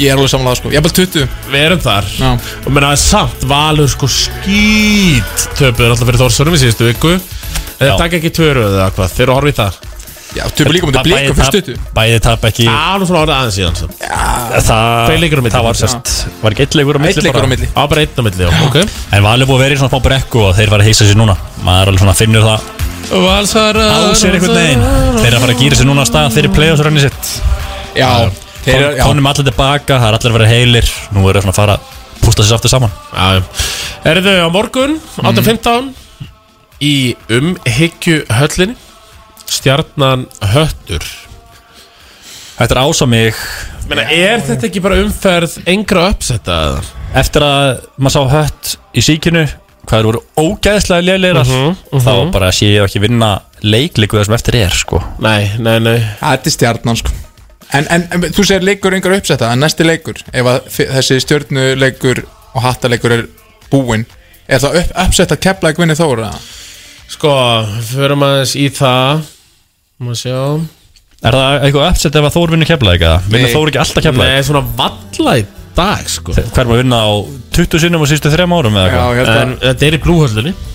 C: ég er alveg samanlega sko, ég er bara 20
B: Við erum þar Já. Og menna, samt valur sko skýt Töpuður alltaf fyrir Þórsurum í síðustu viku Þeir
M: Já.
B: taka ekki tvöru eða hvað, þeir eru að horfa í það
C: Já,
M: töpu líka á móti Blikum fyrir stuttu. Bæði tap ekki
B: Alveg svona orðið aðeins síðan samt.
M: Það,
B: Tveir leikir á milli.
M: það var sérst Var ekki eitt leikur á milli
B: Einn leikur
M: bara?
B: á milli. Já, bara einn á milli, já, ok
M: En Valur búið að vera í svona fá brekku og þeir fara að hýsa sér núna Maður er alveg svona finnur það
B: Valsar
M: Á sér einhvern veginn Þeir eru að fara að gýra sér núna á stað fyrir play-offs raunin sitt
C: Já
B: þeir eru- já.
M: Tónum allir tilbaka, það er allir að vera heilir Nú eru þeir svona að fara að pústa sér aftur saman Mm.
B: Já, Erðu á morgun, 8.15 Í umhyggju höllin Stjarnan höttur
M: Þetta er ása mig
B: Menna, er þetta ekki bara umferð engra uppsetta eða?
M: Eftir að maður sá hött í síkinu Hvað þeir voru ógæðslega lélegirar
B: Mhm, mhm.
M: Þá bara sé ég ekki vinna leikleiku það sem eftir er sko
B: Nei, nei, nei
C: Þetta er stjarnan sko En, en, en þú segir leikur einhver uppsetta En næsti leikur, ef að fi- þessi stjörnuleikur og hattaleikur er búinn Er það upp, uppsetta kepla ekki vinni þó er það?
B: Sko, við förum aðeins í það Má sjá
M: Er það eitthvað uppsett ef að Þór vinnur keflaði ekki það? Vinnur
B: Nei.
M: Þór ekki alltaf keflaði?
B: Nei, svona valla í dag sko
M: Hver maður vinna á 20 sinnum á sístu þrem árum eða
B: Já, ég held að- En þetta er í blúhöllunni
C: hérna-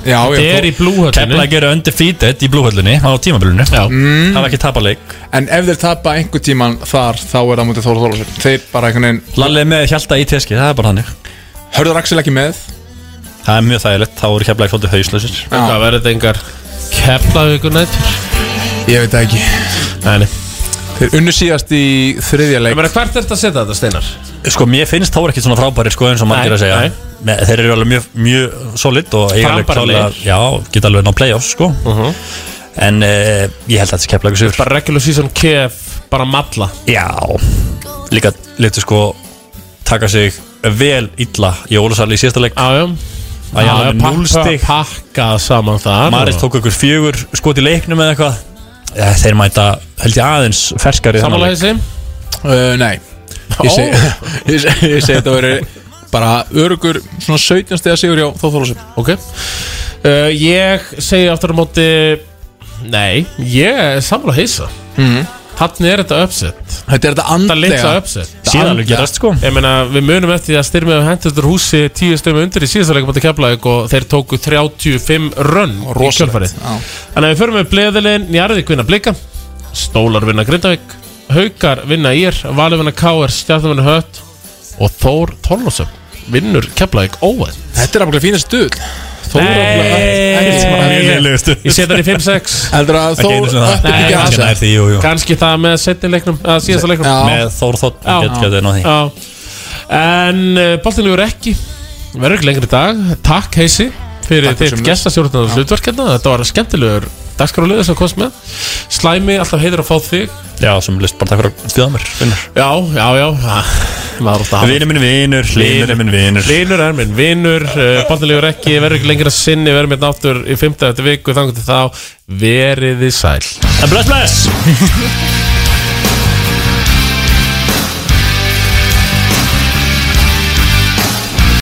C: Já,
B: Þetta ég- er í blúhöllinni.
M: Keflaði gera undefeated í blúhöllunni á tímabilinu Já mm. Hafa ekki tapa leik
C: En ef þeir tapa einhver tíman þar Þá er það mútið Þóra Þólasur Þeir bara einhvern veginn
M: Lallið með hjalta í teski, það er bara þannig
C: Hörður Axel ekki með?
M: Það er mjög þægilegt, þá eru keflaði svolítið hauslausir
B: Hvað verður þetta engar Keflavíkunættur?
C: Ég veit það ekki
B: Nei,
C: Þeir unnu síðast í þriðja leik
B: Meni, hvert er þetta að setja þetta, Steinar?
M: Sko, mér finnst Þór ekkert svona frábæri sko eins og margir
B: Nei,
M: að segja
B: nei.
M: nei. Þeir eru alveg mjög, mjög solid og eiga alveg
B: Frábærir
M: klárlega-
B: leikir.
M: Já, geta alveg ná playoffs sko En eh, ég held að þetta keflaði sigur
B: Mhm. Bara regular season kef, bara matla
M: Já, líka letu sko taka sig vel illa í Ólusal í síðasta leik
B: Já, já
M: Að
B: Já,
M: ég hafði
B: pakka-
M: núlstig
B: Pakka saman það
M: Maris tók okkur fjögur skot í leiknum eða eitthvað Eh, Þeir mæta, held ég aðeins, ferskari í þennan
B: Samanlega
M: leik.
B: þessi
C: Uh, nei Ég segi
M: Ó.
C: (laughs) ég seg, ég seg þetta verið bara örugur Svona 17 stegar sigur hjá Þóra Þólasur
B: Ok uh, Ég segi aftur á móti Nei, ég er sammála heisa
C: Mhm.
B: Þannig er þetta uppsett
C: Þetta er þetta
B: Þetta
C: andlega
B: litla uppsett
C: Þetta Síðan alveg andlega. gerast,
M: sko
B: Ég meina, við munum eftir því að styrmið við hendur þetta húsi tíu stömi undir í síðasta leikum átti keflaðið og þeir tóku 35 rönn í
C: rosalegt,
B: kjölfarið Þannig að við förum með bleðilinn Njarðvík vinna blika Stólar vinna Grindavík Haukar vinna ír Valur vinna Káer Stjartan vinna Hött og Þór Torlósum vinnur keflaðið óvænt
C: Þetta er alveg fínast duð
B: Nei Ég set hann í 5-6
C: Heldur að
M: Ekki einu sinni það. Nei, kannski nær því, jú, jú.
B: Kannski það með setni leiknum að síðasta leiknum
M: Já. Með Þór Þótt,
B: Já.
M: get- gæti náð því.
B: Já. En uh, boltinu verður ekki verður ekki lengri í dag Takk Heisi
X: Takk fyrir
B: fyrir þitt
X: sömuleiðis.
B: gestastjórnar og hlutverkina Þetta var skemmtilegur dagskráliður sem þú komst með Slæmi, alltaf heitir að fá þig
M: Já, sem list bara takk fyrir að stuða mér Vinnur
B: Já, já, já ha, Maður átt að hafa
M: Vinur minn vinur, hlýnur er minn vinur
B: Vinur er minn vinur, uh, boltilegur ekki, verður ekki lengra sinni, verður mér náttur í 15. viku, þannig til þá, veriði sæl. (laughs)
M: En bless bless!